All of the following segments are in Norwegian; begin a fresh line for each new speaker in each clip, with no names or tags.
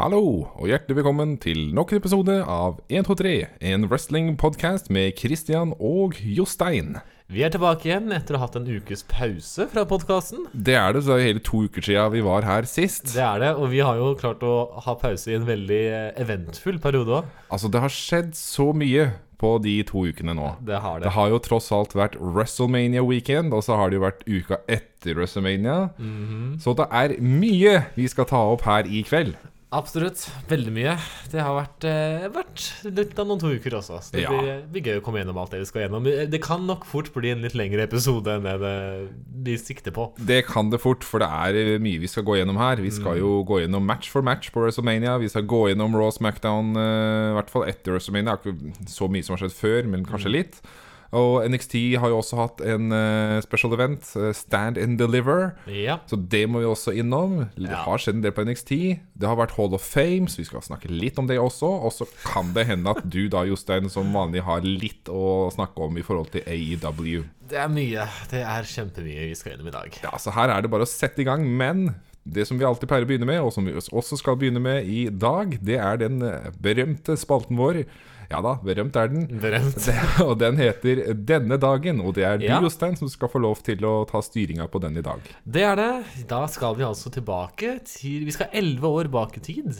Hallo, og hjertelig velkommen til nok en episode av 123, en wrestlingpodkast med Christian og Jostein.
Vi er tilbake igjen etter å ha hatt en ukes pause fra podkasten.
Det er det, så det er jo hele to uker siden vi var her sist.
Det er det, og vi har jo klart å ha pause i en veldig eh, eventfull periode òg.
Altså, det har skjedd så mye på de to ukene nå.
Det har det.
Det har jo tross alt vært WrestleMania weekend, og så har det jo vært uka etter WrestleMania. Så det er mye vi skal ta opp her i kveld.
Absolutt. Veldig mye. Det har vært, eh, vært litt av noen to uker også, så det
Ja.
blir, eh, blir gøy å komme gjennom alt det vi skal gjennom. Eh, Det kan nok fort bli en litt lengre episode enn det, det vi sikter på.
Det kan det fort, for det er eh, mye vi skal gå gjennom her. Vi skal jo gå gjennom match for match på WrestleMania. Vi skal gå gjennom Raw Smackdown, eh, i hvert fall etter WrestleMania. Det er Ikke så mye som har skjedd før, men kanskje litt. Og NXT har jo også hatt en eh, special event, eh, Stand and Deliver.
Ja.
Så det må vi også innom. Det
Ja.
har skjedd en del på NXT. Det har vært Hall of Fame, så vi skal snakke litt om det også. Og så kan det hende at du da, Jostein, som vanlig har litt å snakke om i forhold til E AEW.
Det er mye. Det er kjempemye vi skal gjennom i dag.
Ja, så her er det bare å sette i gang, men det som vi alltid pleier å begynne med, og som vi også skal begynne med i dag, det er den eh, berømte spalten vår. Ja da, berømt er den.
Berømt.
Det- Og den heter 'Denne dagen', og det er du,
Ja.
Jostein, som skal få lov til å ta styringa på den i dag.
Det er det. Da skal vi altså tilbake til Vi skal elleve år bak i tid.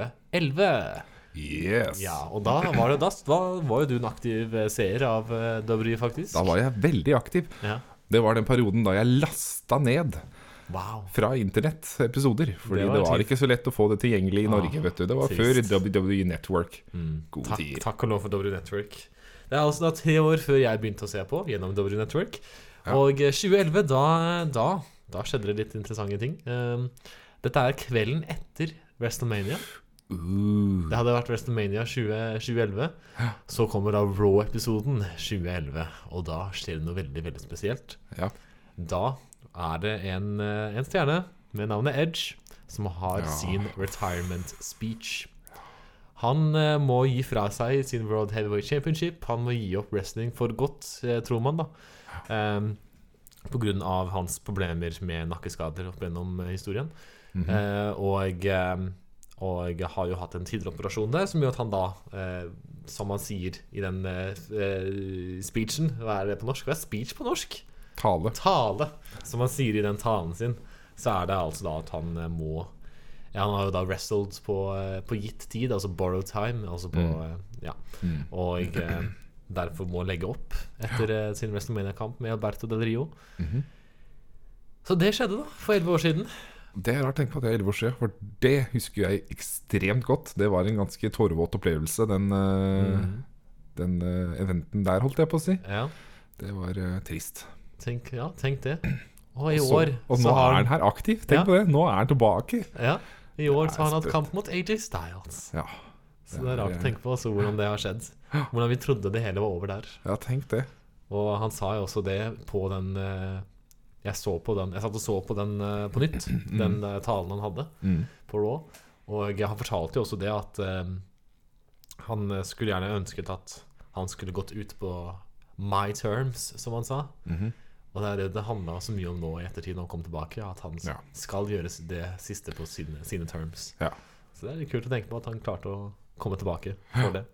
2011.
Yes!
Ja, og da var, det, da da var jo du en aktiv eh, seer av eh, WWE, faktisk.
Da var jeg veldig aktiv.
Ja.
Det var den perioden da jeg lasta ned
Wow.
fra internett episoder. Fordi
Det
det
var
var,
tid.
ikke så lett å få det tilgjengelig i Norge,
Ah,
vet du. Det var
trist.
før WWE Network. Gode
Mm. Takk,
tider.
takk og lov for WWE Network. Det er også da tre år før jeg begynte å se på gjennom WWE Network. Og eh, 2011, da, da, da skjedde det litt interessante ting. Um, dette er kvelden etter WrestleMania.
Uh,
Det hadde vært WrestleMania 20, 2011. Så kommer da Raw-episoden 2011, og da skjer det noe veldig, veldig spesielt.
ja.
Da er det en, eh, en stjerne med navnet Edge som har
Ja.
sin retirement speech. Han eh, må gi fra seg sin World Heavyweight Championship. Han må gi opp wrestling for godt, eh, tror man, da. Um, på grunn av hans problemer med nakkeskader opp gjennom eh, historien. Eh, og, eh, og har jo hatt en tidligere operasjon der, som gjør at han da, eh, som han sier i den eh, f- eh, speechen Hva er det på norsk? Hva er speech på norsk?
Tale.
tale, som han sier i den talen sin, så er det altså da at han eh, må ja, Han har jo da wrestled på, eh, på gitt tid, altså borrow time, altså på
Mm.
eh, Ja. Og eh, derfor må legge opp etter eh, sin WrestleMania-kamp med Alberto Del Rio.
Mhm.
Så det skjedde, da, for elleve år siden.
Det er rart å tenke på at det er elleve år siden, for det husker jeg ekstremt godt. Det var en ganske tårevåt opplevelse, den, eh,
Mhm.
den eh, eventen der, holdt jeg på å si.
Ja,
Det var eh, trist.
tenk, ja, tenk det. Og i
Så-
år
og nå
så har
er
han
han her aktiv. Tenk
Ja.
på det, nå er han tilbake.
ja, I år så har han
Det
hatt
er
kamp mot AJ Styles.
Ja,
Så det er rart å tenke på altså, hvordan det har skjedd. Hvordan vi trodde det hele var over der.
ja tenk det.
Og han sa jo også det på den eh, Jeg så på den Jeg satt og så på den eh, på nytt,
Mm.
den eh, talen han hadde på Raw. Og eh, han fortalte jo også det at eh, han skulle gjerne ønsket at han skulle gått ut på my terms, som han sa.
Mhm.
Og det er det det handla så mye om nå i ettertid, når han kom tilbake, at han s-
Ja.
skal gjøre det siste på sine, sine terms.
Ja.
Så det er litt kult å tenke på at han klarte å komme tilbake for det.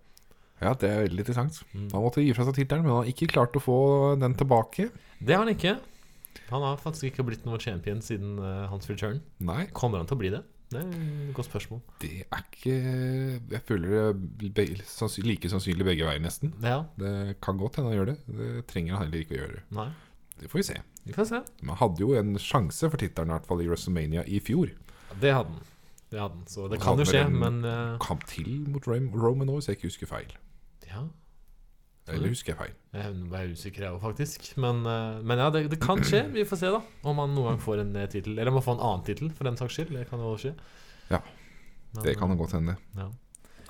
Ja, det er veldig interessant.
Mm.
Han måtte gi fra seg tittelen, men han har ikke klart å få den tilbake.
Det har han ikke. Han har faktisk ikke blitt noen champion siden eh, hans return.
Nei,
Kommer han til å bli det? Det er et godt spørsmål.
det er ikke Jeg føler det er be- sanns- like sannsynlig begge veier, nesten.
Ja,
Det kan godt hende han gjør det. Det trenger han heller ikke å gjøre.
nei.
Det får vi se.
Vi får se.
Man hadde jo en sjanse for tittelen, i hvert fall i WrestleMania i fjor.
Det hadde han. Det hadde han. Så
Han
det kan jo
hadde
skje,
vel en-
men eh,
Kom til mot Ram- Roman Norris, jeg ikke husker feil.
Ja.
Eller husker jeg feil.
Jeg er usikker, jeg òg, faktisk. Men, eh, men ja, det, det kan skje. Vi får se, da. Om han noen gang får en eh, tittel. Eller om han får en annen tittel, for den saks skyld. Det kan jo skje.
Ja,
Men,
Det kan godt hende.
ja.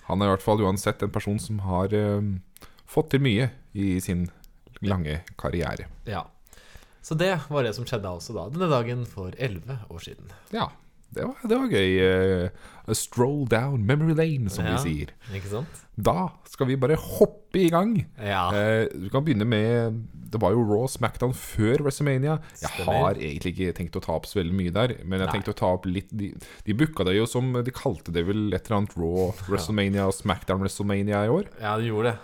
Han er i hvert fall uansett en person som har eh, fått til mye i sin lange karriere.
ja. Så det var det som skjedde altså da, denne dagen for elleve år siden.
Ja, Det var, det var gøy. eh, a stroll down memory lane, som
Ja.
de sier.
Ikke sant?
Da skal vi bare hoppe i gang.
Ja.
Eh, du kan begynne med Det var jo Raw Smackdown før WrestleMania. Jeg
Stemmer.
har egentlig ikke tenkt å ta opp så veldig mye der, men jeg
Nei.
tenkte å ta opp litt De, de booka det jo som De kalte det vel et eller annet Raw WrestleMania og Smackdown WrestleMania i år.
ja, du gjorde det.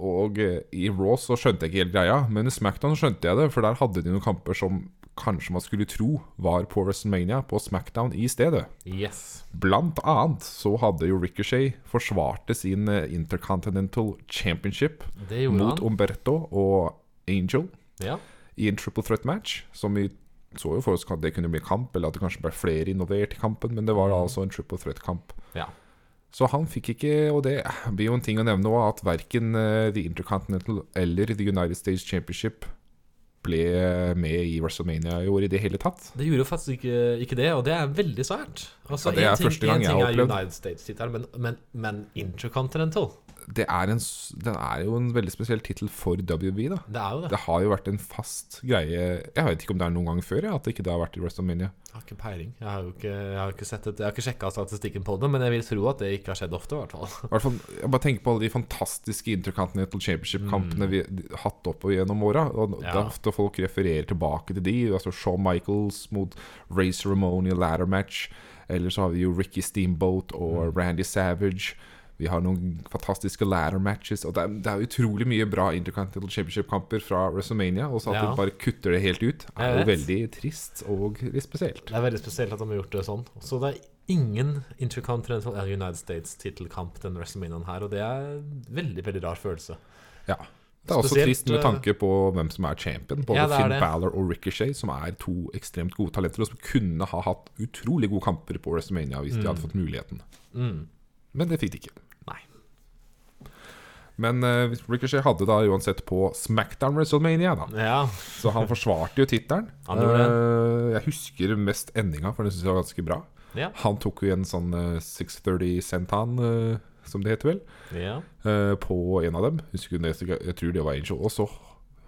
Og eh, i Raw så skjønte jeg ikke helt greia, men i Smackdown skjønte jeg det, for der hadde de noen kamper som kanskje man skulle tro var på WrestleMania, på Smackdown i stedet.
Yes.
Blant annet så hadde jo Ricochet forsvarte sin eh, Intercontinental Championship
Det gjorde
mot
han.
Umberto og Angel
Ja.
i en triple threat match, som vi så jo for oss at det kunne bli kamp, eller at det kanskje ble flere involvert i kampen, men det var da altså en triple threat-kamp.
ja.
Så han fikk ikke, og det blir jo en ting å nevne òg, at verken eh, The Intercontinental eller The United States Championship ble eh, med i WrestleMania i år i det hele tatt.
Det gjorde faktisk ikke, ikke det, og det er veldig svært.
Ja,
Altså,
det
en
er
ting,
første gang
en
jeg
ting
har
er
opplevd.
United States-tittelen, men, men, men Intercontinental,
Det er, en, s- den er jo en veldig spesiell tittel for WB, da.
det er jo det.
Det har jo vært en fast greie Jeg vet ikke om det er noen gang før jeg, at det ikke det har vært i WrestleMania.
Jeg har ikke peiling. Jeg har jo ikke, jeg har ikke, sett et- jeg har ikke sjekka statistikken på det, men jeg vil tro at det ikke har skjedd ofte, i hvert fall.
I hvert fall, jeg bare tenker på alle de fantastiske Intercontinental Championship-kampene vi har hatt opp gjennom åra. Og det
Mm. Ja.
er ofte folk refererer tilbake til de. Altså Shaw Michaels mot Ray Ceremony Ladder Match. Eller så har vi jo Ricky Steamboat
Mm.
og Randy Savage. Vi har noen fantastiske ladder matches. Og det er, det er utrolig mye bra Intercontinental Championship-kamper fra WrestleMania. Og så at
Ja.
du bare kutter det helt ut,
Jeg
er jo
vet.
veldig trist og litt spesielt.
Det er veldig spesielt at de har gjort det sånn. Så det er ingen Intercontinental eller United States-tittelkamp den WrestleManiaen her, og det er en veldig, veldig rar følelse.
Ja. Det er også
Spesielt,
trist med
eh,
tanke på hvem som er champion. Både
Ja, det er
Finn
det.
Balor og Ricochet, som er to ekstremt gode talenter, og som kunne ha hatt utrolig gode kamper på WrestleMania hvis de hadde fått muligheten. Men det fikk de ikke.
Mm. Nei.
Men eh, Ricochet hadde da uansett på Smackdown WrestleMania, da.
Ja,
Så han forsvarte jo tittelen.
Han gjorde
Eh, jeg husker mest endinga, for den syns jeg var ganske bra.
ja,
Han tok jo en sånn eh, 630 Sentan, eh, som det heter vel.
ja.
Eh, på en av dem. Husker du det? Jeg tror det var Angel. Og så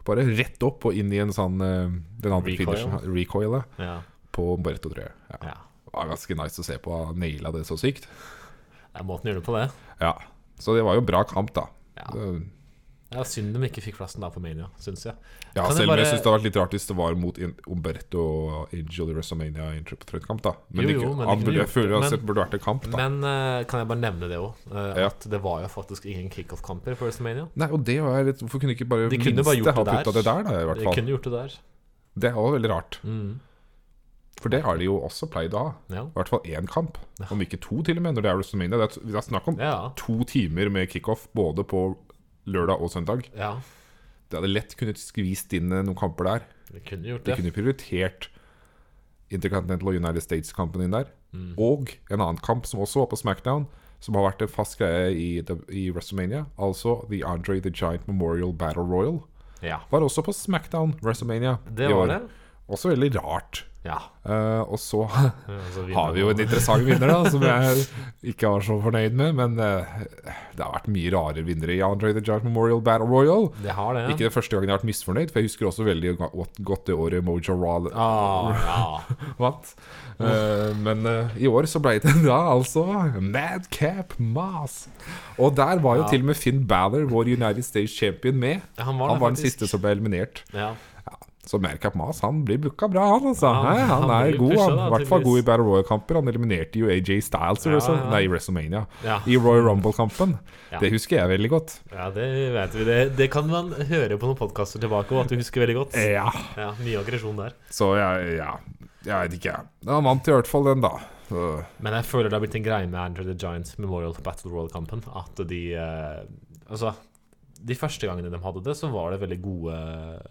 bare rett opp og inn i en sånn eh, Den andre
Recoil.
finishen, recoil, ja,
ja,
på Umberto, tror jeg. Ja.
ja.
Det var ganske nice å se på. Han naila det så sykt.
Det er måten å gjøre det på, det.
Ja. Så det var jo bra kamp, da. Eh,
Ja.
Det-
Det er synd de ikke fikk plassen der på Mania, syns jeg.
Ja,
Kan jeg
selv om jeg
bare-
syns det hadde vært litt rart hvis det var mot In- Umberto og Angel i WrestleMania i en triple threat-kamp, da. Men,
Jo,
ikke,
jo,
han
men det kunne
burde,
gjort
jeg føler
det,
uansett
men-
burde vært en kamp, da.
Men eh, kan jeg bare nevne det òg?
Ja.
At det var jo faktisk ingen kickoff-kamper på WrestleMania.
Nei, og det var litt Hvorfor kunne ikke bare
De kunne bare gjort
ha
det der.
putta det der, da, i hvert
De
fall?
kunne gjort det der.
Det er også veldig rart.
Mm.
For det har de jo også pleid å ha.
Ja.
I hvert fall én kamp, om ikke to til og med, når det er WrestleMania. Det er, det er snakk om
ja.
to timer med kickoff både på lørdag og søndag.
Ja.
Det hadde lett kunnet skvist inn eh, noen kamper der.
De kunne gjort
De
det.
kunne prioritert Intercontinental og United States-kampen inn der.
Mm.
Og en annen kamp som også var på SmackDown, som har vært en fast greie i, i WrestleMania, altså The Andre the Giant Memorial Battle Royal,
Ja.
var også på SmackDown WrestleMania i
Det
år.
var det.
Også veldig rart.
Ja.
Eh, og så
Altså, vinner-
har vi jo en interessant vinner, da, som jeg ikke var så fornøyd med. Men eh, det har vært mye rare vinnere i Andre the Giant Memorial Battle Royal.
Det har det.
Ikke det første gangen jeg har vært misfornøyd, for jeg husker også veldig godt godt det året Mojo Rawle
Ah, ja.
vant. Eh, men eh, i år så ble det da altså Madcap Mas. Og der var jo
Ja.
til og med Finn Balor, vår United States champion, med.
Ja, han var
Han
det,
var den
faktisk.
siste som ble eliminert.
ja.
Så Madcap Mas han blir booka bra, han altså.
Ja,
Hæ? han,
han
er
blir
god.
pusha,
Han,
da,
I hvert fall god i
tydeligvis.
Battle Royal-kamper. Han eliminerte jo AJ Styles i
Ja,
Wrestle-
ja.
Nei, i WrestleMania.
Ja.
I Royal Rumble-kampen.
Ja.
Det husker jeg veldig godt.
Ja, det vet vi. Det, det kan man høre på noen podkaster tilbake òg, at du husker veldig godt.
Ja,
Ja, Mye aggresjon der.
Så jeg ja. Jeg vet ikke. Men Han vant i hvert fall den, da. Så,
Men jeg føler det har blitt en greie med Andrew the Giant Memorial Battle Royal-kampen. At de eh, Altså, de første gangene de hadde det, så var det veldig gode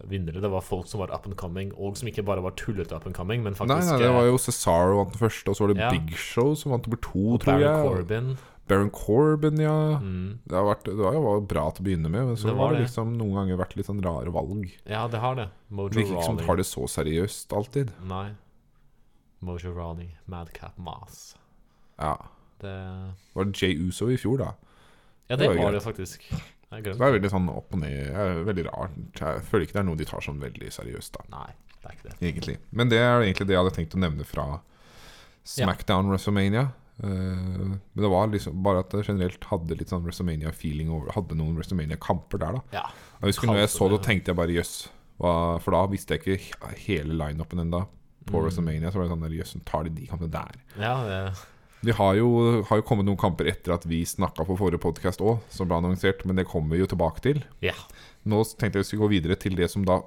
vinnere. Det var folk som var up and coming, og som ikke bare var tullete up and coming, men
nei,
faktisk
nei, det var jo Cesaro vant den første, og så var det
Ja.
Big Show som vant nummer to,
eh,
tror
Baron
jeg.
Corbin.
Baron Corbin, ja.
Mm.
Det, har vært, det var jo var bra til å begynne med, men så
Det var
har det
det.
liksom noen ganger vært litt sånn rare valg.
Ja, det har det.
Det
Mojo
virker ikke som de
Rawley.
tar det så seriøst alltid.
Nei. Mojo Rawley, Madcap Mas.
Ja.
Det
Det var Jay Uso i fjor, da.
Ja,
Det
det
var greit.
var det faktisk. Jeg har glemt
Det er veldig sånn opp og ned eh, Veldig rart. Jeg føler ikke det er noe de tar sånn veldig seriøst, da.
Nei, det er ikke det.
Egentlig. Men det er egentlig det jeg hadde tenkt å nevne fra Smackdown WrestleMania. Eh, men det var liksom bare at jeg generelt hadde litt sånn WrestleMania-feeling over Hadde noen WrestleMania-kamper der, da.
Ja.
Jeg husker når jeg
Kalte
så det,
det.
tenkte jeg bare jøss. hva- For da visste jeg ikke he- hele lineupen ennå. På WrestleMania så var det sånn der, jøss, tar de de kampene der?
ja det,
Det har jo, har jo kommet noen kamper etter at vi snakka på forrige podkast òg, som ble annonsert, men det kommer vi jo tilbake til.
ja.
Nå tenkte jeg vi skulle gå videre til det som da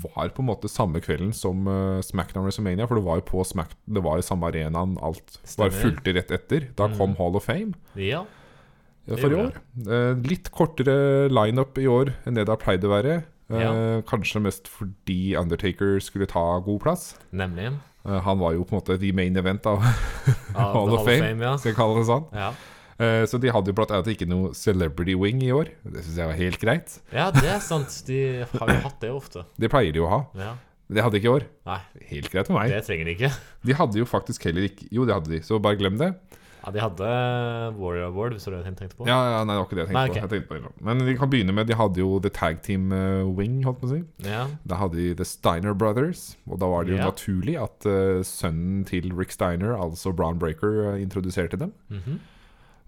var på en måte samme kvelden som eh, SmackDown WrestleMania, for det var jo på Smack, det var i samme arenaen, alt var
Stemmer.
fulgte rett etter. Da kom Hall of Fame
ja.
eh,
Det
for i
gjorde
år. Eh, Litt kortere lineup i år enn det det har pleid å være. Eh,
Ja.
Kanskje mest fordi Undertaker skulle ta god plass.
Nemlig.
Eh, Han var jo på en måte the main event av
Av
Hall of Fame,
ja.
skal jeg kalle det sånn.
Ja.
Eh, Så de hadde jo blant annet ikke noe celebrity wing i år. Det syns jeg var helt greit.
ja, det er sant. De har jo hatt det ofte.
Det pleier de jo å ha.
Ja.
Det hadde de ikke i år.
Nei,
Helt greit for meg.
det trenger de ikke.
De hadde jo faktisk heller ikke Jo, det hadde de, så bare glem det.
Ja, De hadde eh, Warrior Award, hvis det var det jeg tenkte på.
Ja, ja, Nei, det var ikke det jeg tenkte
Nei, ok.
på. Jeg tenkte på det. nå. Men vi kan begynne med De hadde jo The Tag Team eh, Wing, holdt på å si.
Ja.
Da hadde de The Steiner Brothers. Og da var det jo
Ja.
naturlig at eh, sønnen til Rick Steiner, altså Brown Breaker, eh, introduserte dem.
Mhm.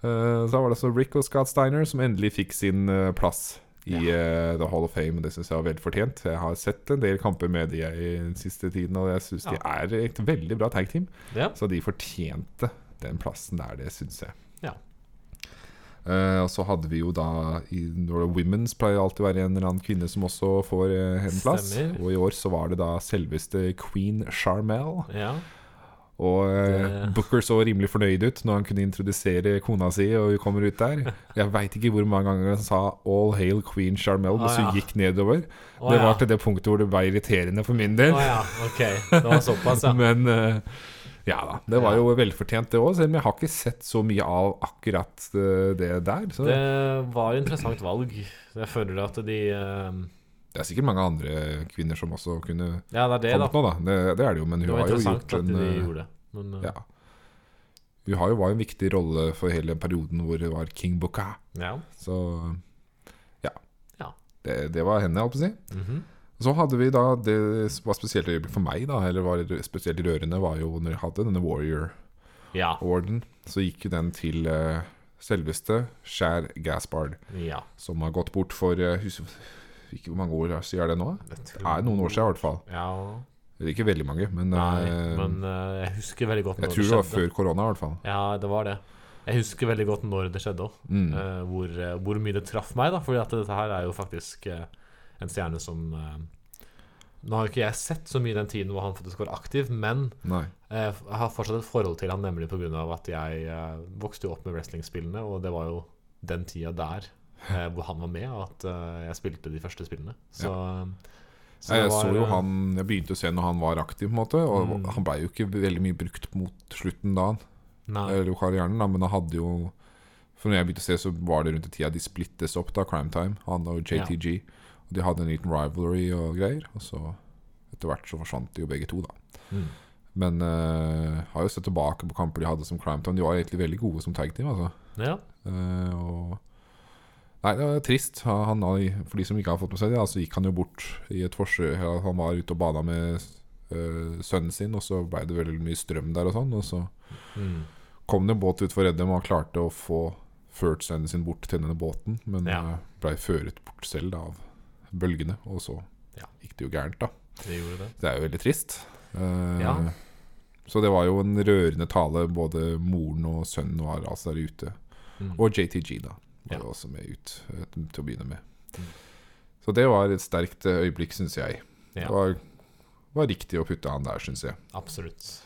Eh, så da var det altså Rick og Scott Steiner som endelig fikk sin eh, plass i eh, The Hall of Fame. og Det syns jeg var velfortjent. Jeg har sett en del kamper med de i den siste tiden, og jeg syns de er et veldig bra tag team.
ja.
Så de fortjente den plassen der, det syns jeg.
Ja.
Eh, og så hadde vi jo da i når det er Women's pleier det alltid å være en eller annen kvinne som også får eh, en plass.
Stemmer.
Og i år så var det da selveste Queen Charmel.
ja.
Og eh,
Det-
Booker så rimelig fornøyd ut når han kunne introdusere kona si, og hun kommer ut der. Jeg veit ikke hvor mange ganger han sa 'All hail Queen Charmel' mens
Ah, ja.
hun gikk nedover.
Å,
det var
ja.
til det punktet hvor det ble irriterende for min
Å
del.
ja, ok. Det var såpass, ja.
Men eh, ja da. Det var
Ja.
jo velfortjent, det òg, selv om jeg har ikke sett så mye av akkurat eh, det der. Så det,
Det var et interessant valg. Jeg føler at de eh,
er sikkert mange andre kvinner som også kunne
Ja, det er det, da.
kommet nå, da. Det, det er det jo, men
Det
hun
var
har jo
interessant
gjort
at
en
de
eh,
gjorde det. Men, eh,
ja. Hun har jo var en viktig rolle for hele perioden hvor det var King Booka.
ja.
Så ja.
Ja.
Det, det var henne, jeg holdt på å si.
Mhm.
Så hadde vi da det som var spesielt øyeblikk for meg, da, eller var spesielt rørende, var jo når jeg hadde denne Warrior
ja.
Orden, så gikk jo den til eh, selveste Share Gaspard,
Ja.
som har gått bort for eh, hus- Ikke hvor mange år siden er det nå?
Jeg
Det
tror-
er noen år siden, i hvert fall.
Ja.
Eller Ikke veldig mange, men,
Nei,
eh,
men eh, jeg husker veldig godt når
jeg tror det var
skjedde.
før korona, i hvert fall.
Ja, det var det. Jeg husker veldig godt når det skjedde òg.
Mm.
hvor, eh, hvor mye det traff meg, da. Fordi at dette her er jo faktisk eh, en stjerne som eh, Nå har jo ikke jeg sett så mye den tiden hvor han faktisk var aktiv, men
Nei.
eh, jeg har fortsatt et forhold til han nemlig pga. at jeg eh, vokste jo opp med wrestlingspillene, og det var jo den tida der eh, hvor han var med, at eh, jeg spilte de første spillene. Så, eh, så det
jeg
var,
så jo
eh,
han Jeg begynte å se når han var aktiv, på en måte. Og
Mm.
han blei jo ikke veldig mye brukt mot slutten da,
Nei.
eller jo karrieren, da, men han hadde jo For når jeg begynte å se, så var det rundt i tida de splittes opp, da, Crime Time, han og JTG. Og de hadde en liten rivalry og greier, og så etter hvert så forsvant de jo begge to, da.
Mm.
Men eh, har jo sett tilbake på kamper de hadde som Crime Time. De var egentlig veldig gode som tag team, altså.
Ja.
Eh, og Nei, det var trist. Han, han, for de som ikke har fått med seg det, da, så gikk han jo bort i et forsøk. Han var ute og bada med eh, sønnen sin, og så ble det veldig mye strøm der og sånn. Og så
Mm.
kom det en båt utfor Reddem, og han klarte å få ført sønnen sin bort til denne båten, men
Ja.
eh, ble føret bort selv da, av bølgene, og så
Ja.
gikk det jo gærent, da.
Det gjorde det.
Det er jo veldig trist. Eh,
Ja.
Så det var jo en rørende tale. Både moren og sønnen var altså der ute.
Mm.
Og JTG, da, var
Ja.
jo også med ut eh, til å begynne med.
Mm.
Så det var et sterkt eh, øyeblikk, syns jeg.
Ja.
Det var, var riktig å putte han der, syns jeg.
Absolutt.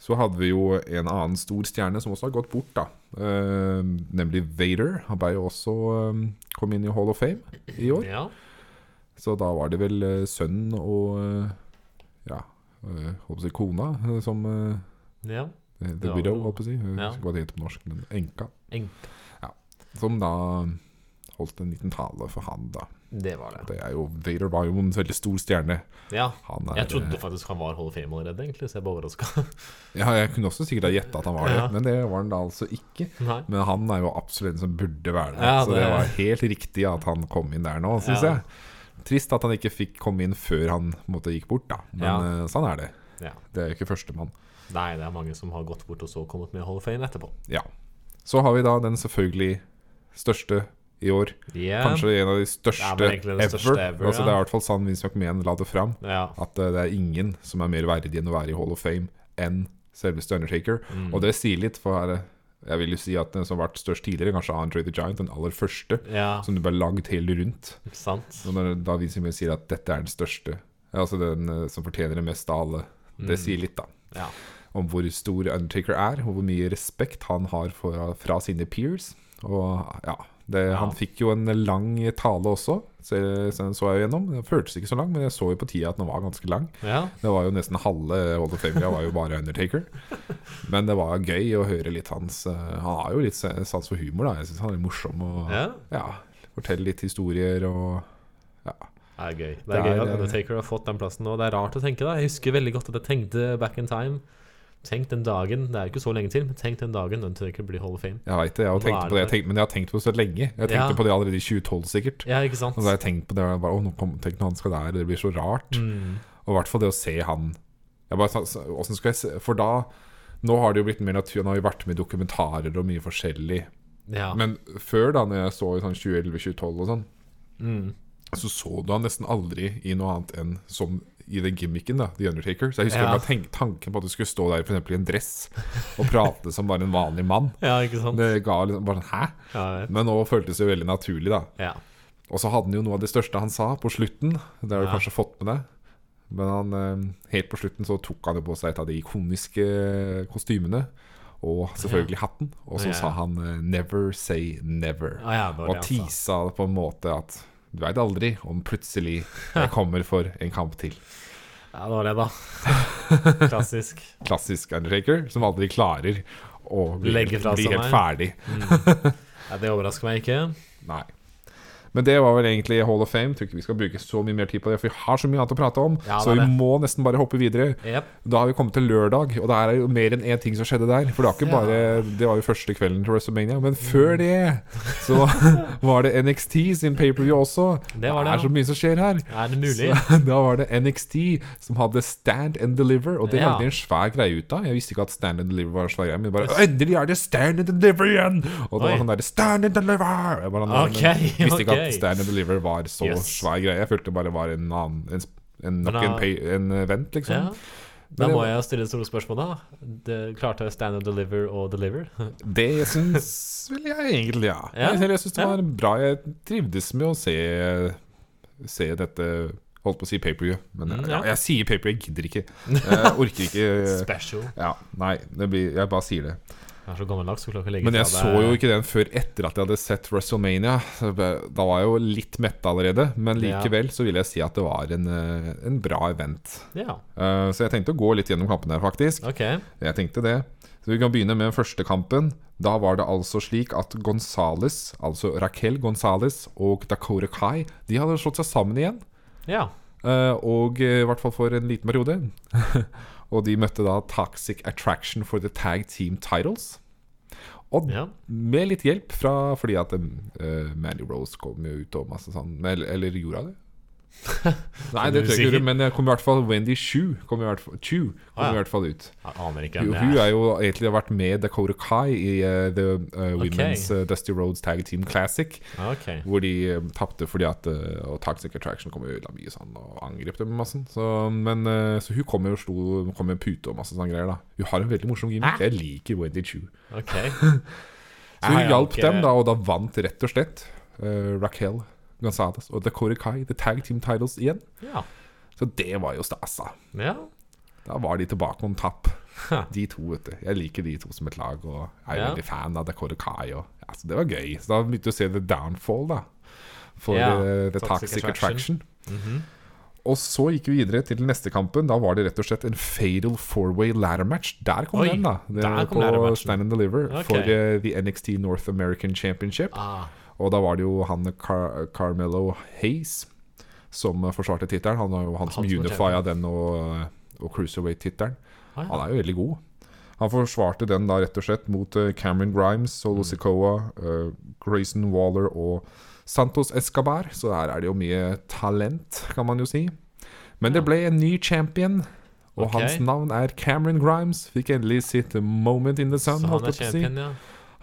Så hadde vi jo en annen stor stjerne som også har gått bort, da. Eh, nemlig Vader. Han ble jo også eh, kom inn i Hall of Fame i år.
Ja.
Så da var det vel eh, sønnen og eh, ja, eh, håper jeg å si kona eh, som eh,
ja.
The
Det var
Widow,
vel-
håper jeg å si. Eh, Jeg
ja.
husker ikke hva det heter på norsk, men enka.
Enk.
Som da holdt en liten tale for han, da.
Det var det.
Det er jo, Vader var jo en veldig stor stjerne.
Ja.
Han er,
Jeg trodde faktisk han var Hall of Fame allerede, egentlig, så jeg ble overraska.
ja, jeg kunne også sikkert ha gjetta at han var det,
Ja.
men det var han da altså ikke.
Nei.
Men han er jo absolutt en som burde være der,
Ja,
så
det-
det var helt riktig at han kom inn der nå, syns
Ja.
jeg. Trist at han ikke fikk komme inn før han på en måte, gikk bort, da. Men
Ja.
eh, sånn er det.
Ja.
Det er ikke førstemann.
Nei, det er mange som har gått bort og så kommet med Hall of Fame etterpå.
Ja. Så har vi da den selvfølgelig største i år.
Yeah.
Kanskje en av de
Det
største
er vel egentlig den
ever.
største ever,
altså,
ja.
Det er i hvert fall sann Vince McMahon la det fram.
Ja.
At eh, det er ingen som er mer verdig enn å være i Hall of Fame enn selveste Undertaker.
Mm.
Og det sier litt, for her, eh, jeg vil jo si at den som har vært størst tidligere, kanskje Andre the Giant, den aller første,
ja,
som du bare lagd helt rundt.
ikke sant?
Og når da Vince McMahon sier at dette er den største, altså den eh, som fortjener det mest av alle, det sier litt, da.
Ja.
om hvor stor Undertaker er, og hvor mye respekt han har for, fra sine peers. Og ja, det, Han fikk jo en lang tale også, så, så den så jeg jo gjennom. Den føltes ikke så lang, men jeg så jo på tida at den var ganske lang.
ja.
Det var jo nesten halve Hall of Fame-greia var jo bare Undertaker. Men det var gøy å høre litt hans eh, Han har jo litt se- sans for humor, da. Jeg syns han er litt morsom og
ja.
ja, forteller litt historier og
Det er gøy. Det
Det
er
er,
gøy at
eh,
Undertaker har fått den plassen nå. Det er rart å tenke, da. Jeg husker veldig godt at jeg tenkte back in time. Tenk den dagen, det er jo ikke så lenge til, men tenk den dagen Undertaker blir Hall of Fame.
Jeg veit det, jeg har
Hva
tenkt
er
på det, jeg
det?
tenkte- men jeg har tenkt på det så lenge. Jeg tenkte
Ja.
på det allerede i 2012, sikkert.
Ja, ikke sant?
Og da har jeg tenkt på det og bare, Å, nå kom, tenk når han skal der, det blir så rart.
Mm.
Og i hvert fall det å se han jeg bare, sa- sa- hvordan skal jeg se? For da Nå har det jo blitt mer natur, han har jo vært med i dokumentarer og mye forskjellig.
Ja.
Men før, da når jeg så i sånn 2011-2012 og sånn,
Mm.
så så du han nesten aldri i noe annet enn som i den gimmicken, da, The Undertaker. Så jeg husker
Ja.
bare tenk, tanken på at du skulle stå der for eksempel i en dress og prate som bare en vanlig mann.
ja, ikke sant?
Det ga liksom bare sånn, Hæ?
Ja, ja.
Men nå føltes det jo veldig naturlig, da.
ja.
Og så hadde han jo noe av det største han sa på slutten. Det har du
Ja.
kanskje fått med deg. Men han, eh, helt på slutten så tok han jo på seg et av de ikoniske eh, kostymene. Og selvfølgelig hatten. Og så
Ja.
sa han eh, 'never say never'.
Ah, ja, det var
og
det han sa.
tisa på en måte at du veit aldri om plutselig jeg kommer for en kamp til.
Ja, det var det, da. Klassisk.
Klassisk Undertaker, som aldri klarer å bli,
Legge
helt-
fra
bli
seg
helt
meg.
ferdig.
Ja, det overrasker meg ikke.
Nei. Men det var vel egentlig Hall of Fame. Tror ikke vi skal bruke så mye mer tid på det, for vi har så mye annet å prate om.
Ja, det
så
er
vi
det.
må nesten bare hoppe videre.
Jep.
Da har vi kommet til lørdag, og det er jo mer enn én ting som skjedde der. For det var ikke
Ja. Mm.
bare Det var jo første kvelden til WrestleMania, men før det så var det NXT sin pay-per-view også.
Det var det,
er så mye som skjer her.
Er det mulig?
Så, da var det NXT som hadde Stand and Deliver, og det
Ja.
lagde de en svær greie ut av. Jeg visste ikke at Stand and Deliver var en svær greie, men bare Endelig er det Stand and Deliver igjen! Og det
Oi.
var sånn derre Stand and Deliver! Jeg bare,
Ok,
men visste ikke
ok.
at Stand and Deliver var så
Yes.
svær greie. Jeg følte det bare var en annen en, sp- en, nok
Men da-
en, pay, en event, liksom.
Ja. Da må jeg jo stille et stort spørsmål, da. Det, klarte jeg stand and deliver og deliver?
Det syns vel jeg egentlig, ja.
Ja,
Jeg, jeg syns det
ja.
var bra. Jeg trivdes med å se, se dette Holdt på å si paperview, men
Mm,
jeg,
ja.
jeg, sier paperview, jeg gidder ikke. Jeg orker ikke
Special.
Ja, nei, det blir, jeg bare sier det.
Jeg er så gammeldags, så klarer ikke å legge
Men jeg
fra
så
deg-
jo ikke den før etter at jeg hadde sett WrestleMania. så jeg- Da var jeg jo litt mett allerede, men
Ja.
likevel så vil jeg si at det var en, eh, en bra event.
Ja,
Eh, Så jeg tenkte å gå litt gjennom kampene her, faktisk.
ok.
Jeg tenkte det. Så Vi kan begynne med første kampen. Da var det altså slik at Gonzales, altså Raquel Gonzales og Dakota Kai, de hadde slått seg sammen igjen.
Ja.
eh, Og eh, i hvert fall for en liten periode. og de møtte da Toxic Attraction for the Tag Team Titles. Og
ja.
med litt hjelp fra fordi at eh, Mandy Rose kom jo ut og masse sånn Eller, eller gjorde hun det? Nei, det tror jeg ikke, hun gjorde, men jeg kom i hvert fall Wendy Chu kom i hvert fall, Chu kom
Ah, ja.
i hvert fall ut.
Jeg aner ikke
Jo,
hvem
hun
det er.
er jo egentlig har vært med Dakota Kai i eh, The eh, Women's eh, Dusty Roads Tag Team Classic,
Ok.
hvor de uh, tapte fordi at eh, Og Toxic Attraction kom jo la mye sånn og angrep dem med massen. Så, men, eh, så hun kom jo og slo kom med en pute og masse sånne greier, da. Hun har en veldig morsom gimmick. Jeg liker Wendy Chu.
ok
Så hun
Jeg har
hjalp
ikke-
dem, da, og da vant rett og slett uh, Raquel Gonzales og Dakota Kai The Tag Team Titles igjen.
Ja.
Så det var jo stas, da.
ja.
Da var de tilbake om tapp.
Ha.
De to, vet du. Jeg liker de to som et lag, og jeg er
Ja.
veldig fan av Dakota Kai. Og, ja, så det var gøy. Så da begynte vi å se The Downfall, da. For
Ja,
eh, The Toxic,
Toxic
Attraction.
Attraction. Mhm.
Og så gikk vi videre til den neste kampen. Da var det rett og slett en fatal four-way ladder match. Der kom
Oi,
den, da. Det
der kom
på
ladder-matchen.
Stand and Deliver
Ok.
for eh, The NXT North American Championship.
Ah,
Og da var det jo han Car Carmelo Hayes som eh, forsvarte tittelen. Han var jo han som
Han som var
unifia den og, og Cruiserweight-tittelen.
ah, ja.
Han er jo veldig god. Han forsvarte den da rett og slett mot eh, Cameron Grimes
Mm.
og Lucicoa, eh, Grayson Waller og Santos Escabar. Så her er det jo mye talent, kan man jo si. Men det ble en ny champion, Og
Ok.
hans navn er Cameron Grimes. Fikk endelig sitt moment in the sun.
Så han
holdt
er
jeg på å si.
champion, ja.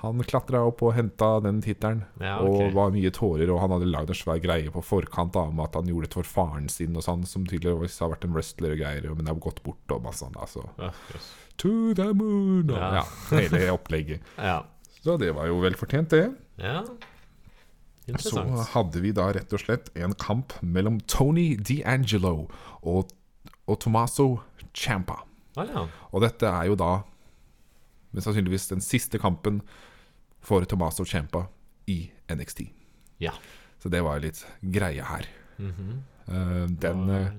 Han klatra opp og henta den tittelen.
Ja, ok.
Og var mye tårer, og han hadde lagd en svær greie på forkant da, om at han gjorde det for faren sin og sånn, som tydeligvis har vært en wrestler og greier, men har gått bort og masse sånn. Altså.
Ja, yes.
To the moon! Og,
Ja.
ja. hele opplegget.
ja.
Så det var jo vel fortjent, det.
ja.
Så
Interessant.
hadde vi da rett og slett en kamp mellom Tony D'Angelo og, og Tommaso Ciampa.
Ah, ja.
Og dette er jo da men sannsynligvis den siste kampen for Tommaso Ciampa i NXT.
ja.
Så det var jo litt greie her.
Mhm.
Eh, den
Og-
eh,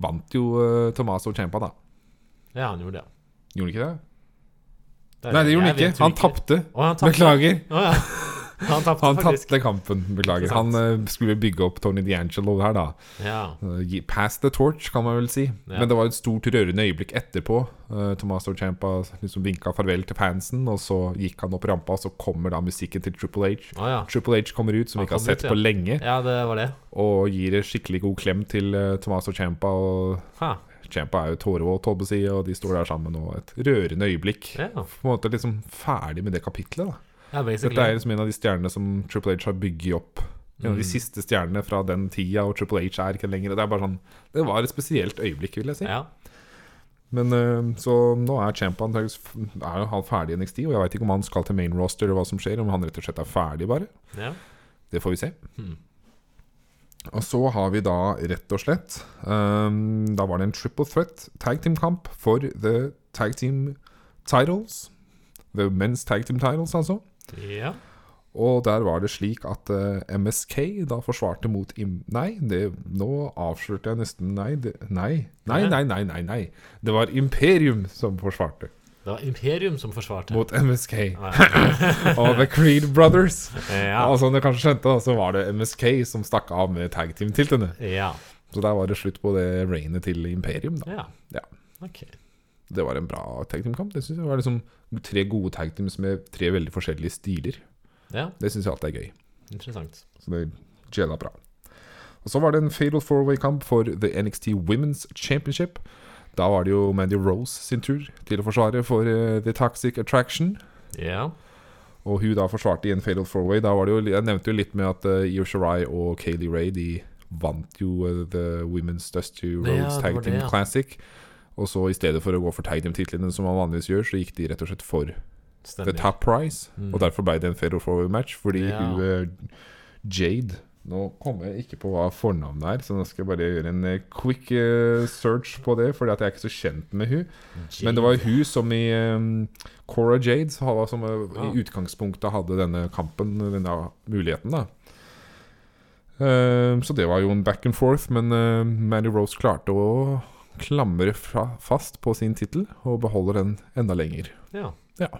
vant jo eh, Tommaso Ciampa, da.
Ja, han gjorde det.
Gjorde han ikke det?
Det er-
Nei, det gjorde
Eh,
han ikke.
jeg vet jo
Han tapte.
Å, han tapte.
Beklager.
Å, ja. Han tapte
Han
faktisk.
tapte kampen. Beklager.
Ikke
Han
sant.
eh, skulle bygge opp Tony D'Angelo her, da.
Ja.
Eh, gi- Pass the torch, kan man vel si.
Ja.
Men det var et stort rørende øyeblikk etterpå. Eh, Tommaso Ciampa liksom vinka farvel til fansen, og så gikk han opp rampa, og så kommer da musikken til Triple H.
Å, ja.
Triple H kommer ut, som
Han
vi ikke har
kommer ut,
sett på
ja.
lenge,
ja, det var det.
og gir en skikkelig god klem til eh, Tommaso Ciampa. Og
Ha.
Champa er jo tårevåt, holdt på å si, og de står der sammen. Og et rørende øyeblikk.
Ja.
På en måte liksom ferdig med det kapitlet. da
Ja, basically.
Dette er liksom en av de stjernene som Triple H har bygget opp. En av de siste stjernene fra den tida, og Triple H er ikke lenger. Det er bare sånn Det var et spesielt øyeblikk, vil jeg si.
Ja.
Men øh, så nå er Champa antakeligvis Er jo han ferdig i NXT, og jeg veit ikke om han skal til main roster eller hva som skjer, om han rett og slett er ferdig, bare.
ja.
Det får vi se. Og så har vi da rett og slett ehm, Da var det en triple threat tag team-kamp for the tag team titles. The men's tag team titles, altså.
ja.
Og der var det slik at eh, MSK da forsvarte mot Im... Nei, det, nå avslørte jeg nesten Nei, det, nei, nei, nei, nei, nei, nei. Det var Imperium som forsvarte
Det var Imperium som forsvarte.
mot MSK. Og The Creed Brothers.
Ja.
Og som dere kanskje skjønte, da, så var det MSK som stakk av med tag team-tiltene.
Ja.
Så der var det slutt på det rainet til Imperium, da.
ja.
Ja.
Ok.
Det var en bra tag team-kamp. Det synes jeg var liksom tre gode tag teams med tre veldig forskjellige stiler.
Ja,
Det syns jeg alltid er gøy.
interessant.
Så det gjelder bra. Og så var det en fatal four-way-kamp for The NXT Women's Championship. Da var det jo Mandy Rose sin tur til å forsvare for eh, The Toxic Attraction.
Ja.
Og hun da forsvarte i en fatal four-way. Da var det jo, jeg nevnte jo litt med at uh, Io Shirai og Kayleigh Ray de vant jo eh, The Women's Dusty
Ja,
Rose
det
Tag
var
Team
det, ja.
Classic. Og så i stedet for å gå for tag team-titlene, som man vanligvis gjør, så gikk de rett og slett for The
Stemmer.
Top Prize. Og derfor ble det en fatal four-way-match, fordi
Mm. Ja.
hun eh, Jade Nå kommer jeg ikke på hva fornavnet er, så nå skal jeg bare gjøre en eh, quick eh, search på det, fordi at jeg er ikke så kjent med hun.
Jade.
Men det var hun som i um, Cora Jade som hadde- som eh,
Ah.
i utgangspunktet hadde denne kampen, denne muligheten, da. Eh, så det var jo en back and forth, men eh, Mandy Rose klarte å klamre fra, fast på sin tittel og beholder den enda lenger.
Ja.
Ja.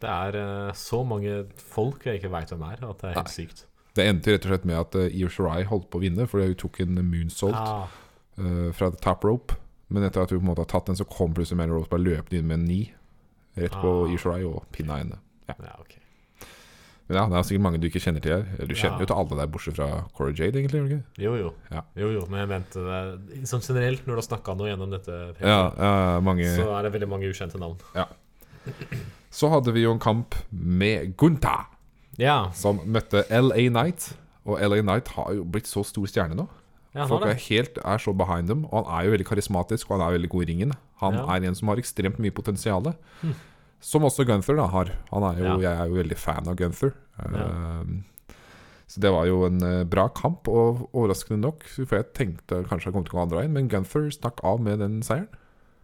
Det er eh, så mange folk jeg ikke veit hvem er, at det er helt sykt.
Det endte rett og slett med at eh, Io Shirai holdt på å vinne fordi hun tok en moonsault
Ah,
eh, fra the top rope. Men etter at hun på en måte har tatt den, så kom plutselig Mandy Rose bare løpende inn med en ni rett på
Ah.
Io Shirai og pinna henne.
ja, ok.
Men ja, det er sikkert mange du ikke kjenner til her. Eller Du kjenner
Ja.
jo til alle der bortsett fra Cora Jade, egentlig. gjør du ikke?
Jo, jo.
Ja.
Jo, jo. Men jeg mente det Som generelt, når du har snakka noe gjennom dette,
Ja, ja, eh, mange
så
så.
er det veldig mange ukjente navn.
hadde vi jo en kamp med Gunta,
Ja.
som møtte LA Knight. Og LA Knight har jo blitt så stor stjerne nå.
ja han
Folk
har
er
det.
helt er så behind dem. Og han er jo veldig karismatisk, og han er veldig god i ringen. Han
Ja. Hm.
er en som har ekstremt mye potensial. Som også Gunther da har. Han er jo,
Ja.
Jeg er jo veldig fan av Gunther. Ehm, så det var jo en eh, bra kamp, og overraskende nok, for jeg tenkte kanskje jeg kom til å gå andre veien, men Gunther stakk av med den seieren,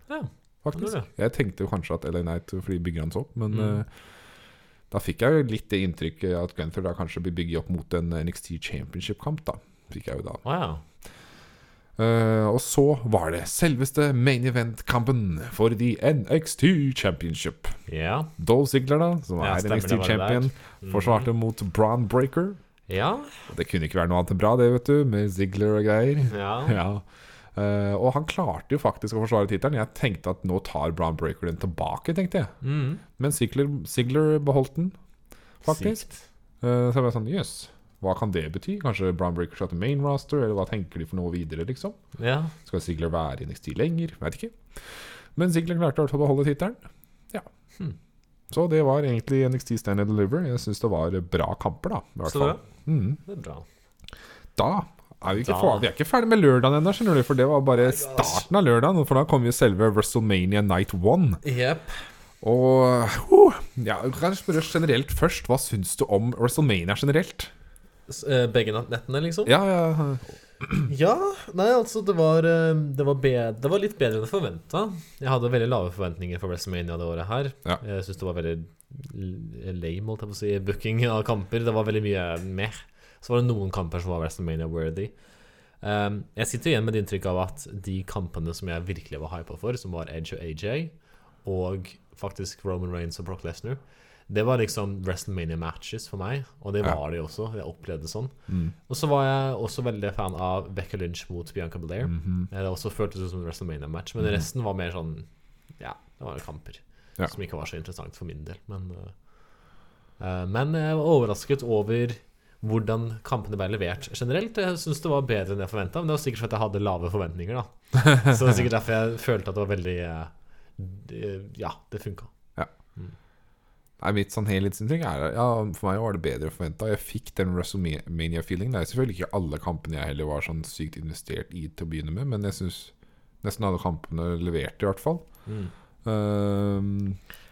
Ja. Han
faktisk.
gjorde det.
Jeg tenkte jo kanskje at LA Knight fordi de bygger han så opp, men
Mm.
eh, da fikk jeg jo litt det inntrykket at Gunther da kanskje blir bygget opp mot en NXT Championship-kamp, da. Fikk jeg jo da.
Å ja.
Eh, og så var det selveste main event-kampen for The NXT Championship.
Ja.
Dolph Ziggler, da, som
Ja,
er
stemmer, det Mm.
NXT
var det
champion, forsvarte mot Bron Breaker.
Ja.
Og Det kunne ikke være noe annet enn bra, det, vet du, med Ziggler og greier.
ja.
Ja. Eh, og han klarte jo faktisk å forsvare tittelen. Jeg tenkte at nå tar Bron Breaker den tilbake, tenkte jeg.
Mm.
Men Ziggler, Ziggler beholdt den, faktisk.
Sykt.
Eh, så jeg var sånn jøss. Hva kan det bety? Kanskje Brown Breaker skal til main roster, eller hva tenker de for noe videre, liksom?
Ja.
Skal Ziggler være i NXT lenger? Veit ikke. Men Ziggler klarte i hvert fall å beholde tittelen. Ja. Hm.
Hmm.
Så det var egentlig NXT Stand and Deliver. Jeg syns det var bra kamper, da. I hvert
Så
fall.
bra.
Mm.
Det er bra.
Da er vi ikke,
Da-
for, vi er ikke ferdig med lørdagen ennå, skjønner du. For det var bare starten av lørdagen. For da kom jo selve WrestleMania Night One.
Jepp.
Og uh, ja, Kan jeg spørre generelt først, hva syns du om WrestleMania generelt?
S- eh, Begge nat- nettene, liksom?
Ja, ja,
Ja, nei, altså det var, eh, det var, be det var litt bedre enn forventa. Jeg hadde veldig lave forventninger for WrestleMania det året her.
Ja.
Jeg syns det var veldig l- lame, holdt jeg på å si, booking av kamper. Det var veldig mye mer. Så var det noen kamper som var WrestleMania-worthy. Um, jeg sitter igjen med det inntrykk av at de kampene som jeg virkelig var hypa for, som var Edge og AJ, og faktisk Roman Reigns og Brock Lesnar, det var liksom WrestleMania-matches for meg, og det
Ja.
var de også. Jeg opplevde det sånn.
Mm.
Og så var jeg også veldig fan av Becca Lynch mot Bianca Belair.
Mhm.
Eh, Det også føltes ut som en WrestleMania-match, men resten var mer sånn Ja, det var kamper
Ja.
som ikke var så interessant for min del, men eh, eh, Men jeg var overrasket over hvordan kampene ble levert generelt. Jeg syns det var bedre enn jeg forventa, men det var sikkert fordi jeg hadde lave forventninger, da. Så det er sikkert derfor jeg følte at det var veldig eh, d- eh, Ja, det funka.
Nei, mitt sånn helhetsinntrykk er ja, For meg var det bedre enn forventa. Jeg fikk den WrestleMania-feelingen. Det er selvfølgelig ikke alle kampene jeg heller var sånn sykt investert i til å begynne med, men jeg syns nesten alle kampene leverte, i hvert fall.
Mm.
Ehm,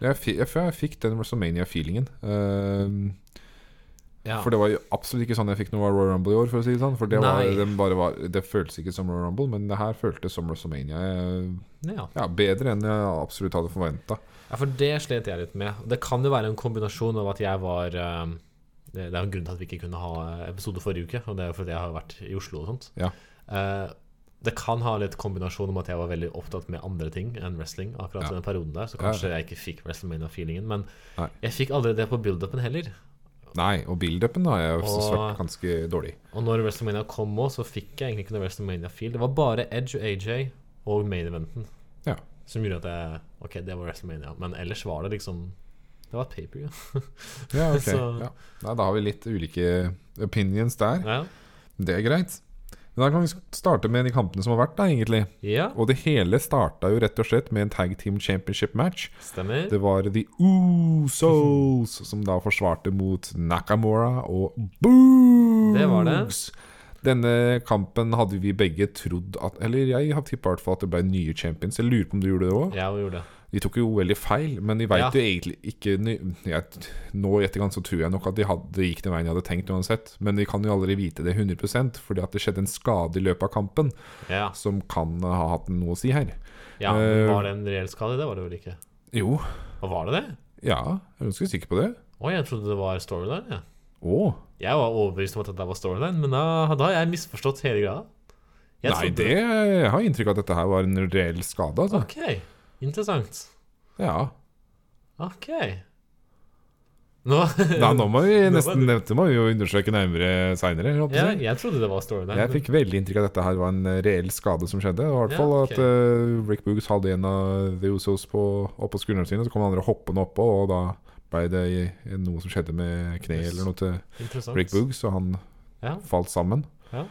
jeg, fi- jeg, jeg fikk den WrestleMania-feelingen. Ehm,
Ja.
For det var jo absolutt ikke sånn jeg fikk noe av Royal Rumble i år. For å si det sånn For det, var,
Nei.
den bare var, det føltes ikke som Royal Rumble, men det her føltes som WrestleMania. eh,
ja.
Ja, Bedre enn jeg absolutt hadde forventa.
Ja, for det slet jeg litt med. Det kan jo være en kombinasjon av at jeg var eh, Det det er jo en grunn til at vi ikke kunne ha episode forrige uke, og det er jo fordi jeg har vært i Oslo og sånt.
Ja.
Eh, det kan ha litt kombinasjon om at jeg var veldig opptatt med andre ting enn wrestling akkurat i
Ja.
den perioden der, så kanskje jeg ikke fikk WrestleMania-feelingen. Men
Nei.
jeg fikk aldri det på build-upen heller.
Nei, og build-upen har jeg også
Og-
vært ganske dårlig.
Og når WrestleMania kom òg, så fikk jeg egentlig ikke noe WrestleMania-feel. Det var bare Edge og AJ og main eventen
Ja.
som gjorde at jeg Ok, det var WrestleMania, men ellers var det liksom Det var et paper, ja.
Ja, ok
Så-
ja. Nei, Da har vi litt ulike opinions der.
ja.
Det er greit. Men da kan vi starte med de kampene som har vært, da, egentlig.
Ja,
Og det hele starta jo rett og slett med en tag team championship match.
stemmer.
Det var The Usos som da forsvarte mot Nakamura og Boogs.
Det var det.
Denne kampen hadde vi begge trodd at Eller jeg har tippa hvert fall at det ble nye champions. Jeg lurer på om du gjorde det òg.
Jeg gjorde det.
De tok jo veldig feil, men de veit
Ja.
jo egentlig ikke ny- jeg, Nå i etterkant så tror jeg nok at de hadde, det gikk den veien jeg hadde tenkt uansett. Men vi kan jo aldri vite det 100 fordi at det skjedde en skade i løpet av kampen
Ja.
som kan ha hatt noe å si her.
ja
Eh,
var det en reell skade? Det var det vel ikke.
Jo,
Og var det det?
ja, jeg er ganske sikker på det.
Oi, jeg trodde det var storyline. Ja.
Å,
Jeg var overbevist om at dette var storyline, men da, da har jeg misforstått hele greia. Jeg
Nei,
trodde-
det jeg har inntrykk av at dette her var en reell skade, altså.
Ok, interessant.
Ja.
Ok. Nå
Nei, nå må vi
var
nesten dette må vi jo undersøke nærmere seinere.
ja, Jeg trodde det var storyline.
Jeg fikk veldig inntrykk av at dette her var en eh, reell skade som skjedde. og I hvert
Ja,
fall
ok.
at eh, Rick Boogs hadde en av The Usos på, oppå skuldrene sine, så kom andre hoppende oppå, og da ble det i- noe som skjedde med kneet
Yes.
eller noe til
Interessant.
Rick Boogs, og han
Ja.
falt sammen.
Ja.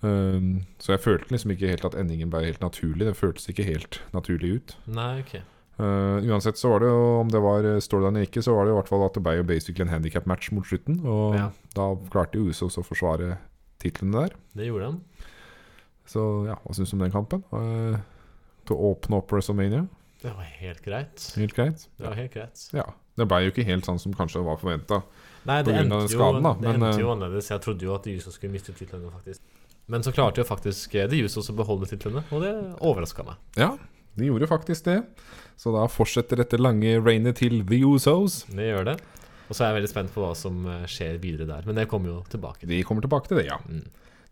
Um, så jeg følte liksom ikke helt at endingen ble helt naturlig. Det føltes ikke helt naturlig ut.
Nei, ok.
Eh, uansett så var det jo, om det var eh, storyline eller ikke, så var det i hvert fall at det ble jo basically en handikap-match mot slutten. Og
Ja.
da klarte jo Usos å forsvare titlene der.
Det gjorde han.
Så ja, hva syns du om den kampen? Eh, til å åpne opp WrestleMania?
Det var helt greit.
Helt greit?
Det var helt greit.
Ja. Det ble jo ikke helt sånn som kanskje var forventa.
Nei,
på
det
grunn av
endte,
den skaden, da,
jo, det
men,
endte jo
eh,
annerledes. Jeg trodde jo at Juso skulle miste titlene, faktisk. Men så klarte jo faktisk eh, The Jusos å beholde titlene, og det overraska meg.
Ja, de gjorde faktisk det. Så da fortsetter dette lange regnet til The Usos.
Det gjør det. Og så er jeg veldig spent på hva som eh, skjer videre der, men det kommer jo tilbake.
Vi kommer tilbake til det, ja.
Mm.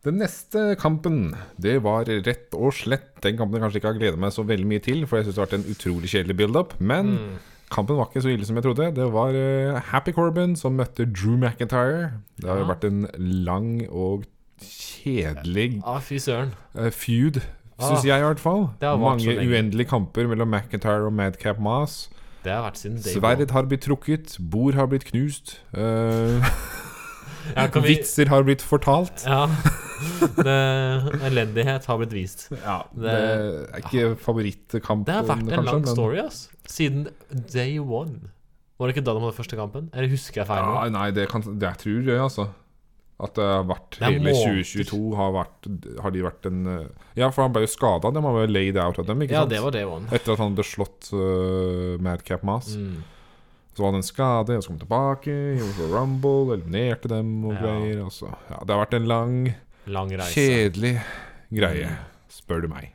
Den neste kampen, det var rett og slett Den kampen jeg kanskje ikke har gleda meg så veldig mye til, for jeg syns det har vært en utrolig kjedelig build-up. Men
Mm.
kampen var ikke så ille som jeg trodde. Det var eh, Happy Corbin som møtte Drew McIntyre. Det har jo
Ja.
vært en lang og kjedelig
Ah, fy søren.
eh, feud,
Ah,
syns jeg i hvert fall.
det har vart så
Mange
lenge.
uendelige kamper mellom McIntyre og Madcap Mas.
Det har vært siden day one.
Sverd har blitt trukket, bord har blitt knust. eh,
Ja, kan vi
Vitser har blitt fortalt.
Ja. Det, elendighet har blitt vist.
Ja, det,
det- Ah.
er ikke favorittkampen,
Det har vært en lang
men-
story, ass. Siden day one. Var det ikke da de hadde første kampen? Eller husker jeg feil? nå?
Ja, nei, det, kan, det jeg tror jeg, altså. At det har vært
Det er
hele
måneder.
2022 har, vært, har de vært en eh, Ja, for han ble jo skada. De var jo laid out av dem, ikke
Ja,
sant?
det var day one.
Etter at han hadde slått eh, Madcap Mas.
Mm.
Så var det en skade, og så kom han tilbake, gjorde for Rumble, eliminerte dem og
Ja.
greier. Og så. Ja, det har vært en lang,
Lang reise. Mm.
kjedelig greie, spør du meg.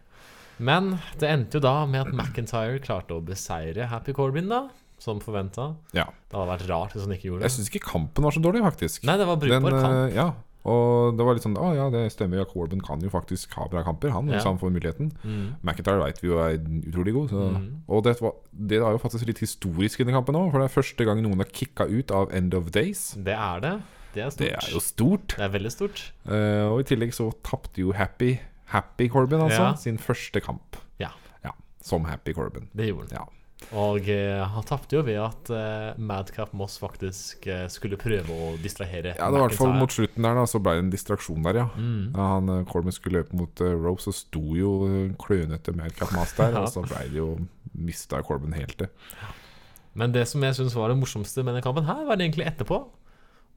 Men det endte jo da med at McIntyre klarte å beseire Happy Corbin, da. Som forventa.
Ja.
Det hadde vært rart hvis han ikke gjorde
Jeg
det.
syns ikke kampen var så dårlig, faktisk.
Nei, det var brukbar
Den, eh,
kamp.
Ja, og det var litt sånn Å ja, det stemmer, ja, Corbin kan jo faktisk ha bra kamper, han, hvis
Ja.
han får muligheten.
Mm.
McIntyre vet vi jo er utrolig god. Så.
Mhm.
Og det, var, det er jo faktisk litt historisk i denne kampen òg, for det er første gang noen har kicka ut av End of Days.
Det er det. Det er stort.
Det er jo stort.
Det er veldig stort.
Eh, og i tillegg så tapte jo Happy Happy Corbin, altså,
Ja.
sin første kamp.
Ja.
Som Happy Corbin.
Det gjorde
Ja.
han. Og eh, han tapte jo ved at eh, Madcap Moss faktisk eh, skulle prøve å distrahere
Ja, det var i hvert fall
McIntyre.
mot slutten der, da, så ble det en distraksjon der, ja.
Mm.
Da han eh, Corbin skulle løpe mot eh, Rose, så sto jo eh, klønete Madcap Mas der,
Ja.
og så ble det jo mista Corbin helt det.
Men det som jeg syns var det morsomste med den kampen her, var egentlig etterpå.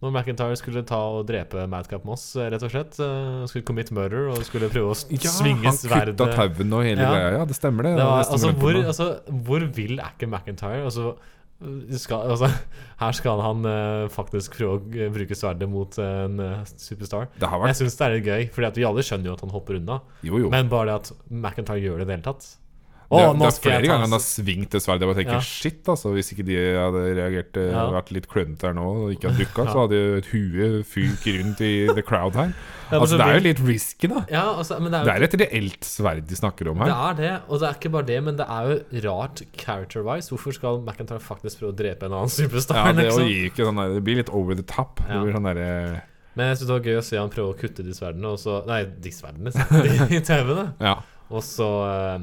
Når McIntyre skulle ta og drepe Madcap Moss, eh, rett og slett. eh, Skulle commit murder og skulle prøve å s- svinge
han
sverdet.
kutta tauen og hele
eh, Ja.
greia. Ja, det stemmer, det.
Det var,
det stemmer
altså,
på
hvor,
meg.
altså, hvor vill er ikke McIntyre? Altså, uh, skal, altså, her skal han eh, faktisk prøve å eh, bruke sverdet mot en eh, superstar.
det har
Jeg
vært
syns det er litt gøy, Fordi at vi alle skjønner jo at han hopper unna.
Jo, jo.
Men bare det at McIntyre gjør det i det hele tatt
Det,
Å,
det
nå
er
skal
flere
jeg ta
ganger han har
hans-
svingt det sverdet. Jeg bare tenker
Ja.
shit, altså. Hvis ikke de hadde reagert, eh,
Ja.
vært litt klønete her nå og ikke hadde dukka, så hadde jo et hue fykt rundt i the crowd her.
men så
Altså, det er
vilt.
jo litt risky, da.
Ja, altså, men det er jo
Det er et reelt sverd de snakker om
Det
her.
er det, og det er ikke bare det, men det er jo rart character-wise. Hvorfor skal McIntyre faktisk prøve å drepe en annen superstar?
Ja, det, å
liksom?
gi ikke sånn der, det blir litt over the top.
Ja.
Det blir sånn derre
Men jeg synes det var gøy å se han prøve å kutte de sverdene, og så Nei, de sverdene, sier jeg, de tauene.
Ja.
Og så eh,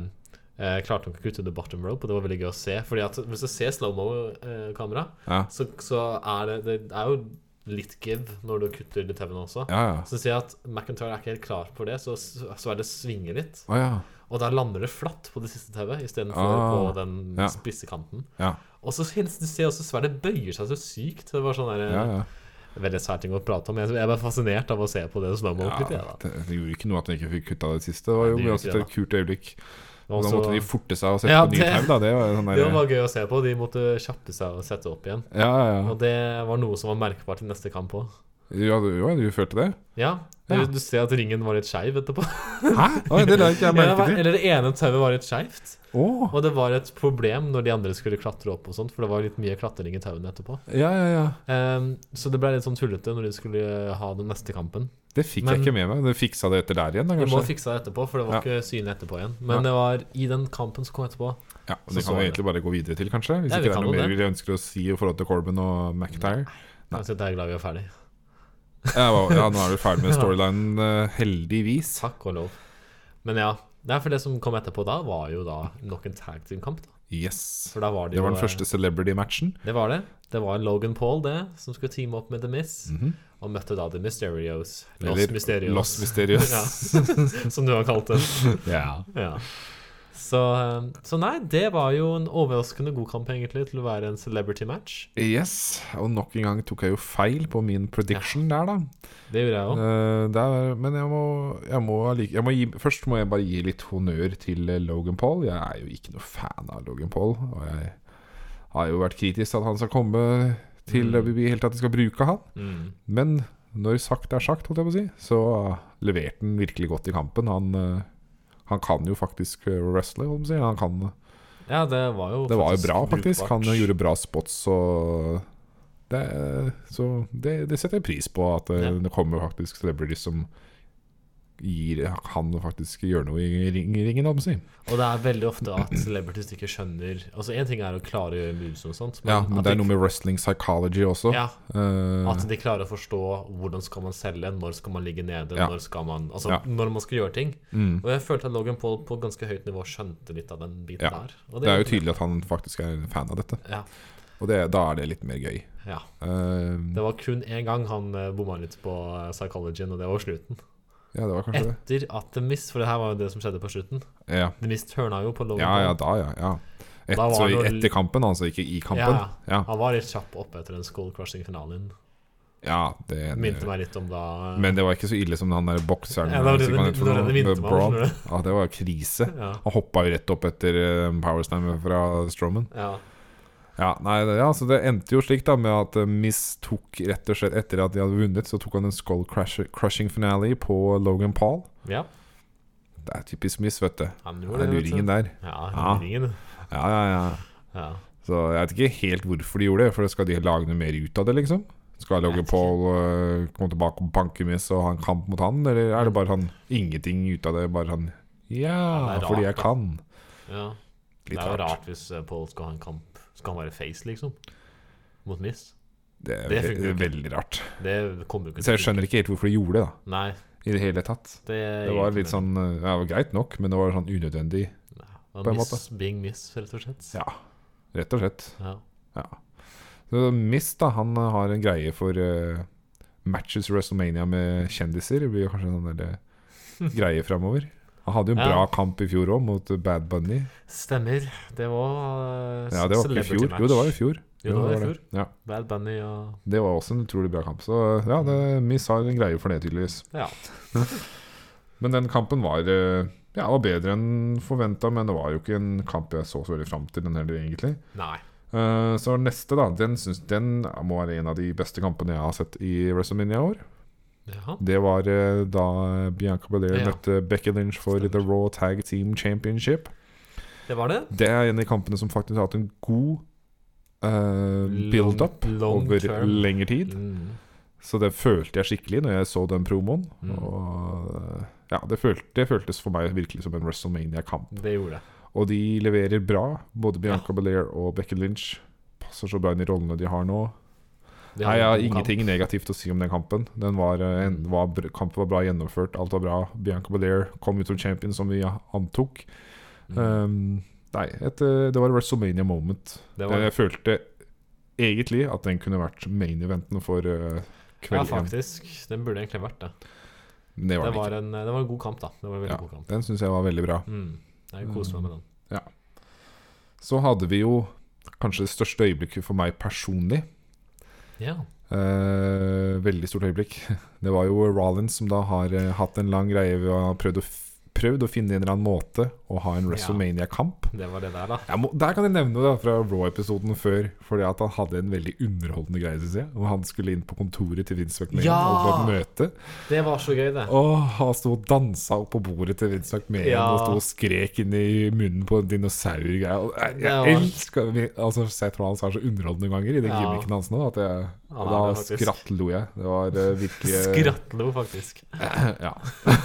eh, klarte han ikke å kutte the bottom rope, og det var veldig gøy å se. Fordi at hvis du ser slow-mo-kamera,
Ja.
så, så er det Det er jo litt give når du kutter de tauene også.
Ja, ja.
Så sier jeg at McIntyre er ikke helt klar for det, så sverdet svinger litt.
Å ja.
Og der lander det flatt på det siste tauet istedenfor
Ah,
på den
ja.
spisse kanten.
Ja,
Og så finnes du ser også sverdet bøyer seg så sykt. Det var sånn der,
ja. ja.
Veldig sær ting å prate om. Jeg jeg ble fascinert av å se på det slow-mo
ja
litt. jeg, da.
det, det gjorde ikke noe at han ikke fikk kutta det siste. Det var
Nei,
jo
det gjorde
uansett
ikke det,
et kult øyeblikk. Og
Og
da
så-
måtte de forte seg og sette
Ja,
på ny
det-
time, da. Det var jo sånn
det
derre
var gøy å se på. De måtte kjappe seg og sette opp igjen.
Ja, ja, ja.
Og det var noe som var merkbart i neste kamp òg.
Ja, du, ja, du følte det?
Ja,
Ja.
Du, du ser at ringen var litt skeiv etterpå.
Hæ? Oi, det la ikke jeg
Ja,
merke til.
eller det ene tauet var litt skeivt.
Åh,
Og det var et problem når de andre skulle klatre opp, og sånt, for det var litt mye klatring i tauene etterpå.
ja, ja, ja.
Ehm, så det ble litt sånn tullete når de skulle ha den neste kampen.
Det fikk
Men-
jeg ikke med meg. Du fiksa det etter der igjen, da,
Du må
kanskje?
fikse det etterpå, for det var
Ja.
ikke synlig etterpå igjen. Men det var i den kampen som kom etterpå.
Ja, og
så
det
så
kan vi
jeg
egentlig bare gå videre til, kanskje? Hvis
Ja, vi
ikke det
kan
er noe
jo
mer
det.
vi ønsker å si i forhold til Corbin og McIntyre. Nei.
Altså, jeg er glad vi er ferdig.
Ja, hva- ja, nå er du ferdig med storylinen, eh, heldigvis.
Takk og lov. Men ja. Det er for det som kom etterpå da, var jo da nok en tag team-kamp. da.
Yes.
For da var det,
Det var
jo, eh,
den første celebrity-matchen.
Det var det. Det var Logan Paul, det, som skulle teame opp med The Miss. Og møtte da The Mysterios. Los
Mhm. Eller
Mysterios.
Los Mysterios.
ja. Som du har kalt det.
Ja.
Ja. Så, eh, så nei, det var jo en overraskende god kamp, egentlig, til å være en celebrity match.
Yes. Og nok en gang tok jeg jo feil på min prediction der, da.
Det gjorde jeg òg.
Eh, det er, men jeg må, jeg må, allike- jeg må gi, først må jeg bare gi litt honnør til eh, Logan Paul. Jeg er jo ikke noe fan av Logan Paul. Og jeg har jo vært kritisk til at han skal komme til E WWE, helt til at de skal bruke han.
Mm.
Men når sagt er sagt, holdt jeg på å si, så leverte han virkelig godt i kampen. Han, eh, han kan jo faktisk eh, wrestle, holdt jeg på å si. Han kan
Ja, det var jo
det var jo
faktisk
bra, faktisk.
brukbart.
Han gjorde bra spots og det, Så det, det setter jeg pris på, at det,
Ja.
det kommer faktisk celebrities som gir han faktisk gjør noe i ring, ringen, om å si.
Og det er veldig ofte at celebrities ikke skjønner Altså, én ting er å klare å gjøre moves og sånt,
Ja, men
at
det er
de-
noe med wrestling psychology også.
ja,
Eh,
At de klarer å forstå hvordan skal man selge, når skal man ligge nede,
Ja.
når skal man Altså
Ja.
når man skal gjøre ting.
mm.
Og jeg følte at Logan Paul på ganske høyt nivå skjønte litt av den biten
Ja.
der. Og
Det er jo tydelig at han faktisk er en fan av dette.
Ja.
Og det, da er det litt mer gøy.
Ja.
Eh,
Det var kun én gang han eh, bomma litt på eh, psychologyen, og det var slutten.
ja, det var kanskje det.
Etter at The Mist, for det her var jo det som skjedde på slutten
Ja,
The Mist hørna jo på Logan
ja, ja da,
Paul.
ja. ja. Et,
Da var
så i-
det
etter
jo-
kampen, altså, ikke i kampen. Ja,
Han var litt kjapp oppe etter den skull crushing-finalen.
ja det er
Minte
enig.
meg litt om da eh,
Men det var ikke så ille som han der bokseren.
Ja, det var det-
som han het for
det var
noe,
det det minte meg om,
Braun.
skjønner du?
Ja, det var krise.
ja,
Han hoppa jo rett opp etter eh, powerstammet fra Strowman.
ja.
Ja, nei, det, ja, så det endte jo slik da med at eh, Miss tok rett og slett Etter at de hadde vunnet, så tok han en skull crusher- crushing finale på Logan Paul.
ja.
Det er typisk Miss, vet du.
Han
Det
gjorde
er
det. vet du.
luringen der.
Ja,
Ja.
luringen.
Ja, ja, ja.
Ja.
Så jeg vet ikke helt hvorfor de gjorde det. For skal de lage noe mer ut av det, liksom? Skal
Jeg
Logan
vet ikke.
Paul eh, komme tilbake og banke Miss og ha en kamp mot han? Eller er det bare han ingenting ut av det? Bare han Ja,
Ja, det er
fordi jeg
rart, da.
kan.
ja. Det
Litt
er jo
rart.
rart hvis eh, Paul skal ha en kamp Skal han være face, liksom? Mot Miss.
Det er
Det
ve-
funker jo ikke.
veldig rart.
Det kommer jo ikke
Så jeg skjønner ikke helt hvorfor de gjorde det, da.
Nei,
I det hele tatt.
det, er
Det var
egentlig
litt
nødvendig.
sånn eh, Ja, det var greit nok, men det var sånn unødvendig,
Nei, det var
på en
miss, Being miss, rett og slett.
Ja. rett og slett.
Ja.
Ja. Så Mist, da, han eh, har en greie for eh, matches i WrestleMania med kjendiser. Det blir jo kanskje en sånn der, eh, greie framover. Han hadde jo en bra
Ja.
kamp i fjor òg, mot eh, Bad Bunny.
Stemmer. Det var uh,
Ja, det var ikke i fjor. Jo, det var i fjor.
Jo, det var i fjor.
Ja.
Bad Bunny og
Det var også en utrolig bra kamp. Så eh, ja, det, Miss har en greie for det, tydeligvis.
Ja.
Men den kampen var eh, Ja, var bedre enn forventa, men det var jo ikke en kamp jeg så så veldig fram til, den heller, egentlig.
Nei.
Eh, så neste, da. Den, syns- den må være en av de beste kampene jeg har sett i WrestleMania i år.
Ja.
Det var eh, da Bianca Belair
Ja.
møtte Becky Lynch for
Stemmer.
The Raw Tag Team Championship.
Det var det.
Det er en av de kampene som faktisk har hatt en god eh, build-up
Long- long
over
term.
lengre tid.
Mm.
Så det følte jeg skikkelig når jeg så den promoen.
Mm.
Og eh, ja, det, følte, det føltes for meg virkelig som en WrestleMania-kamp.
Det gjorde det.
Og de leverer bra, både Bianca Belair og Becky Lynch. Passer så bra inn i rollene de har nå.
Det
Nei, jeg
var
har
en god
ingenting negativt å si om den kampen. Den var, eh, en, var, br- kampen var bra gjennomført, alt var bra. Bianca Belair kom ut som champion, som vi antok.
kamp. Mm.
Um, nei, et, eh, det var WrestleMania moment.
Det var
Jeg følte egentlig at den kunne vært main eventen for eh,
Ja,
kveld én.
faktisk. Den burde egentlig vært det.
Men det var
Det
den ikke.
var en, det var en god kamp, da. Det var en veldig
Ja.
god kamp.
Den syns jeg var veldig bra.
Mm. Jeg koste meg med den.
Så hadde vi jo kanskje det største øyeblikket for meg personlig.
Ja.
Eh, veldig stort øyeblikk. Det var jo Rollins som da har eh, hatt en lang greie ved å ha prøvd å, f prøvd å finne en eller annen måte å ha en
Ja.
WrestleMania-kamp.
Det var det der, da.
Jeg må- Der kan jeg nevne det fra Raw-episoden før, fordi at han hadde en veldig underholdende greie, syns jeg. Hvor han skulle inn på kontoret til Vince McMahon
Ja!
og på et møte.
Det var så gøy, det.
Og han sto og dansa opp på bordet til Vince McMahon
Ja.
og sto og skrek inn i munnen på en dinosaurgreie. Og eh, Jeg,
Det var-
jeg elsker altså, Seth Rollins er så underholdende ganger i den
Ja.
gimmicken hans nå at jeg,
Han er
da
det faktisk.
skrattlo jeg. Det var eh, virkelig
Skrattlo, faktisk.
Ja.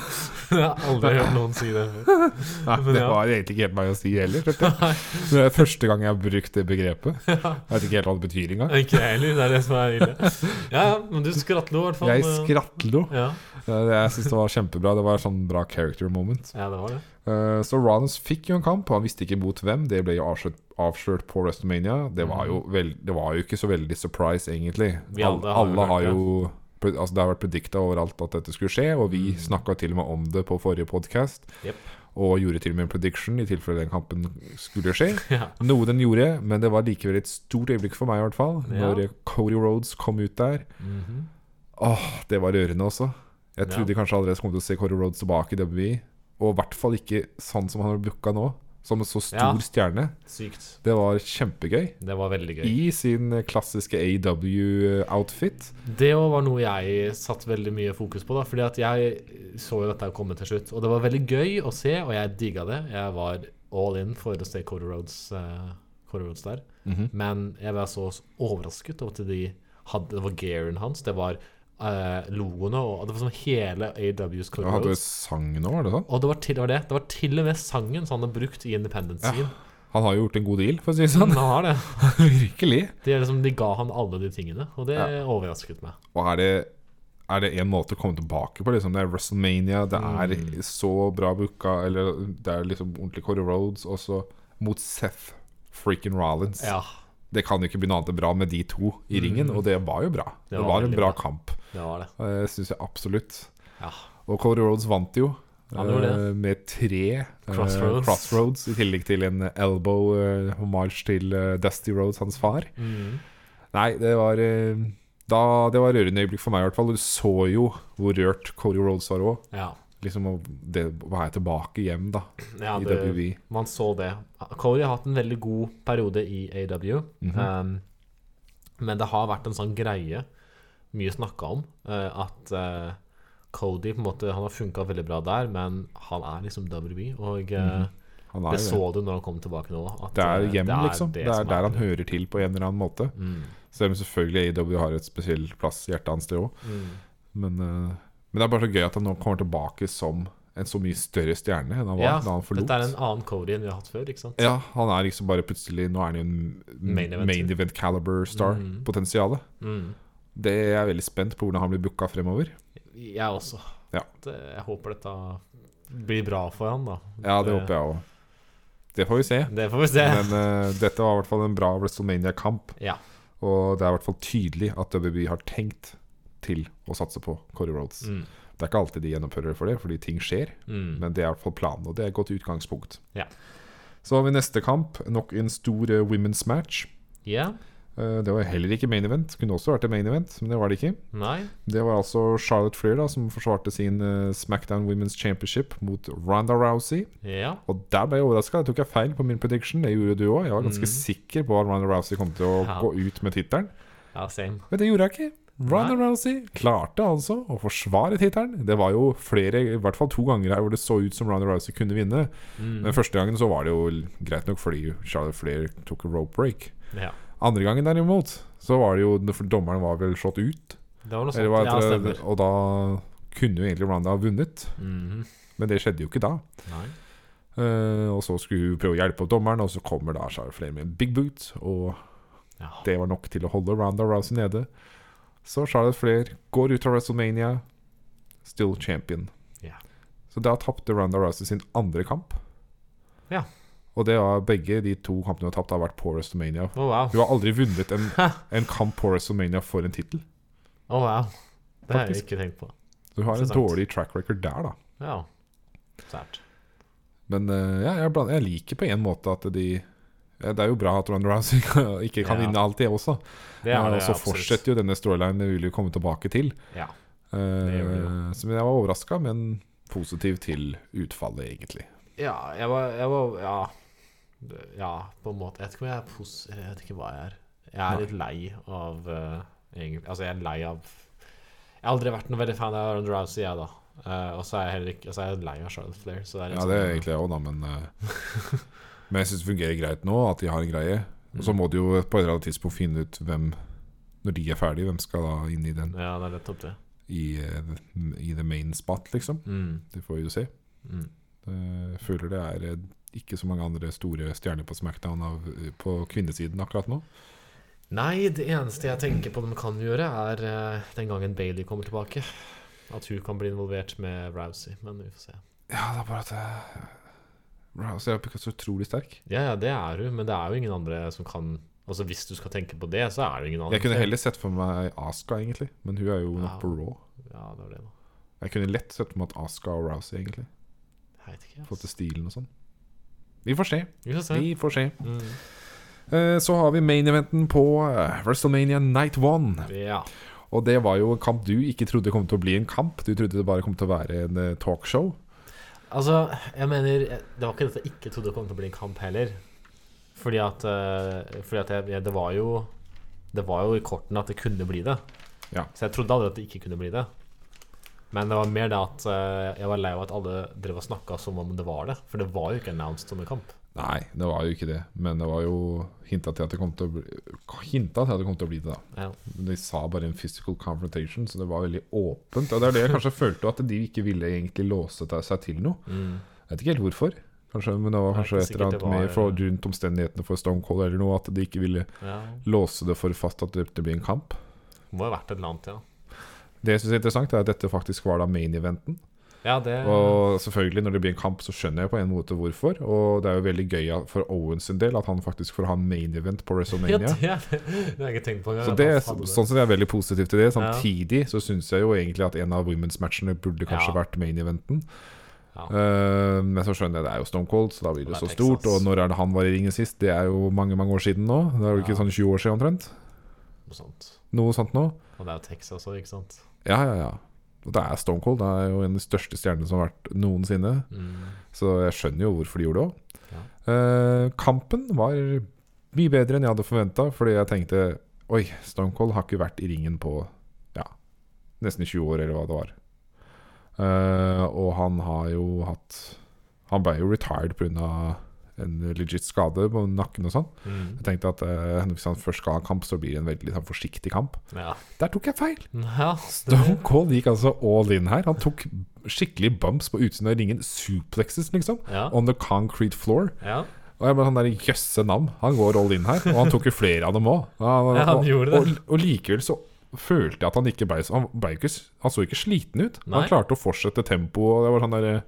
Jeg har aldri hørt noen si det før.
Nei,
Men
det
ja.
var egentlig ikke helt meg å si heller. vet du. Det er første gang jeg har brukt det begrepet. Jeg vet ikke helt hva det betyr engang.
Ikke jeg heller. Det er det som er ille. Ja, ja, men du skrattlo i hvert fall.
Jeg skrattlo.
Ja.
Jeg syns det var kjempebra. Det var sånn bra character moment.
ja, det var det.
Eh, Så Rollins fikk jo en kamp. Han visste ikke mot hvem. Det ble jo avslørt, avslørt på WrestleMania. Det var, jo vel, det var jo ikke så veldig surprise, egentlig.
Mhm. Vi alle
Alle,
har jo
alle
hørt
har
det.
jo Altså Det har vært predikta overalt at dette skulle skje, og vi snakka til og med om det på forrige podkast.
Mhm. Jep.
Og gjorde til og med en prediction i tilfelle den kampen skulle skje.
Ja.
Noe den gjorde, men det var likevel et stort øyeblikk for meg, i hvert fall.
Ja.
Når eh, Cody Rhodes kom ut der.
Mhm.
Åh, det var rørende også. Jeg
Ja.
trodde kanskje allerede kom til å se Corey Rhodes tilbake i WWE. Og i hvert fall ikke sånn som han har booka nå, som en så stor
Ja.
stjerne.
Sykt.
Det var kjempegøy.
Det var veldig gøy.
I sin eh, klassiske AW-outfit.
Det òg var noe jeg satt veldig mye fokus på, da, fordi at jeg så jo dette komme til slutt. Og det var veldig gøy å se, og jeg digga det. Jeg var all in for å se Cody Roads, Roads der. Men jeg var så overrasket over at de hadde Det var gearen hans, det var eh, logoene, og det var sånn hele AWs Cody
Han hadde
Roads.
sang nå, var det sånn?
Og det var, til, det var det. Det var til og med sangen som han hadde brukt i Independence-siden.
Han har jo gjort en god deal, for å si det sånn.
Han har det.
Virkelig.
De, er liksom, de ga han alle de tingene, og det overrasket meg.
Og er det er det en måte å komme tilbake på? Liksom? Det er WrestleMania, det er
Mm.
så bra booka, eller det er liksom ordentlig Corey Rhodes, og så mot Seth freaking Rollins.
Ja. Mm.
Det kan jo ikke begynne annet enn bra med de to i ringen, og det var jo bra. Det
var
var, en
veldig
bra
bra.
kamp,
Det var det.
uh, syns jeg absolutt.
Ja.
Og Cody Rhodes vant jo.
Han gjorde det.
eh, med tre eh,
Crossroads.
crossroads, i tillegg til en elbow uh, homage til eh, Dusty Rhodes, hans far.
Mm.
Nei, det var eh, da, Det var rørende øyeblikk for meg, i hvert fall. Du så jo hvor rørt Cody Rhodes var òg.
ja.
Liksom å- det å være tilbake hjem, da,
ja
i E.
det,
WWE.
man så det. Cody har hatt en veldig god periode i AW.
Mhm.
um, men det har vært en sånn greie, mye snakka om, eh, at eh, Cody på en måte, han har funka veldig bra der, men han er liksom WWE. Og eh,
Han er
det
jo
så du når han kom tilbake nå. At,
Mhm. Det er
eh,
hjem, liksom. Det er
som
der han hører til på en eller annen måte.
Mm.
Selv om selvfølgelig AW har et spesiell plass i hjertet hans, det òg.
Mm.
Men, eh, men det er bare så gøy at han nå kommer tilbake som en så mye større stjerne enn han var
Ja,
da han forlot.
dette er en annen Cody enn vi har hatt før, ikke sant?
Ja, han er liksom bare plutselig Nå er han jo en
Main event.
main event caliber
Mhm.
star-potensialet.
Mm.
Det er jeg veldig spent på hvordan han blir booka fremover.
Jeg også.
Ja.
Det, jeg håper dette blir bra for han, da.
Ja, det håper jeg òg. Det får vi se.
Det får vi se.
Men eh, dette var i hvert fall en bra WrestleMania-kamp.
Ja.
Og det er i hvert fall tydelig at WWE har tenkt til å satse på Cody Rhodes.
Mm.
Det er ikke alltid de gjennomfører det for det, fordi ting skjer.
Mm.
Men det er i hvert fall planen, og det er et godt utgangspunkt.
Ja.
Så har vi neste kamp, nok en stor eh, women's match.
Ja.
Eh, det var heller ikke main event. Kunne også vært et main event, men det var det ikke.
Nei.
Det var altså Charlotte Flair da, som forsvarte sin eh, SmackDown Women's Championship mot Ronda Rousey.
Ja.
Og der ble jeg overraska. Jeg tok jeg feil på min prediction. Det gjorde du òg. Jeg var ganske sikker på at Ronda Rousey kom til å
Mm. Ja.
gå ut med tittelen.
Ja, same.
Men det gjorde jeg ikke. Ronda Rousey klarte altså å forsvare tittelen. Det var jo flere, i hvert fall to ganger her hvor det så ut som Ronda Rousey kunne vinne.
Mm.
Men første gangen så var det jo greit nok fordi Charlotte Flair tok en rope break.
Ja.
Andre gangen derimot, så var det jo for Dommeren var vel slått ut.
Det var noe sånt.
Eller hva
ja,
heter det?
stemmer.
Og da kunne jo egentlig Ronda ha vunnet,
Mhm.
men det skjedde jo ikke da.
Nei.
Eh, og så skulle hun prøve å hjelpe opp dommeren, og så kommer da Charlotte Flair med en big boot. Og
Ja.
det var nok til å holde Ronda Rousey nede. Så Charlotte Flair går ut av WrestleMania, still champion.
Ja.
Så da tapte Ronda Rousey sin andre kamp.
Ja.
Og det var begge de to kampene hun har tapt, har vært på WrestleMania.
Å, wow.
Hun har aldri vunnet en, en kamp på WrestleMania for en tittel.
Å, wow. Det har jeg
Faktisk.
ikke tenkt på.
Så hun har en
Interessant.
dårlig track record der, da.
Ja. Sært.
Men eh, ja, jeg, bland, jeg liker på en måte at de ja, Det er jo bra at Ronda Rousey ikke kan
Ja.
vinne alt, det også.
Det er
og
det,
så
absolutt.
fortsetter jo denne storylinen, det vil vi komme tilbake til.
Ja.
Eh,
gjør det jo.
så men jeg var overraska, men positiv til utfallet, egentlig.
Ja, jeg var, jeg var Ja. ja, på en måte. Jeg vet ikke om jeg er pos... Jeg vet ikke hva jeg er. Jeg er litt lei av eh, egentlig Altså, jeg er lei av Jeg har aldri vært noe veldig fan av Aaron Rousey, jeg, da. Eh, og så er jeg heller ikke altså, jeg er lei av Charlotte Flair. Så det er liksom
Ja,
litt
det er egentlig jeg òg, da, men eh, Men jeg syns det fungerer greit nå, at de har en greie.
Mm.
Og så må de jo på et eller annet tidspunkt finne ut hvem Når de er ferdige, hvem skal da inn i den
Ja, det er nettopp det.
i, eh, i the main spot, liksom.
Mm.
Det får vi jo se.
Mm.
Eh, føler det er eh, ikke så mange andre store stjerner på Smackdown av, eh, på kvinnesiden akkurat nå.
Nei, det eneste jeg tenker på de kan gjøre, er eh, den gangen Bailey kommer tilbake. At hun kan bli involvert med Rousey, men vi får se.
Ja, det er bare at eh, Rousey er ikke så utrolig sterk.
Ja, ja, det er hun, men det er jo ingen andre som kan Altså Hvis du skal tenke på det, så er det ingen andre.
Jeg kunne heller sett for meg Aska, egentlig, men hun er jo nok
Ja.
på Raw.
Ja, det var det, da.
Jeg kunne lett sett for meg at Aska og Rousey, egentlig.
Jeg vet ikke.
Fått til
ass.
stilen og sånn. Vi får se.
Vi får se.
Vi får se.
Mm.
Eh, Så har vi main eventen på eh, WrestleMania Night One.
Ja.
Og det var jo en kamp du ikke trodde kom til å bli en kamp. Du trodde det bare kom til å være en eh, talkshow.
Altså, jeg mener jeg- Det var ikke dette jeg ikke trodde kom til å bli en kamp heller. Fordi at, eh, fordi at jeg, jeg, det var jo Det var jo i kortene at det kunne bli det.
Ja.
Så jeg trodde aldri at det ikke kunne bli det. Men det var mer det at eh, jeg var lei av at alle drev og snakka som om det var det. For det var jo ikke announced som en kamp.
Nei, det var jo ikke det. Men det var jo hinta til at det kom til å bli, hinta til at det kom til å bli det, da.
Ja.
Men de sa bare en physical confrontation, så det var veldig åpent. Og det er det jeg kanskje følte, at de ikke ville egentlig låse ta- seg til noe.
Mm.
Jeg vet ikke helt hvorfor. Kanskje, men det var
Nei,
kanskje et
ikke
eller
sikkert
annet mer
det var-
for, rundt omstendighetene for Stone Cold eller noe, at de ikke ville
ja.
låse det for fast at det blir en kamp.
Må ha vært et eller annet, ja.
Det jeg syns er interessant, er at dette faktisk var da main eventen.
Ja, det
Og selvfølgelig, når det blir en kamp, så skjønner jeg på en måte hvorfor. Og det er jo veldig gøy at- for Owens sin del at han faktisk får ha main event på
ja,
WrestleMania.
det, ja, det, det har jeg ikke tenkt på engang.
Så
at
det,
han
er-
hadde det.
sånn sett er jeg veldig positiv til det.
Ja.
Samtidig så syns jeg jo egentlig at en av women's-matchene burde kanskje
Ja.
vært main eventen.
Ja.
Eh, men så skjønner jeg det er jo Stone Cold, så da blir det,
Og det
så
er
stort.
Texas.
Og når er det han var i ringen sist? Det er jo mange mange år siden nå. Det er jo ikke
Ja.
sånn 20 år siden omtrent?
Noe sånt.
Noe sånt nå.
Og det er jo Texas òg, ikke sant?
Ja, ja, ja. Og det er Stone Cold. Det er jo en av de største stjernene som har vært noensinne.
Mm.
Så jeg skjønner jo hvorfor de gjorde det òg.
Ja.
Eh, kampen var mye bedre enn jeg hadde forventa, fordi jeg tenkte Oi, Stone Cold har ikke vært i ringen på ja, nesten 20 år, eller hva det var. Eh, og han har jo hatt Han ble jo retired pga. en legit skade på nakken og sånn.
Mm.
Jeg tenkte at eh, hvis han først skal ha kamp, så blir det en veldig sånn, forsiktig kamp.
Ja.
Der tok jeg feil!
Mm. ja det,
Stone Cold gikk altså all in her. Han tok skikkelig bumps på utsiden av ringen. Suplexes, liksom.
ja,
On the concrete floor.
ja.
Og jeg bare sånn der, Jøsse navn, han går all in her. Og han tok jo flere av dem òg.
Ja, han gjorde det.
Og, og likevel så følte jeg at han ikke ble så- Han, ble ikke, s- han så ikke sliten ut.
Nei.
Han klarte å fortsette tempoet. og det var Sånn der,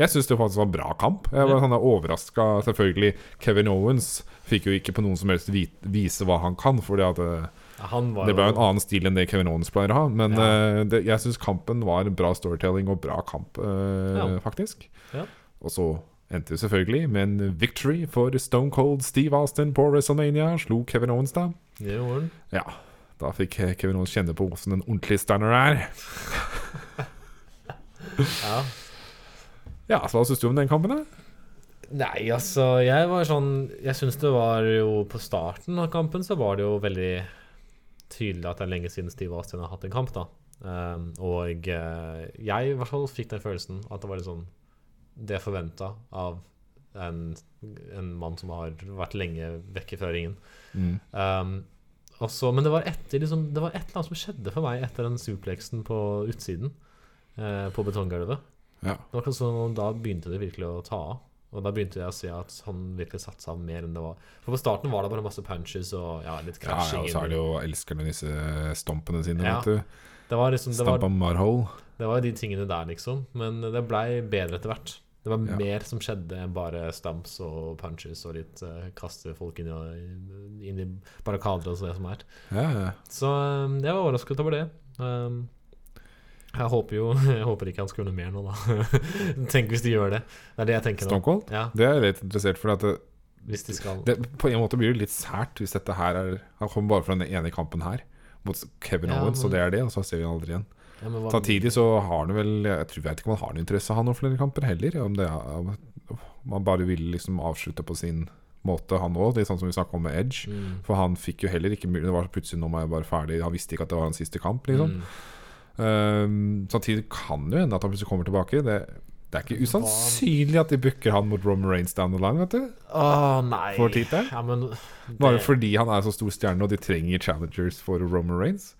jeg syns det faktisk var en bra kamp. Jeg var
Ja.
sånn overraska, selvfølgelig. Kevin Owens fikk jo ikke på noen som helst vit, vise hva han kan, fordi at eh,
Ja, Han var
det ble jo en annen stil enn det Kevin Owens pleier å ha. Men
Ja.
eh, det, jeg syns kampen var bra storytelling og bra kamp, eh,
Ja.
faktisk.
Ja.
Og så endte det selvfølgelig med en victory for Stone Cold Steve Austin på WrestleMania. Slo Kevin Owens, da.
Det gjorde han.
Ja, da fikk eh, Kevin Owens kjenne på hvordan en ordentlig stander er.
Ja.
Ja, så hva syns du om den kampen, da?
Nei, altså, jeg var sånn Jeg syns det var jo På starten av kampen så var det jo veldig tydelig at det er lenge siden Steve Austin har hatt en kamp, da. Ehm, og eh, jeg i hvert fall fikk den følelsen at det var litt sånn Det forventa av en, en mann som har vært lenge vekke fra ringen.
Mm.
Ehm, og så- men det var, etter, liksom, det var et eller annet som skjedde for meg etter den suplexen på utsiden. eh, på betonggulvet.
Ja.
Det var akkurat som om Da begynte det virkelig å ta av. Og da begynte jeg å se at han virkelig satsa mer enn det var. For på starten var det bare masse punches og ja, litt
Ja, ja,
krasjing.
og så er det jo elskerne disse stompene sine,
Ja.
vet du.
det, var liksom, det,
Stampa
var,
Marhole.
det var de tingene der, liksom. Men det blei bedre etter hvert. Det var
Ja.
mer som skjedde enn bare stamps og punches og litt eh, kaste folk inn i, inn i barrikader og så det som er.
Ja, ja.
Så um, jeg var overrasket over det. Um, jeg håper jo Jeg håper ikke han skal gjøre noe mer nå, da. Tenk hvis de gjør det. Det er det jeg tenker nå.
Stone Cold?
Ja,
Det er jeg litt interessert, for at det,
hvis de skal
det, på en måte blir det litt sært hvis dette her er Han kommer bare fra den ene kampen her mot Kevin
Ja,
Owens,
men-
og det er det, og så ser vi han aldri igjen.
ja, men hva,
Samtidig så har han vel Jeg tror jeg vet ikke om han har noen interesse av å ha noen flere kamper heller. Om, det er, om han bare vil liksom avslutte på sin måte, han òg. Litt sånn som vi snakka om med Edge.
mm,
For han fikk jo heller ikke mulighet Det var plutselig nå må jeg bare ferdig. Han visste ikke at det var hans siste kamp, liksom.
mm.
Ehm, samtidig kan det jo hende at han plutselig kommer tilbake. Det, det er ikke usannsynlig at de booker han mot Roman Reigns down the line, vet du.
Åh, nei.
For tittelen.
Ja, men
Bare
det,
fordi han er så stor stjerne, og de trenger challengers for Roman Reigns?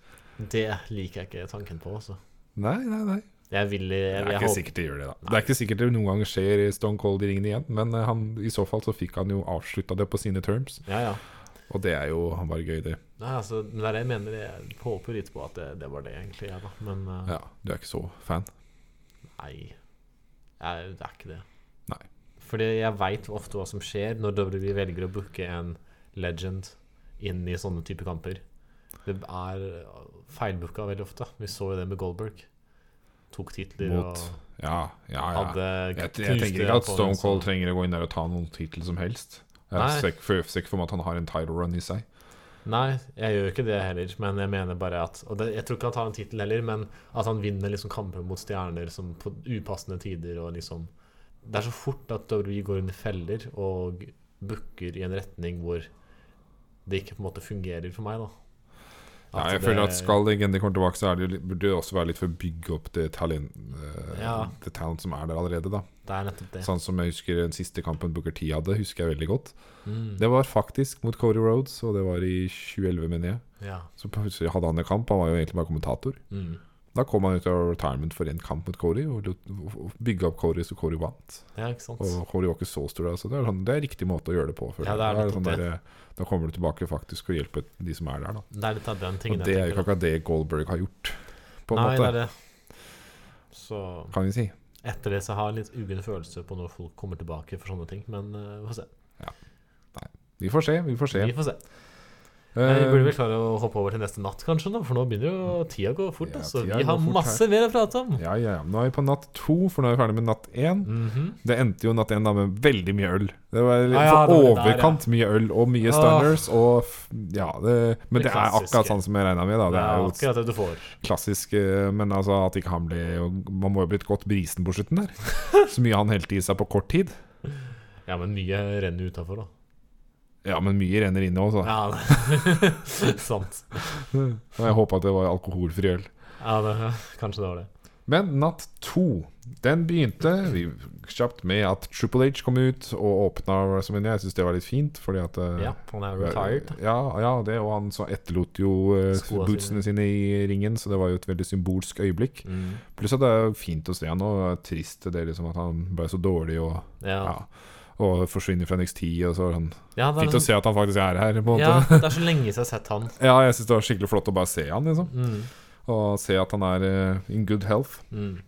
det liker jeg ikke tanken på, altså.
Nei, nei, nei.
Jeg vil jeg,
Det
jeg,
er ikke
håper-
sikkert de gjør det, da. Det er ikke sikkert det noen ganger skjer i Stone Cold i ringen igjen, men eh, han, i så fall så fikk han jo avslutta det på sine terms,
Ja, ja.
og det er jo bare gøy, det.
Nei, altså, men det er det jeg mener. Jeg håper litt på at det, det var det, egentlig. Jeg, da. Men uh,
Ja, du er ikke så fan?
nei. Jeg, det er ikke det.
Nei.
Fordi jeg veit ofte hva som skjer når WWE velger å booke en legend inn i sånne type kamper. Det er feilbooka veldig ofte. Vi så jo det med Goldberg. Tok titler
Mot Ja, Ah, ja,
og
ja.
hadde
Jeg, jeg tenker ikke at Stone Cold trenger å gå inn der og ta noen tittel som helst. Jeg
sånn- Nei.
er sikker for, sikker for meg at han har en title run i seg.
Nei, jeg gjør ikke det heller, men jeg mener bare at Og det, jeg tror ikke han tar en tittel heller, men at han vinner liksom kamper mot stjerner som på upassende tider og liksom Det er så fort at WWE går under feller og booker i en retning hvor det ikke på en måte fungerer for meg, da.
Ja, jeg
det-
føler at skal legender komme tilbake, så er det, jo litt- burde det også være litt for å bygge opp det talent, eh,
Ja.
det talent som er der allerede, da.
Det er nettopp det.
Sånn som jeg husker den siste kampen Booker T hadde, husker jeg veldig godt.
Mm,
Det var faktisk mot Cody Rhodes, og det var i 2011, mener jeg.
ja.
Så plutselig hadde han en kamp, han var jo egentlig bare kommentator.
Mm,
Da kom han ut av retirement for en kamp mot Cody, og lot- og bygga opp Cody så Cody vant.
ja, ikke sant.
Og Cody var ikke så stor, da, så det er, sånn, det er riktig måte å gjøre det på. føler
Ja,
jeg.
det er
Da
nettopp
sånn der, da kommer du tilbake faktisk og hjelper de som er der, da.
Det er litt av den
Og
tingen
det er jo
tenker,
ikke akkurat det Goldberg har gjort,
da.
på en
Nei, det
måte,
er det. Så
kan vi si.
Etter det så har jeg litt uggen følelse på når folk kommer tilbake for sånne ting. Men eh, vi får se.
Vi får se, vi får se.
Vi får se. Men vi burde
Eh,
vel klare å hoppe over til neste natt, kanskje, nå, for nå begynner jo tida å gå fort.
Ja,
altså.
tida
Vi
går
har
fort
masse mer å prate om.
Eh, ja, ja, ja. Nå er vi på natt to, for nå er vi ferdig med natt én.
Mhm.
Det endte jo natt én da med veldig mye øl. Det var litt
Ah,
for
ja, det var det der, ja.
overkant mye øl og mye stunners og f- Ja, det, men
Det
det er akkurat
klassiske.
sånn som jeg regna med, da.
Det
Det
er
er jo
akkurat det du får.
klassisk, eh, men altså at ikke han ble Man må jo ha blitt godt brisen på slutten der. Så mye han helte i seg på kort tid.
Ja, men mye renner utafor, da.
Ja, men mye renner inne òg, så.
Ja, det- Sant.
Og jeg håpa at det var alkoholfri øl.
Ja, det, kanskje det var det.
Men natt to, den begynte vi, kjapt med at Triple H kom ut og åpna WrestleMania. Jeg syns det var litt fint, fordi at eh,
Ja, han er retired.
Ja, ja, det, og han så etterlot jo eh,
Skoene
bootsene sine i ringen, så det var jo et veldig symbolsk øyeblikk.
Mm.
Pluss at det er fint å se han, og det er trist det er liksom at han ble så dårlig og,
Ja.
ja, og forsvinner fra NXT. Og så er han,
Ja, det er
fint å
liksom,
se at han faktisk er her, på en
ja,
måte.
det er så lenge siden jeg har sett han.
Ja, jeg syns det var skikkelig flott å bare se han, liksom.
Mm.
Og se at han er eh, in good health.
Mm.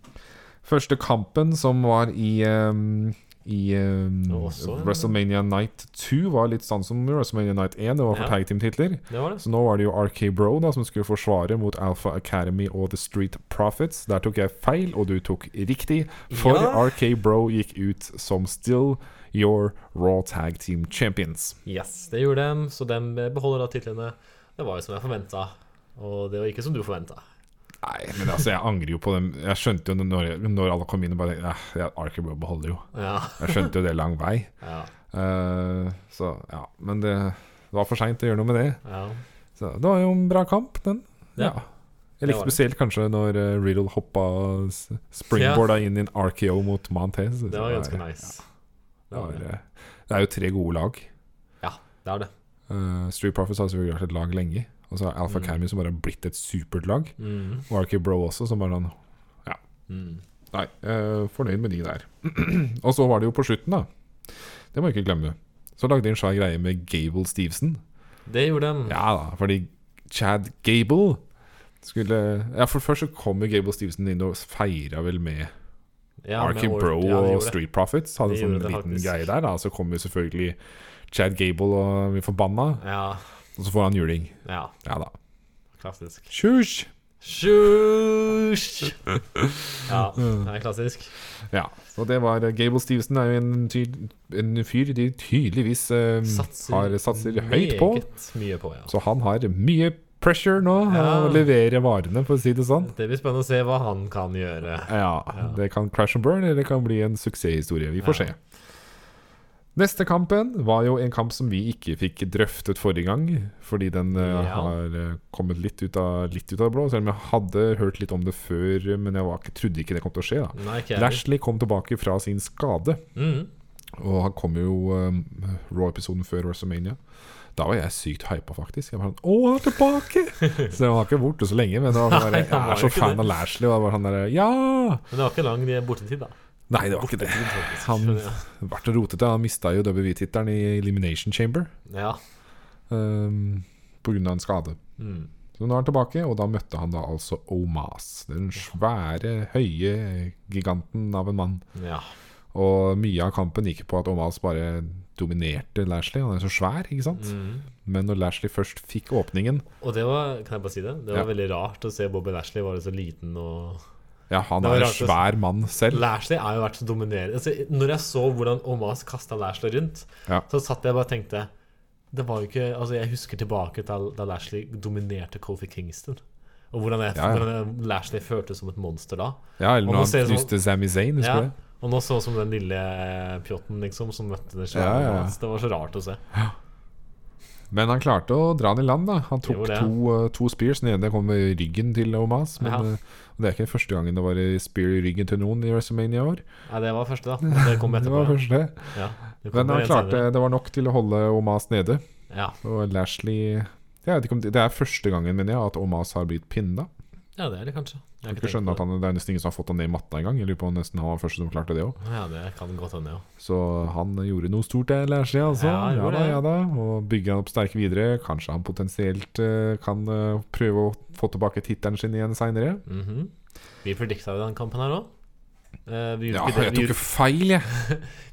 Første kampen som var i, ehm, i ehm,
Og også-
WrestleMania Night 2, var litt sånn som WrestleMania Night 1. Det var for
Ja.
tag team-titler.
Det var det.
Så nå var det jo RK Bro da, som skulle forsvare mot Alpha Academy og The Street Profits. Der tok jeg feil, og du tok riktig. For
Ja.
RK Bro gikk ut som Still Your Raw Tag Team Champions.
Yes, det gjorde dem, så dem beholder da titlene. Det var jo som jeg forventa, og det var ikke som du forventa.
Nei, men altså, jeg angrer jo på dem. Jeg skjønte jo når, når alle kom inn og bare eh, ja, RK Bro beholder jo.
Ja,
Jeg skjønte jo det lang vei.
ja,
Eh, så ja, men det, det var for seint å gjøre noe med det.
ja.
Så det var jo en bra kamp, den.
Ja,
Ja. Jeg likte
var det.
spesielt kanskje når eh, Riddle hoppa s- springboarda inn i en RKO mot Montez.
Det var ganske nice.
Det, var, eh, det er jo tre gode lag.
Ja, det er det.
Eh, Street Profits har selvfølgelig vært et lag lenge. Og så er Alpha
Mm.
Cammy som bare har blitt et supert lag.
Mm.
Og RK Bro også, som bare sånn
Mm.
Nei, eh, fornøyd med de der. og så var det jo på slutten, da. Det må jeg ikke glemme. Så lagde de en svær greie med Gable Stevenson.
Det gjorde dem.
Mm. Ja da, fordi Chad Gable skulle Ja, for først så kom jo Gable Stevenson inn og feira vel med
Ja, med
Arkin
Orton.
Bro
Ja, de
og
gjorde det.
Street Profits. Hadde
De
sånn
gjorde det
liten
faktisk.
greie der, da. Så kom jo selvfølgelig Chad Gable og blir forbanna,
Ja,
og så får han juling.
ja,
Ja da.
klassisk.
Tjusj!
Sjusj! Ja, det er klassisk.
Ja, og det var eh, Gable Stevenson er jo en, ty en fyr de tydeligvis eh, har satser høyt på.
meget mye på, ja.
Så han har mye pressure nå,
Ja.
å levere varene, for å si det sånn.
Det blir spennende å se hva han kan gjøre.
Ja, det kan crash and burn, eller det kan bli en suksesshistorie. Vi får
Ja.
se. Neste kampen var jo en kamp som vi ikke fikk drøftet forrige gang, fordi den eh,
Ja.
har eh, kommet litt ut, av, litt ut av det blå. Selv om jeg hadde hørt litt om det før, men jeg var ikke, trodde ikke det kom til å skje. da
Nei, ikke jeg.
Lashley kom tilbake fra sin skade,
Mm.
og han kom jo um, Raw-episoden før WrestleMania. Da var jeg sykt hypa, faktisk. Jeg var sånn, Å, han er tilbake! så han var ikke borte så lenge, men det var bare,
Nei,
jeg
han var
er
jo
så
ikke
fan
det.
av Lashley. Og det var sånn der, ja!
Men det var ikke lang bortetid, da.
Nei, det var ikke det.
Bortetid, faktisk.
Han-
Skjønner jeg.
Vært rotete. Han mista jo WWE-tittelen i Elimination Chamber
Ja.
um, pga. en skade.
Mm.
Så nå er han tilbake, og da møtte han da altså Omas. Den svære, høye giganten av en mann.
ja.
Og mye av kampen gikk på at Omas bare dominerte Lashley. Han er så svær, ikke sant?
Mm.
Men når Lashley først fikk åpningen
Og det var kan jeg bare si det? Det var
Ja. veldig
veldig rart å se Bobby Lashley være så liten og
Ja, han
Det var
er en
rart å-
svær mann selv.
Lashley er jo vært så dominerende. Altså, når jeg så hvordan Omas kasta Lashley rundt,
Ja.
så satt jeg bare og tenkte Det var jo ikke Altså, jeg husker tilbake til da Lashley dominerte Kofi Kingston. Og hvordan, jeg,
Ja, ja.
hvordan Lashley føltes som et monster da.
Ja, eller
Og nå
når
ser
han
det sånn-
knuste Sami Zayn,
Ja,
husker du det?
og nå så ut som den lille eh, pjotten liksom, som møtte den svære
Ja, ja, ja.
Omas. Det var så rart å se.
Men han klarte å dra den i land, da. Han tok
Gjorde det.
to, eh, to spears. Den ene kom i ryggen til Omas. Men
Ja.
eh, det er ikke første gangen det var i spear i ryggen til noen i WrestleMania i år.
Nei, det var første, da. Det kom
Det
etterpå.
var første.
Ja, det
Men
kommer
han
igjen
klarte,
senere.
det var nok til å holde Omas nede.
ja.
Og Lashley jeg vet ikke om det, det er første gangen, mener jeg, at Omas har blitt pinna.
ja, det er det kanskje. Jeg
Jeg kan ikke skjønne at han, Det er nesten ingen som har fått han ned i matta engang. Jeg lurer på om nesten han var første som klarte det òg.
Ja, det kan godt hende, ja.
Så han gjorde noe stort der, Lashley, altså. Ja,
Ja, han gjorde
da,
det.
ja da. Og bygger han opp sterke videre. Kanskje han potensielt eh, kan eh, prøve å få tilbake tittelen sin igjen seinere.
Mhm. Vi predikta jo den kampen her òg. Eh, vi,
Ja,
gjorde ikke
jeg
det.
tok
vi,
jo feil, jeg.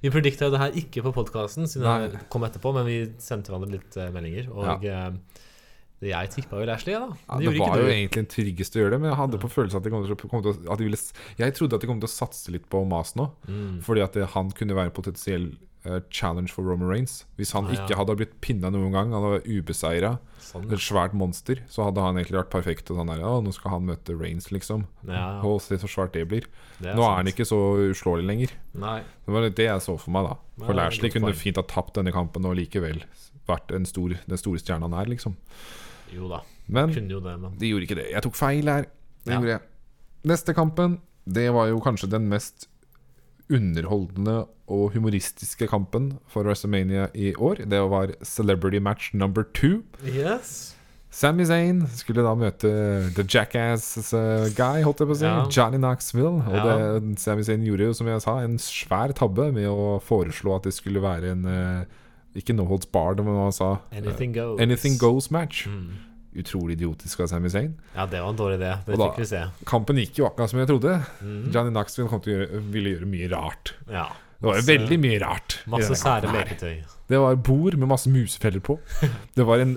vi predikta det her ikke på podkasten, siden det
Nei.
kom etterpå, men vi sendte hverandre litt eh, meldinger. Og eh, jeg tippa vel Ashley, da.
Ja,
Det
det
gjorde ikke
var
du.
jo egentlig den tryggeste å gjøre det, men jeg hadde på følelsen at de kom til, å- kom til, å- at de ville s- Jeg trodde at de kom til å satse litt på Mas nå,
Mm.
fordi at det, han kunne være en potensiell eh, challenge for Roman Reigns. Hvis han
Ah, ja.
ikke hadde blitt pinna noen gang, han var ubeseira,
Sånn.
et svært monster, så hadde han egentlig vært perfekt. Og sånn der, «Å, nå skal han møte Reigns, liksom.
Ja,
Og se så svært det blir.
det
nå er
sant.
han ikke så uslåelig lenger.
Nei.
Det var litt det jeg så for meg, da. For
Ja,
Lashley
godt
kunne
poeng.
fint ha tapt denne kampen og likevel vært en stor, den store stjerna han er, liksom.
Jo da.
Men
Kunne jo det, men
de gjorde ikke det. Jeg tok feil her. Det
Ja.
gjorde jeg. Neste kampen, det var jo kanskje den mest underholdende og humoristiske kampen for WrestleMania i år. Det var celebrity match number two.
Yes.
Sami Zayn skulle da møte the jackass eh, guy, holdt jeg på å si.
Ja.
Johnny Knoxville. Og
Ja.
det, Sami Zayn gjorde jo, som jeg sa, en svær tabbe med å foreslå at det skulle være en eh, Ikke no holds barred, men han sa
Anything goes.
Anything goes match.
Mm.
Utrolig idiotisk av Sami Zayn.
Ja, det var en dårlig idé. Det
Og da-
fikk vi se.
Kampen gikk jo akkurat som jeg trodde.
Mm.
Johnny Knoxville kom til å gjøre, ville gjøre mye rart.
Ja.
Det var jo
Masse-
veldig mye rart. i denne
Masse
kampen
sære
her.
leketøy.
Det var bord med masse musefeller på. Det var en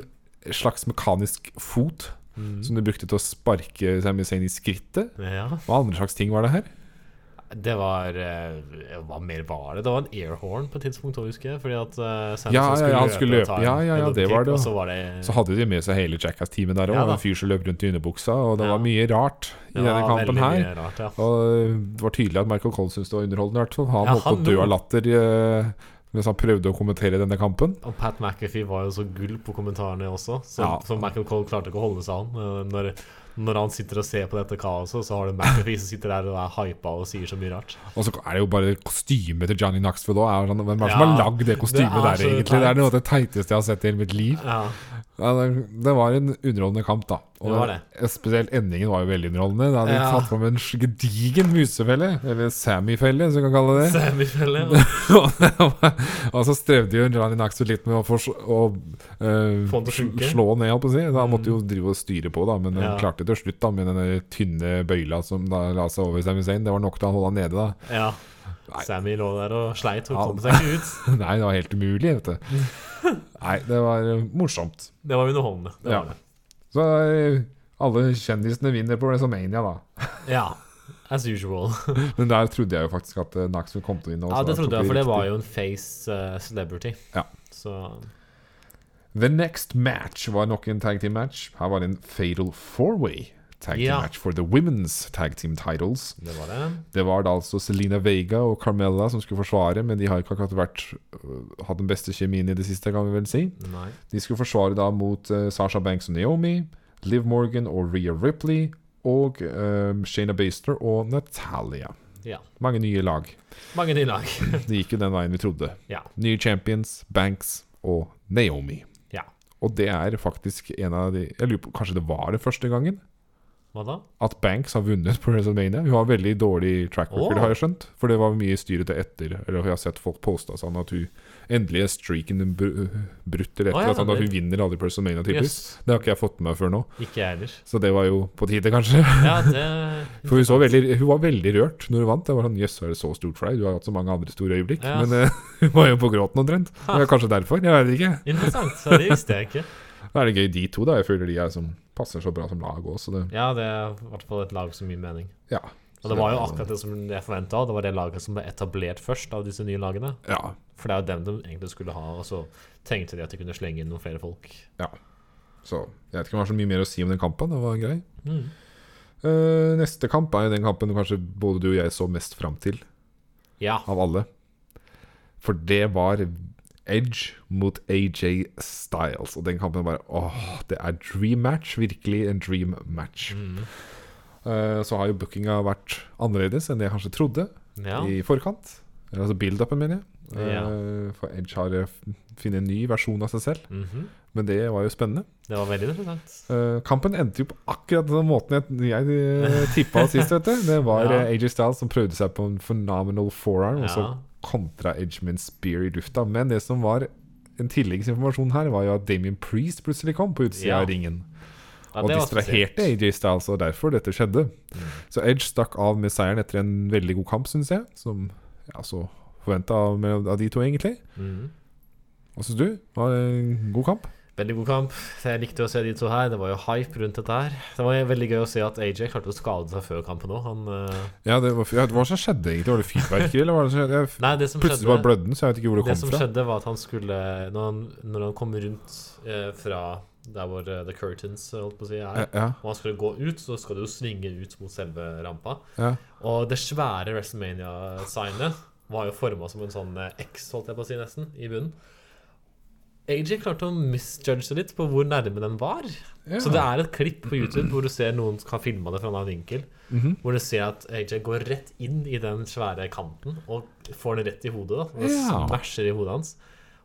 slags mekanisk fot
Mm.
som du brukte til å sparke Sami Zayn i skrittet.
Ja.
Hva andre slags ting var det her?
Det var eh, Hva mer var det? Det var en airhorn på et tidspunkt, også, husker jeg. Fordi at eh, Samson
Ja, ja, ja, han skulle løpe.
og ta en
Ja, ja, ja, det var
headkick,
det.
Og så var det
Så hadde de med seg hele Jackass-teamet der òg.
Ja da.
en fyr som løp rundt i underbuksa, og det
Ja.
var mye rart i
det
denne
var
kampen
veldig
her.
mye Rart, ja.
Og det var tydelig at Michael Cole syntes det var underholdende. i hvert fall. Han
Ja,
holdt på å
han
dø
nå.
av latter eh, mens han prøvde å kommentere denne kampen.
Og Pat McAfee var jo så gull på kommentarene også, så,
Ja.
så Michael Cole klarte ikke å holde seg an. Eh, Når, når han sitter og ser på dette kaoset, så har du McAfee som sitter der og er hypa og sier så mye rart.
Og så er det jo bare kostymet til Johnny Knoxville òg. Hvem er det som
Ja,
har lagd det kostymet
det er
der,
så
egentlig? Det er noe av det teiteste jeg har sett i hele mitt liv.
Ja,
Ja, det, det var en underholdende kamp, da. Og
Det var det.
Spesielt endingen var jo veldig underholdende. Da hadde de
Ja.
tatt fram en sj- gedigen musefelle, eller Sammy-felle, som vi kan kalle det.
Semifelle.
og det var- og så strevde jo Johnny Knoxville litt med å, fors- å eh,
Få den til å
sl-
funke. Mm.
slå ned, holdt på å si. Da han måtte jo drive og styre på, da, men
Ja.
han klarte til slutt da med den der tynne bøyla som da la seg over Sami Zayn. Det var nok til han holdt han nede, da.
Ja.
Nei.
Sammy lå der og sleit og
Ja.
kom seg ikke ut.
Nei, det var helt umulig, vet du. Nei, det var eh, morsomt.
Det var underholdende. Det
Ja.
var det.
Så eh, alle kjendisene vinner på WrestleMania, da.
ja. As usual.
Men der trodde jeg jo faktisk at eh, Knoxville kom til å vinne.
Ja, det trodde jeg, for det var jo en face eh, celebrity.
Ja.
Så
The next match var nok en tag team match. Her var det en fatal four-way tag team
Ja.
match for the women's tag team titles.
det var det.
Det var da altså Selena Vega og Carmella som skulle forsvare, men de har ikke akkurat vært øh, hatt den beste kjemien i det siste, kan vi vel si.
Nei.
De skulle forsvare da mot eh, Sasha Banks og Naomi, Liv Morgan og Rhea Ripley, og eh, Shayna Baszler og Natalia.
Ja.
Mange nye lag.
Mange tillag.
Det gikk jo den veien vi trodde.
Ja.
Nye champions, Banks og Naomi.
Ja.
Og det er faktisk en av de Jeg lurer på, Kanskje det var det første gangen
Hva da?
at Banks har vunnet på WrestleMania? Hun har veldig dårlig track record,
Åh.
har jeg skjønt. For det var mye styrete etter. Eller jeg har sett folk posta sånn at hun endelig er streaken br- brutt, eller et
Åh,
eller
ja,
annet sånt. At
det-
hun vinner aldri på WrestleMania, tydeligvis.
Yes.
Det har ikke jeg fått med meg før nå.
Ikke jeg heller.
Så det var jo på tide, kanskje.
Ja, det
For hun, så veldig, hun var veldig rørt når hun vant. Jeg var sånn, Jøss, er det så stort for deg? Du har hatt så mange andre store øyeblikk.
Ja.
Men eh, hun var jo på gråten omtrent. Det var kanskje derfor. Jeg vet ikke.
Interessant. Ja, det visste jeg ikke.
Da er det gøy, de to. da Jeg føler de er som passer så bra som lag òg, så det
Ja, det er i hvert fall et lag som gir mening.
Ja.
Og det var jo akkurat det som jeg forventa. Det var det laget som ble etablert først av disse nye lagene.
Ja.
For det er jo dem de egentlig skulle ha, og så tenkte de at de kunne slenge inn noen flere folk.
Så jeg vet ikke om det er så mye mer å si om den kampen. Det var grei.
Mm.
Eh, neste kamp er jo den kampen kanskje både du og jeg så mest fram til
Ja.
av alle. For det var Edge mot AJ Styles. Og den kampen bare Åh, det er dream match. Virkelig en dream match.
Mm.
Eh, så har jo bookinga vært annerledes enn det jeg kanskje trodde
ja.
i forkant. Eller altså build-upen, mener jeg. Eh,
Ja.
For Edge har eh, funnet en ny versjon av seg selv.
Mhm.
Men det var jo spennende.
Det var veldig interessant.
Eh, kampen endte jo på akkurat den måten jeg, jeg tippa sist. vet du Det var
Ja.
eh, AJ Styles som prøvde seg på en phenomenal forearm, og så
Ja.
kontra Edge med en spear i lufta. Men det som var en tilleggsinformasjon her, var jo at Damien Priest plutselig kom på utsida
Ja.
av ringen.
Ja,
og
det var Mm.
distraherte AJ Styles, og derfor dette skjedde. Så Edge stakk av med seieren etter en veldig god kamp, syns jeg. Som ja, så forventa av, mellom- av de to, egentlig.
Mhm.
Hva syns du? Var det en god kamp?
Veldig god kamp. Jeg likte å se de to her. Det var jo hype rundt dette her. Det var veldig gøy å se at AJ klarte å skade seg før kampen òg. Han eh,
Ja, det var, ja, det var så skjedde, egentlig. Var det fyrverkeri, eller var det så skjedde? Jeg,
Nei, det som
plutselig
skjedde
bare blødde den, så jeg vet ikke hvor det
Det
kom
som
fra.
skjedde, var at han skulle Når han, når han kom rundt eh, fra der hvor eh, The Curtains eh, holdt på å si, er,
Ja, ja,
og han skulle gå ut, så skal du jo svinge ut mot selve rampa.
ja.
Og det svære WrestleMania-signet var jo forma som en sånn eh, X, holdt jeg på å si, nesten, i bunnen. AJ klarte å misjudge det litt på hvor nærme den var.
Ja.
Så det er et klipp på YouTube hvor du ser noen som har filma det fra en annen vinkel.
mhm.
Hvor du ser at AJ går rett inn i den svære kanten og får den rett i hodet. da Og
Ja.
smasher i hodet hans.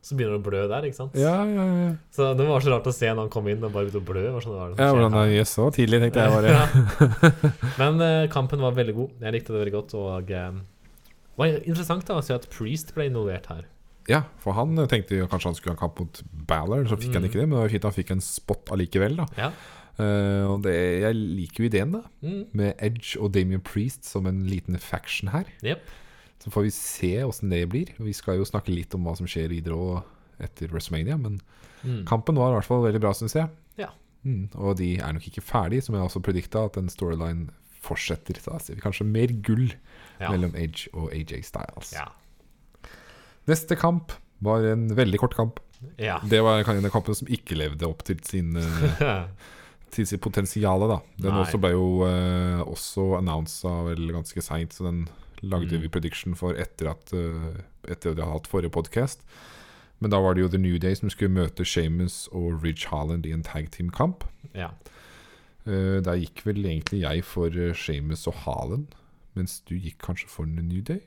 Så begynner det å blø der. ikke sant?
ja, ja, ja.
Så Det var så rart å se når han kom inn og bare begynte å blø. Var sånn, hva er det som
ja
skjer
hvordan
her?
er Jøss, så tidlig, tenkte jeg bare.
Men eh, kampen var veldig god. Jeg likte det veldig godt. Og eh, det var interessant da å se at Priest ble involvert her.
Ja, for han eh, tenkte jo kanskje han skulle ha en kamp mot Balor, så
Mm.
fikk han ikke det. Men det var jo fint han fikk en spot allikevel, da.
Ja.
Eh, og det, jeg liker jo ideen, da.
Mm.
Med Edge og Damien Priest som en liten faction her.
Jep.
Så får vi se åssen det blir. Vi skal jo snakke litt om hva som skjer videre og etter WrestleMania, men
Mm.
kampen var i hvert fall veldig bra, syns jeg.
Ja.
Mm, og de er nok ikke ferdig, som jeg også predikta, at en storyline fortsetter. Så da ser vi kanskje mer gull
Ja.
mellom Edge og AJ Styles.
Ja.
Neste kamp var en veldig kort kamp.
ja.
Det var kan- den kampen som ikke levde opp til sin eh, til sitt potensial, da. Den
Nei.
også ble jo eh, også annonsa vel ganske seint, så den lagde
Mm.
vi prediction for etter at eh, Etter at vi hadde hatt forrige podkast. Men da var det jo The New Day som skulle møte Shamus og Ridge Haaland i en tag team-kamp.
ja.
Eh, der gikk vel egentlig jeg for uh, Shamus og Haaland, mens du gikk kanskje for The New Day?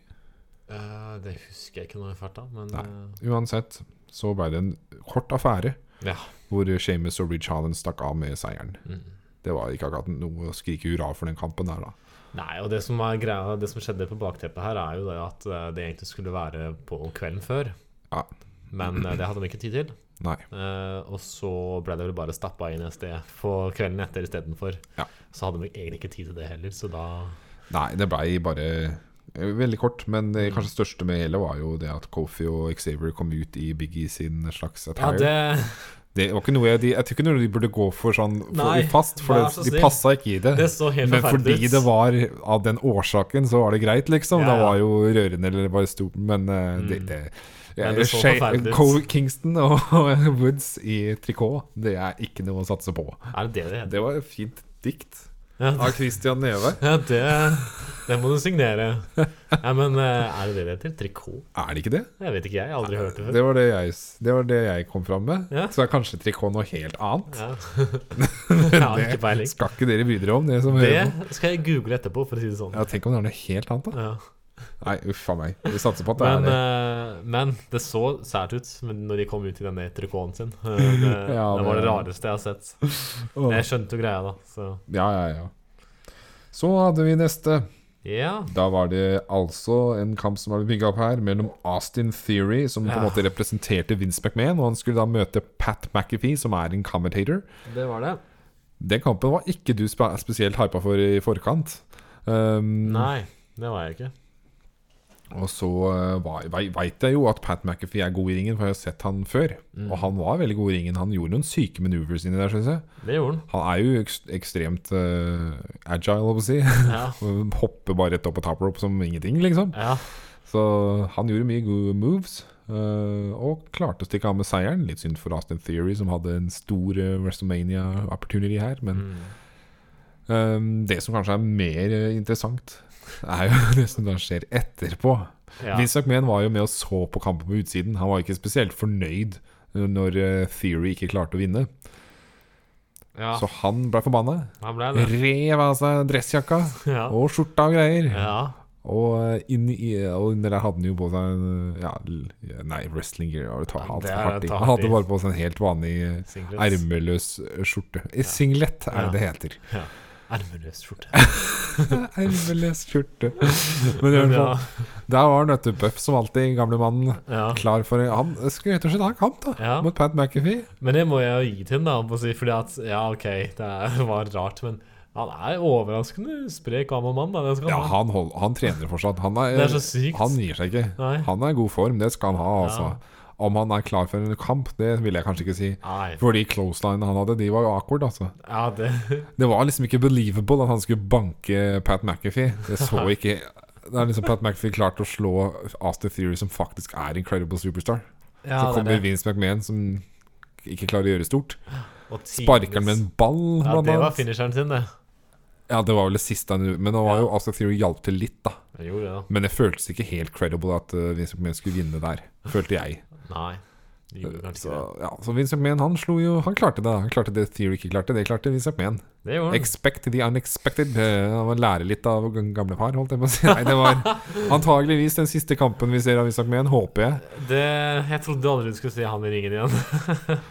Eh, det husker jeg ikke noe i farta, men eh,
Uansett så ble det en kort affære
Ja.
hvor eh, Sheamus og Ridge Haaland stakk av med seieren.
Mm.
Det var ikke akkurat noe å skrike hurra for den kampen der, da.
Nei, og det som, er greia, det som skjedde på bakteppet her, er jo det at eh, det egentlig skulle være på kvelden før.
Ja.
Men eh, det hadde de ikke tid til.
Nei.
Eh, og så ble det vel bare stappa inn et sted på kvelden etter istedenfor.
Ja.
Så hadde de egentlig ikke tid til det heller, så da
Nei, det blei bare eh, veldig kort. Men det
Mm.
kanskje største med hele var jo det at Kofi og Xavier kom ut i Biggie sin slags
Ja,
attire.
det
det... var ikke noe jeg, de, jeg tror ikke noe de burde gå for sånn for,
Nei,
fast, for
vær
det,
så
de
snill.
passa ikke i det.
Det så helt
men
forferdelig
fordi
ut.
det var av den årsaken, så var det greit, liksom.
Ja,
Det
ja.
var jo rørende, eller bare stort, men eh, det, det,
Men det så
Shay-
forferdelig ut.
Cole Kingston og Woods i trikot, det er ikke noe å satse på.
Er det det det heter?
Det var et fint dikt
Ja,
av Christian Neve.
ja det, det må du signere. Ja, men eh, er det det det heter? Trikot?
Er det ikke det?
Jeg vet ikke, jeg. Jeg har aldri hørt det før.
Det var det jeg, det var det jeg kom fram med.
Ja.
Så er kanskje trikot noe helt annet.
Ja. Jeg har ikke
Det
peiling.
skal ikke dere bry dere om, det som hører på.
Det skal jeg google etterpå, for å si det sånn.
Ja, tenk om det er noe helt annet, da.
Ja.
Nei, uff a meg. Vi satser på at det
Men,
er det.
eh, men det så sært ut men når de kom ut i denne trikoten sin. Eh, Det,
Ja,
det var det
det-
rareste jeg har sett.
Åh.
Men jeg skjønte jo greia, da. Så
Ja, ja, ja. Så hadde vi neste.
ja.
Da var det altså en kamp som var bygga opp her, mellom Austin Theory, som på en
Ja.
måte representerte Vince McMahon, og han skulle da møte Pat McAfee, som er en commentator.
Det var det.
Den kampen var ikke du spe spesielt hypa for i forkant. Um,
Nei, det var jeg ikke.
og så uh, veit jeg jo at Pat McAfee er god i ringen, for jeg har sett han før. Og han var veldig god i ringen. Han gjorde noen syke maneuvers inni der, syns jeg.
Det gjorde han.
Han er jo ekst ekstremt uh, agile, holdt jeg på å si.
Ja.
Hopper bare rett opp på top rope som ingenting, liksom.
ja.
Så han gjorde mye gode moves. eh, og klarte å stikke av med seieren. Litt synd for Austin Theory, som hadde en stor eh, WrestleMania-opportunity her. Men
Mm.
eh, det som kanskje er mer eh, interessant, er jo det som da skjer etterpå.
ja.
Vince McMahon var jo med og så på kampen på utsiden. Han var ikke spesielt fornøyd eh, når eh, Theory ikke klarte å vinne.
ja.
Så han ble forbanna.
Han ble det.
Rev av seg dressjakka
Ja.
og skjorta og greier.
ja.
Og eh, inn i, og under der hadde han jo på seg en, eh, ja, l- Nei, wrestling gear var det ta,
Ja,
alt for
det er
hardt i.
ta
Han
hardt i.
hadde bare på seg en helt vanlig eh,
Singlets.
ermeløs eh, skjorte. Eh, Singlet er det det heter.
Ja. Ermeløs skjorte.
Ermeløs skjorte. Men i hvert fall, der var han, vet du, Buff som alltid, gamlemannen.
ja.
Klar for Han skulle rett og slett ha kamp, da.
Ja.
Mot Pat McAfee.
Men det må jeg jo gi til ham, da. må jeg Si, fordi at Ja, OK, det er- var rart, men han er overraskende sprek gammel mann, da. Det skal
Ja,
han ha.
han, hold, han trener fortsatt. Han er,
Det er så sykt.
Han gir seg ikke.
Nei.
Han er i god form, det skal han ha. Altså. Om han er klar for en kamp, det vil jeg kanskje ikke si.
Nei.
For de closelinene han hadde, de var jo awkward, altså.
Ja, det
Det var liksom ikke believable at han skulle banke Pat McAfee. Det så ikke Det er liksom Pat McAfee klarte å slå Aster Theory, som faktisk er Incredible Superstar.
ja,
så kommer Vince McMahon, som ikke klarer å gjøre stort.
Og tidenes-
Sparker han med en ball,
Ja,
blant
det var
annet.
finisheren sin, det.
Ja, det var vel det siste han gjorde. Men nå var jo Aster Theory hjalp til litt, da.
Jeg gjorde det,
Men det føltes ikke helt credible at eh, Vince McMahon skulle vinne der, følte jeg.
da. Nei. Det gjorde
Eh,
kanskje
Så,
ikke det.
ja, så Vince McMahon han slo jo Han klarte det. Han klarte det Theory ikke klarte. Det klarte Vince McMahon.
Det gjorde han.
Expect the unexpected. Eh, Han må lære litt av gamle par, holdt jeg på å si. Nei, det var antageligvis den siste kampen vi ser av Vince McMahon, håper jeg.
Det, jeg trodde aldri du skulle se han i ringen igjen.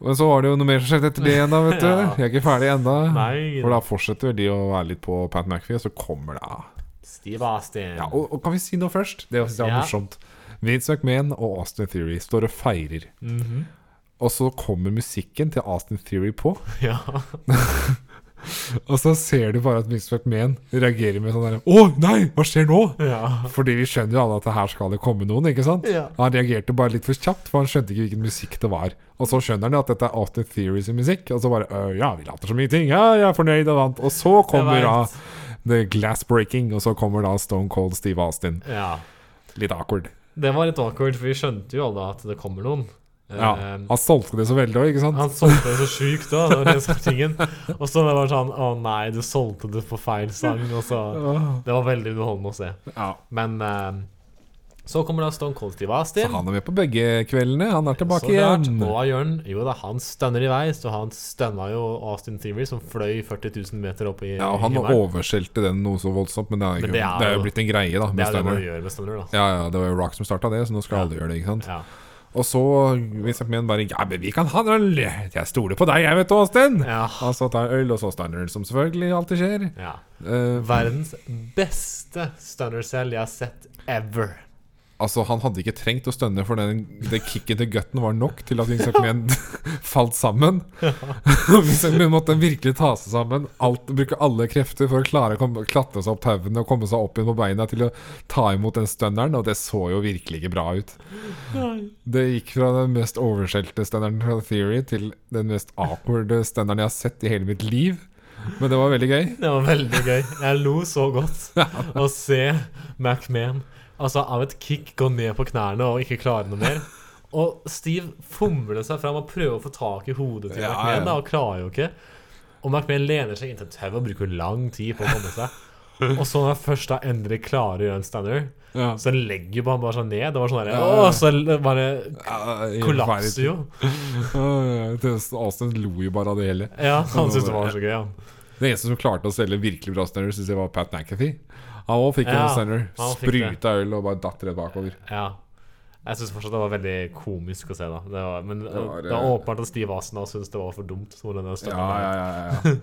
Men så var det jo noe mer som skjedde etter det igjen, da, vet du.
Ja.
Vi er ikke ferdig ennå.
Nei.
For da fortsetter de å være litt på Pat McPhee, og så kommer det av.
Steve Austin.
Ja, og, og kan vi si noe først? Det synes jeg var
Ja.
morsomt. Vince McMahon og Austin Theory står og feirer.
Mhm.
Og så kommer musikken til Austin Theory på,
ja.
og så ser du bare at Vince McMahon reagerer med sånn derre Å, nei, hva skjer nå?
ja.
Fordi vi skjønner jo alle at her skal det komme noen, ikke sant?
Ja.
Han reagerte bare litt for kjapt, for han skjønte ikke hvilken musikk det var. Og så skjønner han jo at dette er Austin Theory sin musikk, og så bare «Øh, Ja, vi later så mye ting, ja, jeg er fornøyd og vant. Og så kommer
Jeg
da
vet.
The Glass Breaking, og så kommer da Stone Cold Steve Austin.
Ja.
Litt awkward.
Det var litt awkward, for vi skjønte jo alle at det kommer noen.
Ja,
Eh,
Han solgte det så veldig òg, ikke sant?
Han solgte det så sjukt da, det var det som var tingen. Og så det var sånn Å nei, du solgte det på feil sang. Og så Det var veldig underholdende å se.
Ja.
Men eh, så kommer da Stone Cold Steve Austin.
Så han er med på begge kveldene. Han er
Så
tilbake
klart.
igjen.
Og Jørn, jo da, han stønner i vei, så han stønna jo Austin Theory, som fløy 40 000 meter opp i
Ja, og han
himmelen.
overskjelte den noe så voldsomt, men det er,
Men
ikke,
det
det er,
er jo-
jo blitt en greie, da.
Det
Med
er det man
Steiner.
gjør med stønner, da.
Ja, ja, det var jo Rock som starta det, så nå skal alle gjøre det, ikke sant.
Ja.
Og så hvis McMahon bare Ja, men vi kan ha en øl! Jeg stoler på deg, jeg, vet du, Austin!
Ja.
Og så tar han øl, og så Steiner, som selvfølgelig alltid skjer.
ja.
Eh,
Verdens beste stunner-cell jeg har sett ever.
altså, han hadde ikke trengt å stønne, for den, det kicket til gutten var nok til at Vince McMahon falt sammen. Vince McMahon måtte virkelig ta seg sammen, alt, bruke alle krefter for å klare å komme, klatre seg opp tauene og komme seg opp igjen på beina til å ta imot den stønneren, og det så jo virkelig ikke bra ut. Det gikk fra den mest overskjelte stenderen fra Theory til den mest awkward stenderen jeg har sett i hele mitt liv. Men det var veldig gøy.
Det var veldig gøy. Jeg lo så godt å se MacMahon altså, av et kick gå ned på knærne og ikke klare noe mer. Og Steve fomler seg fram og prøver å få tak i hodet til
Ja,
MacMahon, da,
ja.
og klarer jo ikke. Og MacMahon lener seg inntil tauet og bruker lang tid på å komme seg. Og så når han først da endelig klarer å gjøre en standard,
Ja.
så legger jo han bare seg ned. Det var sånn der,
Ja.
Åh, så bare kollapser jo.
Austin lo jo bare av det hele.
Ja, han syntes det var så gøy, han.
Den eneste som klarte å selge virkelig bra stender, syns jeg var Pat McAfee. Han òg fikk
Ja,
en stender.
han fikk det.
Spruta øl og bare datt rett bakover.
Ja. Jeg syns fortsatt det var veldig komisk å se, da. Det var, men det
var,
var,
eh,
åpenbart at Steve Asen syntes det var for dumt. som den
Ja,
støtten
ja,
var.
ja, ja, ja.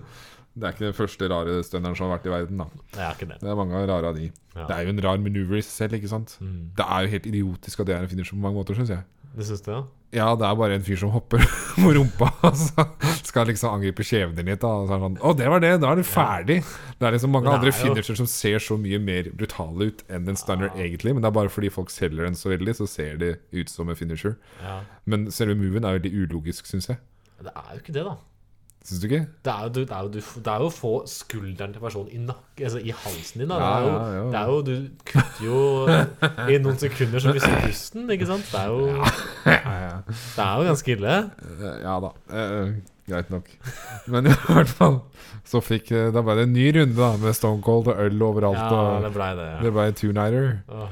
Det er ikke den første rare stenderen som har vært i verden, da.
Det er ikke det.
Det er mange rare av de.
Ja. Mm.
Det er jo en rar maneuver i seg selv, ikke sant. Det er jo helt idiotisk at det er en finisher på mange måter, syns jeg.
Du syns det, ja?
Ja, det er bare en fyr som hopper på rumpa. Altså. Skal liksom angripe kjeven din litt. Da. Og så er det sånn, Å, det var det! Da er du ferdig! Det er liksom mange
Men det
andre
er jo-
finisher som ser så mye mer brutale ut enn en stunner, egentlig. Men det er bare fordi folk selger den så veldig, så ser det ut som en finisher.
ja?
Men selve moven er veldig ulogisk, syns jeg.
Det er jo ikke det, da.
Syns du ikke?
Det er jo, du- det er jo, du- det er jo å få skulderen til personen i nakken Altså i halsen din, da.
Ja,
Det er jo,
ja, ja.
Det er jo Du kutter jo i noen sekunder så mister du pusten, ikke sant? Det er jo, det er jo ganske ille.
Eh, Ja da. Eh, eh, greit nok. Men i hvert fall så fikk eh, Da ble det en ny runde, da, med Stone Cold og øl overalt.
Ja, det
og
blei det.
det
Ja.
ble en two-nighter.
Åh,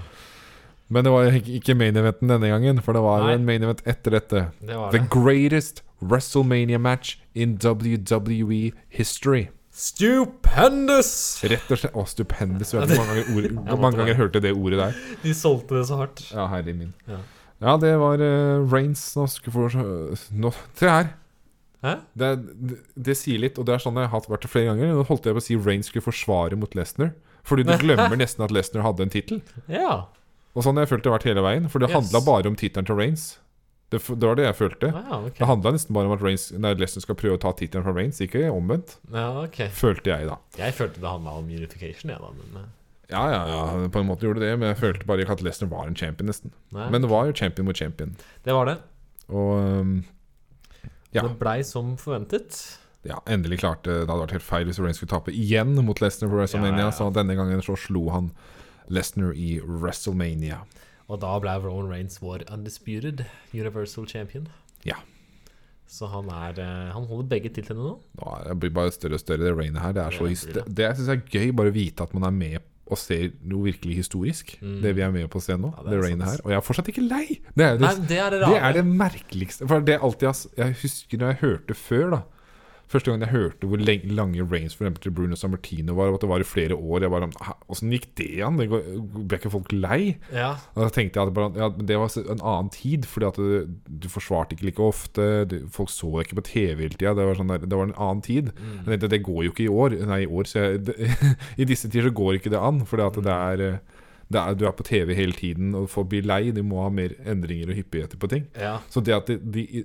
Men det var jo ikke- ikke main eventen denne gangen, for det var jo
Nei.
en main event etter dette.
det var
The
det.
greatest WrestleMania match in WWE history.
Stupendous!
Rett og slett Å, stupendous. Hvor mange ganger, ord, hvor
måtte
mange ganger hørte det ordet der?
De solgte det så hardt.
Ja, herre min.
Ja.
eh, Ja, det var uh, Rains Nå skal vi få se Nå Se her!
Hæ?
Det, det, det sier litt, og det er sånn jeg har hatt- vært det flere ganger. Nå holdt jeg på å si Rain skulle forsvare mot Lesnar. Fordi du glemmer nesten at Lesnar hadde en tittel.
Ja.
Og sånn har jeg følt det har vært hele veien. For det
Yes.
handla bare om tittelen til Reigns. Det, f- det var det jeg følte.
Ah, ok.
Det handla nesten bare om at Reigns, nei, Lesnar skal prøve å ta tittelen fra Reigns, ikke omvendt.
ja, ok.
Følte jeg, da.
Jeg følte det handla om unification, jeg, da. Men, eh,
Ja, ja, ja, på en måte gjorde det, men jeg følte bare ikke at Lesnar var en champion, nesten.
nei.
Men det var jo champion mot champion.
det var det.
Og um, Ja.
Det blei som forventet.
ja, endelig klarte Det hadde vært helt feil hvis Reigns skulle tape igjen mot Lesnar på WrestleMania,
Ja, ja, ja.
så denne gangen så slo han Lesnar i WrestleMania.
Og da ble Rowan Reigns vår undisputed universal champion.
Ja.
Så han er eh, Han holder begge titlene nå.
Nå er- det blir bare større og større, det rainet her. Det er så
Ja, det
his-
blir
det,
det.
det syns jeg er gøy, bare å vite at man er med og ser noe virkelig historisk. Det vi er med på å se nå.
Mm. Ja, det
det
er
rainet
sant.
her. Og jeg er fortsatt ikke lei! Det er jo det,
Nei, det er det
det,
rare.
er det merkeligste. For det er alltid jeg, jeg husker når jeg hørte før, da. Første gang jeg hørte hvor leng- lange rains for eksempel til Bruno Sammartino var, og at det var i flere år Jeg bare "Hæ, Åssen gikk det an? Det går, ble ikke folk lei?
Ja.
Og da tenkte jeg at bare, ja, men det var en annen tid, fordi at du, du forsvarte ikke like ofte. Du, folk så deg ikke på TV hele tida. Det, var sånn der- det var en annen tid.
Mm.
Jeg tenkte, det går jo ikke i år. Nei, i år, så jeg, det, I disse tider så går ikke det an. Fordi at det er, eh, det er, du er på TV hele tiden og får bli lei. Du må ha mer endringer og hyppigheter på ting.
ja.
Så det at de, de i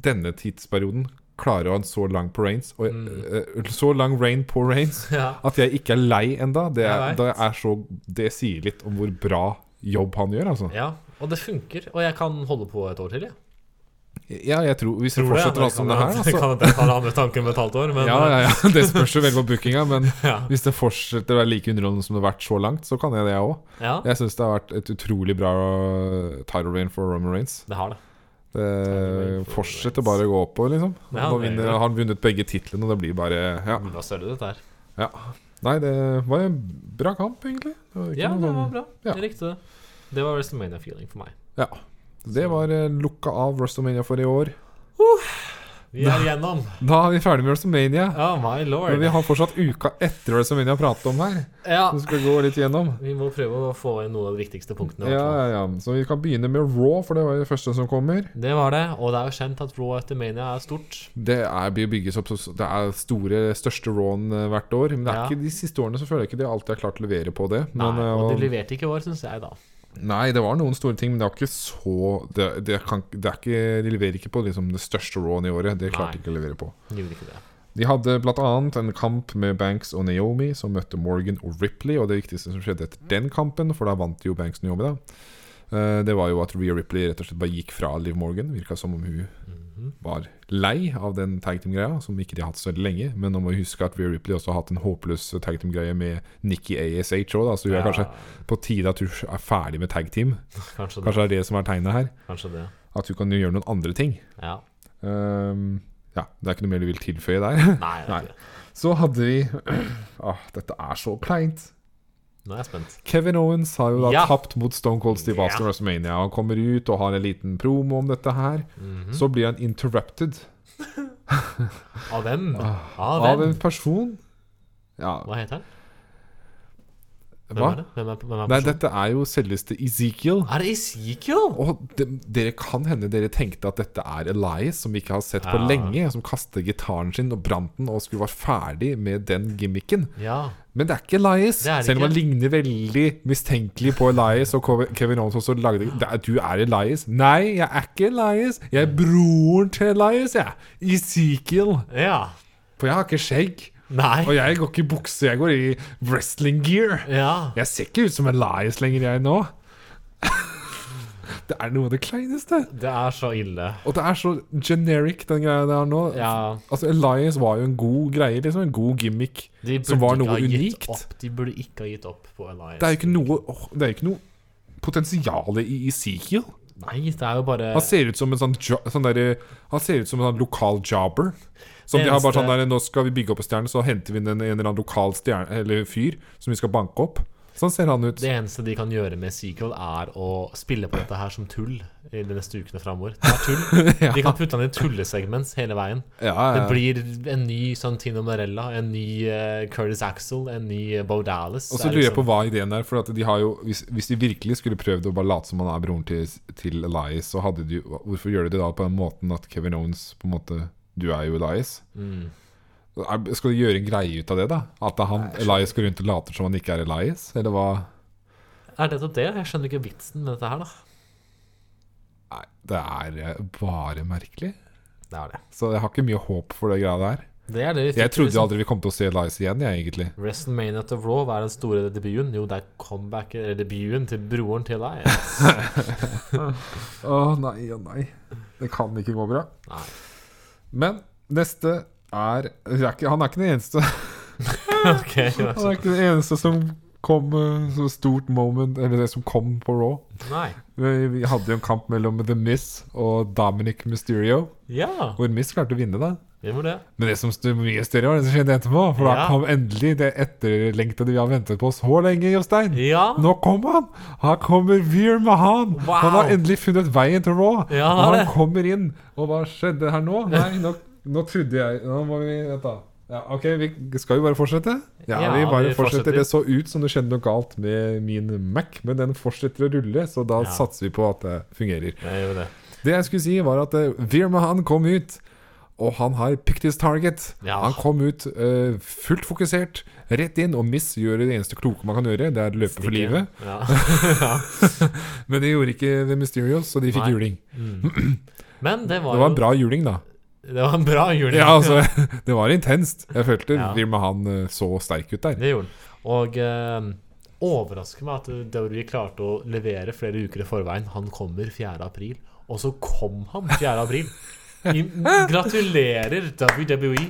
denne tidsperioden klarer å ha en så lang på Reigns og,
Mm.
eh, Så lang rain på Reigns
ja.
at jeg ikke er lei enda det, er,
Jeg vet.
det, er så, det sier litt om hvor bra jobb han gjør, altså.
Ja, og det funker. Og jeg kan holde på et år til, jeg.
Ja, jeg tror Hvis det
Tror det,
fortsetter
ja.
sånn som det her,
Jeg
altså.
kan at jeg tar andre tanker om et halvt år, men eh,
Ja, ja, ja. Det spørs jo veldig på bookinga, men
Ja.
hvis det fortsetter å være like underholdende som det har vært så langt, så kan jeg det, jeg òg.
ja,
Jeg syns det har vært et utrolig bra øh, title rain for Roman Reigns.
det har det.
Det
reign for
fortsetter bare å gå oppover, liksom.
Ja,
Nå
det gjør
vinner,
det. Mm.
har han vunnet begge titlene, og det blir bare Ja.
Men Da ser du dette her.
ja. Nei, det var en bra kamp, egentlig. Det var ikke
Ja,
noe
det
sånn-
var bra.
ja.
Jeg likte det. Det var WrestleMania feeling for meg.
Ja. Det var eh, lukka av WrestleMania for i år.
Vi er igjennom.
Da er vi ferdig med WrestleMania.
Oh my
Men
lord.
vi har fortsatt uka etter WrestleMania å prate om her.
Ja.
Så vi skal gå litt gjennom.
Vi må prøve å få inn noen av de viktigste punktene. i
Ja,
hvert
ja,
fall.
ja. Så vi kan begynne med Raw, for det var jo det første som kommer.
Det var det, og det er jo kjent at Raw etter Mania er stort.
Det er, blir bygges opp så- Det er store, største Raw-en eh, hvert år. Men det er
Ja.
ikke de siste årene så føler jeg ikke de alltid har klart å levere på det.
Nei,
Men,
og de
eh,
leverte ikke i år, syns jeg, da.
nei, det var noen store ting, men det er ikke så det, det kan, det er ikke, De leverer ikke på liksom, det største Raw-en i året. Det klarte
Nei.
de ikke å levere på.
De Gjorde ikke det.
De hadde bl.a. en kamp med Banks og Naomi, som møtte Morgan og Ripley. Og det viktigste som skjedde etter den kampen, for da vant jo Banks og Naomi, da, eh, det var jo at Rhea Ripley rett og slett bare gikk fra Liv Morgan. Virka som om hun var lei av den tag team-greia, som ikke de har hatt så veldig lenge. Men nå må vi huske at Rhea Ripley også har hatt en håpløs tag team-greie med Nikki ASH òg, da, så hun er
Ja,
kanskje på tide at hun er ferdig med tag team.
kanskje, det.
Kanskje det er det som er tegnet her.
Kanskje det.
At hun kan gjøre noen andre ting.
Ja.
Ehm, ja, det er ikke noe mer du vil tilføye der.
Nei, det er
Nei.
ikke det.
Så hadde vi ah, Dette er så kleint.
Nå er jeg spent.
Kevin Owens har jo da
Ja.
tapt mot Stone Cold Steve Austin
Ja.
i WrestleMania. Han kommer ut og har en liten promo om dette her.
Mhm.
Så blir han interrupted
Av hvem?
Ah.
Av
av
hvem?
en person. Ja,
Hva heter han? Hvem
hva?
er det? Hvem er, hvem er
Nei,
personen?
dette er jo selveste Ezekiel.
Er det Ezekiel?
Og de, dere kan hende dere tenkte at dette er Elias, som vi ikke har sett på
Ja.
lenge, som kastet gitaren sin og brant den og skulle være ferdig med den gimmicken.
Ja.
Men det er ikke Elias.
Det er det
Selv om han
ikke.
ligner veldig mistenkelig på Elias og Kove- Kevin Owens også lagde det er, Du er Elias. Nei, jeg er ikke Elias. Jeg er broren til Elias, jeg. Ezekiel.
Ja.
For jeg har ikke skjegg. Og
Nei.
jeg går ikke i bukse, jeg går i wrestling gear.
Ja.
Jeg ser ikke ut som Elias lenger, jeg nå. Det er noe av det kleineste.
Det er så ille.
Og det er så generic, den greia der nå.
Ja.
Altså, Elias var jo en god greie, liksom. En god gimmick.
De burde
Som var
ikke
noe
ha gitt
unikt.
Opp. De burde ikke ha gitt opp på Elias.
Det er jo ikke noe åh, Det er jo ikke noe potensial i Ezekiel.
Nei, det er jo bare
Han ser ut som en sånn, jo, sånn derre- Han ser ut som en sånn lokal jobber. Som
Det
de har bare
eneste-
sånn der Nå skal vi bygge opp en stjerne, så henter vi en, en eller annen lokal stjerne Eller fyr som vi skal banke opp. Sånn ser han ut.
Det eneste de kan gjøre med Sequel, er å spille på dette her som tull i de neste ukene framover. Det er tull. De kan putte han i tullesegments hele veien.
Ja, ja,
Det
ja.
blir en ny Santino Marella, en ny eh, Curtis Axel, en ny eh, Bo Dallas. liksom-
Og så liksom- lurer jeg på hva ideen er. For at de har jo hvis, hvis de virkelig skulle prøvd å bare late som han er broren til, til Elias, så hadde de jo- Hvorfor gjør de det da på den måten at Kevin Owens på en måte Du er jo Elias.
Mm.
Er- Skal du gjøre en greie ut av det, da? At han, Elias går rundt og later som han ikke er Elias? Eller hva?
Er det nettopp det? Jeg skjønner ikke vitsen med dette her, da.
Nei, det er eh, bare merkelig.
Det er det.
Så jeg har ikke mye håp for det greia der.
Det er det vi fikk.
Jeg trodde
liksom.
aldri vi kom til å se Elias igjen, jeg, egentlig.
WrestleMania til Raw, hva er den store debuten? Jo, det er comebacket, eller debuten til broren til deg.
Å nei, å nei. Det kan ikke gå bra.
Nei.
Men neste er, det er ikke, Han er ikke den eneste
ok,
Han er ikke den eneste som kom eh, så stort moment Eller det som kom på Raw.
Nei.
Vi, vi hadde jo en kamp mellom The Miss og Dominic Mysterio,
Ja,
hvor Miss klarte å vinne, da.
vi må det.
Men det som sto mye større, var det som skjedde etterpå. For da
Ja.
kom endelig det etterlengtede vi har ventet på så lenge, Jostein.
Ja.
Nå kom han! Her kommer Veer Mahan!
Wow.
Han har endelig funnet veien til Raw.
Ja, han
og
har
han
det.
kommer inn. Og hva skjedde her nå? Nei, nå, nå trodde jeg Nå må vi Vent, da. Ja, OK, vi skal jo bare fortsette? Ja,
Ja,
vi bare
vi
fortsetter.
fortsetter.
Det så ut som det skjedde noe galt med min Mac, men den fortsetter å rulle, så da
Ja.
satser vi på at det fungerer.
Jeg gjør det.
Det jeg skulle si, var at eh, Veer Mahan kom ut, og han har picked his target.
Ja.
Han kom ut eh, fullt fokusert, rett inn, og Miss gjør det eneste kloke man kan gjøre, det er å løpe for livet.
Ja.
Men det gjorde ikke The Mysterios, så de fikk
Nei.
juling.
Men det var,
Det var en
jo
bra juling, da.
Det var en bra juling.
Ja, altså, Det var intenst. Jeg følte
Ja.
Vilma Han eh, så sterk ut der.
Det gjorde den. Og eh, overrasker meg at WWE klarte å levere flere uker i forveien. Han kommer 4. april. Og så kom han 4. april. I, gratulerer WWE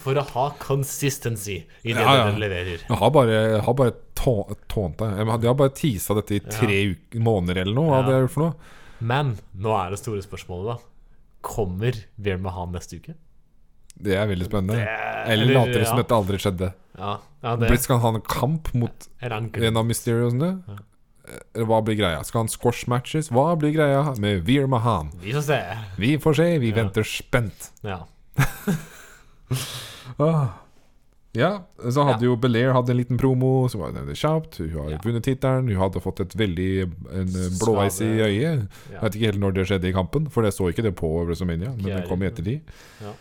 for å ha consistency i det
Ja, ja.
dere leverer.
Jeg har bare, jeg har bare tå- tånta Jeg har- De har bare teasa dette i tre uker, måneder eller noe. Hva hadde jeg gjort for noe?
Men nå er det store spørsmålet, da. Kommer Veer Mahan neste uke?
Det er veldig spennende. Eller
eller,
later det som
ja.
dette aldri skjedde.
Ja, ja det
Blitt skal han ha en kamp mot
er han gl-
en av Mysteriosene? Eh, Hva blir greia? Skal han squash matches? Hva blir greia med Veer Mahan?
Vi får se.
Vi får se, vi venter spent.
Ja.
Ah. Ja, så hadde jo Belair hadde en liten promo som var det kjapt. Hun har
Ja.
vunnet tittelen. Hun hadde fått et veldig en eh, blåveis i
Skade.
øyet. Jeg
ja.
vet ikke helt når det skjedde i kampen, for jeg så ikke det på WrestleMania. Men
Ikke
det kom i
jeg.
ettertid.
Ja.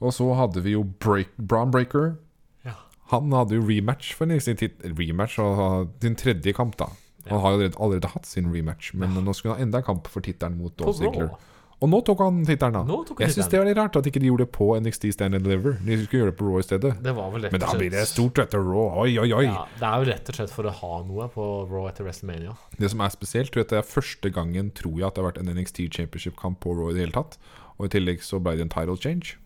Og så hadde vi jo Break, Braun Breaker.
Ja.
Han hadde jo rematch for sin, tit- rematch, og sin tredje kamp, da. Han har jo allerede, allerede hatt sin rematch, men nå skulle han ha enda en kamp for tittelen mot
På
Dolph Ziggler.
Raw.
Og nå tok han tittelen, da.
Nå tok han
jeg syns
tittelen.
det var litt rart at ikke de gjorde det på NXT Stand and Deliver. De skulle gjøre det på Raw i stedet.
Det var vel rett
Men da
og
blir det
slett-
stort etter Raw. Oi, oi, oi.
Ja, det er jo rett og slett for å ha noe på Raw etter WrestleMania.
Det som er spesielt, tror jeg at det er første gangen tror jeg at det har vært en NXT Championship-kamp på Raw i det hele tatt. Og i tillegg så ble det en title change.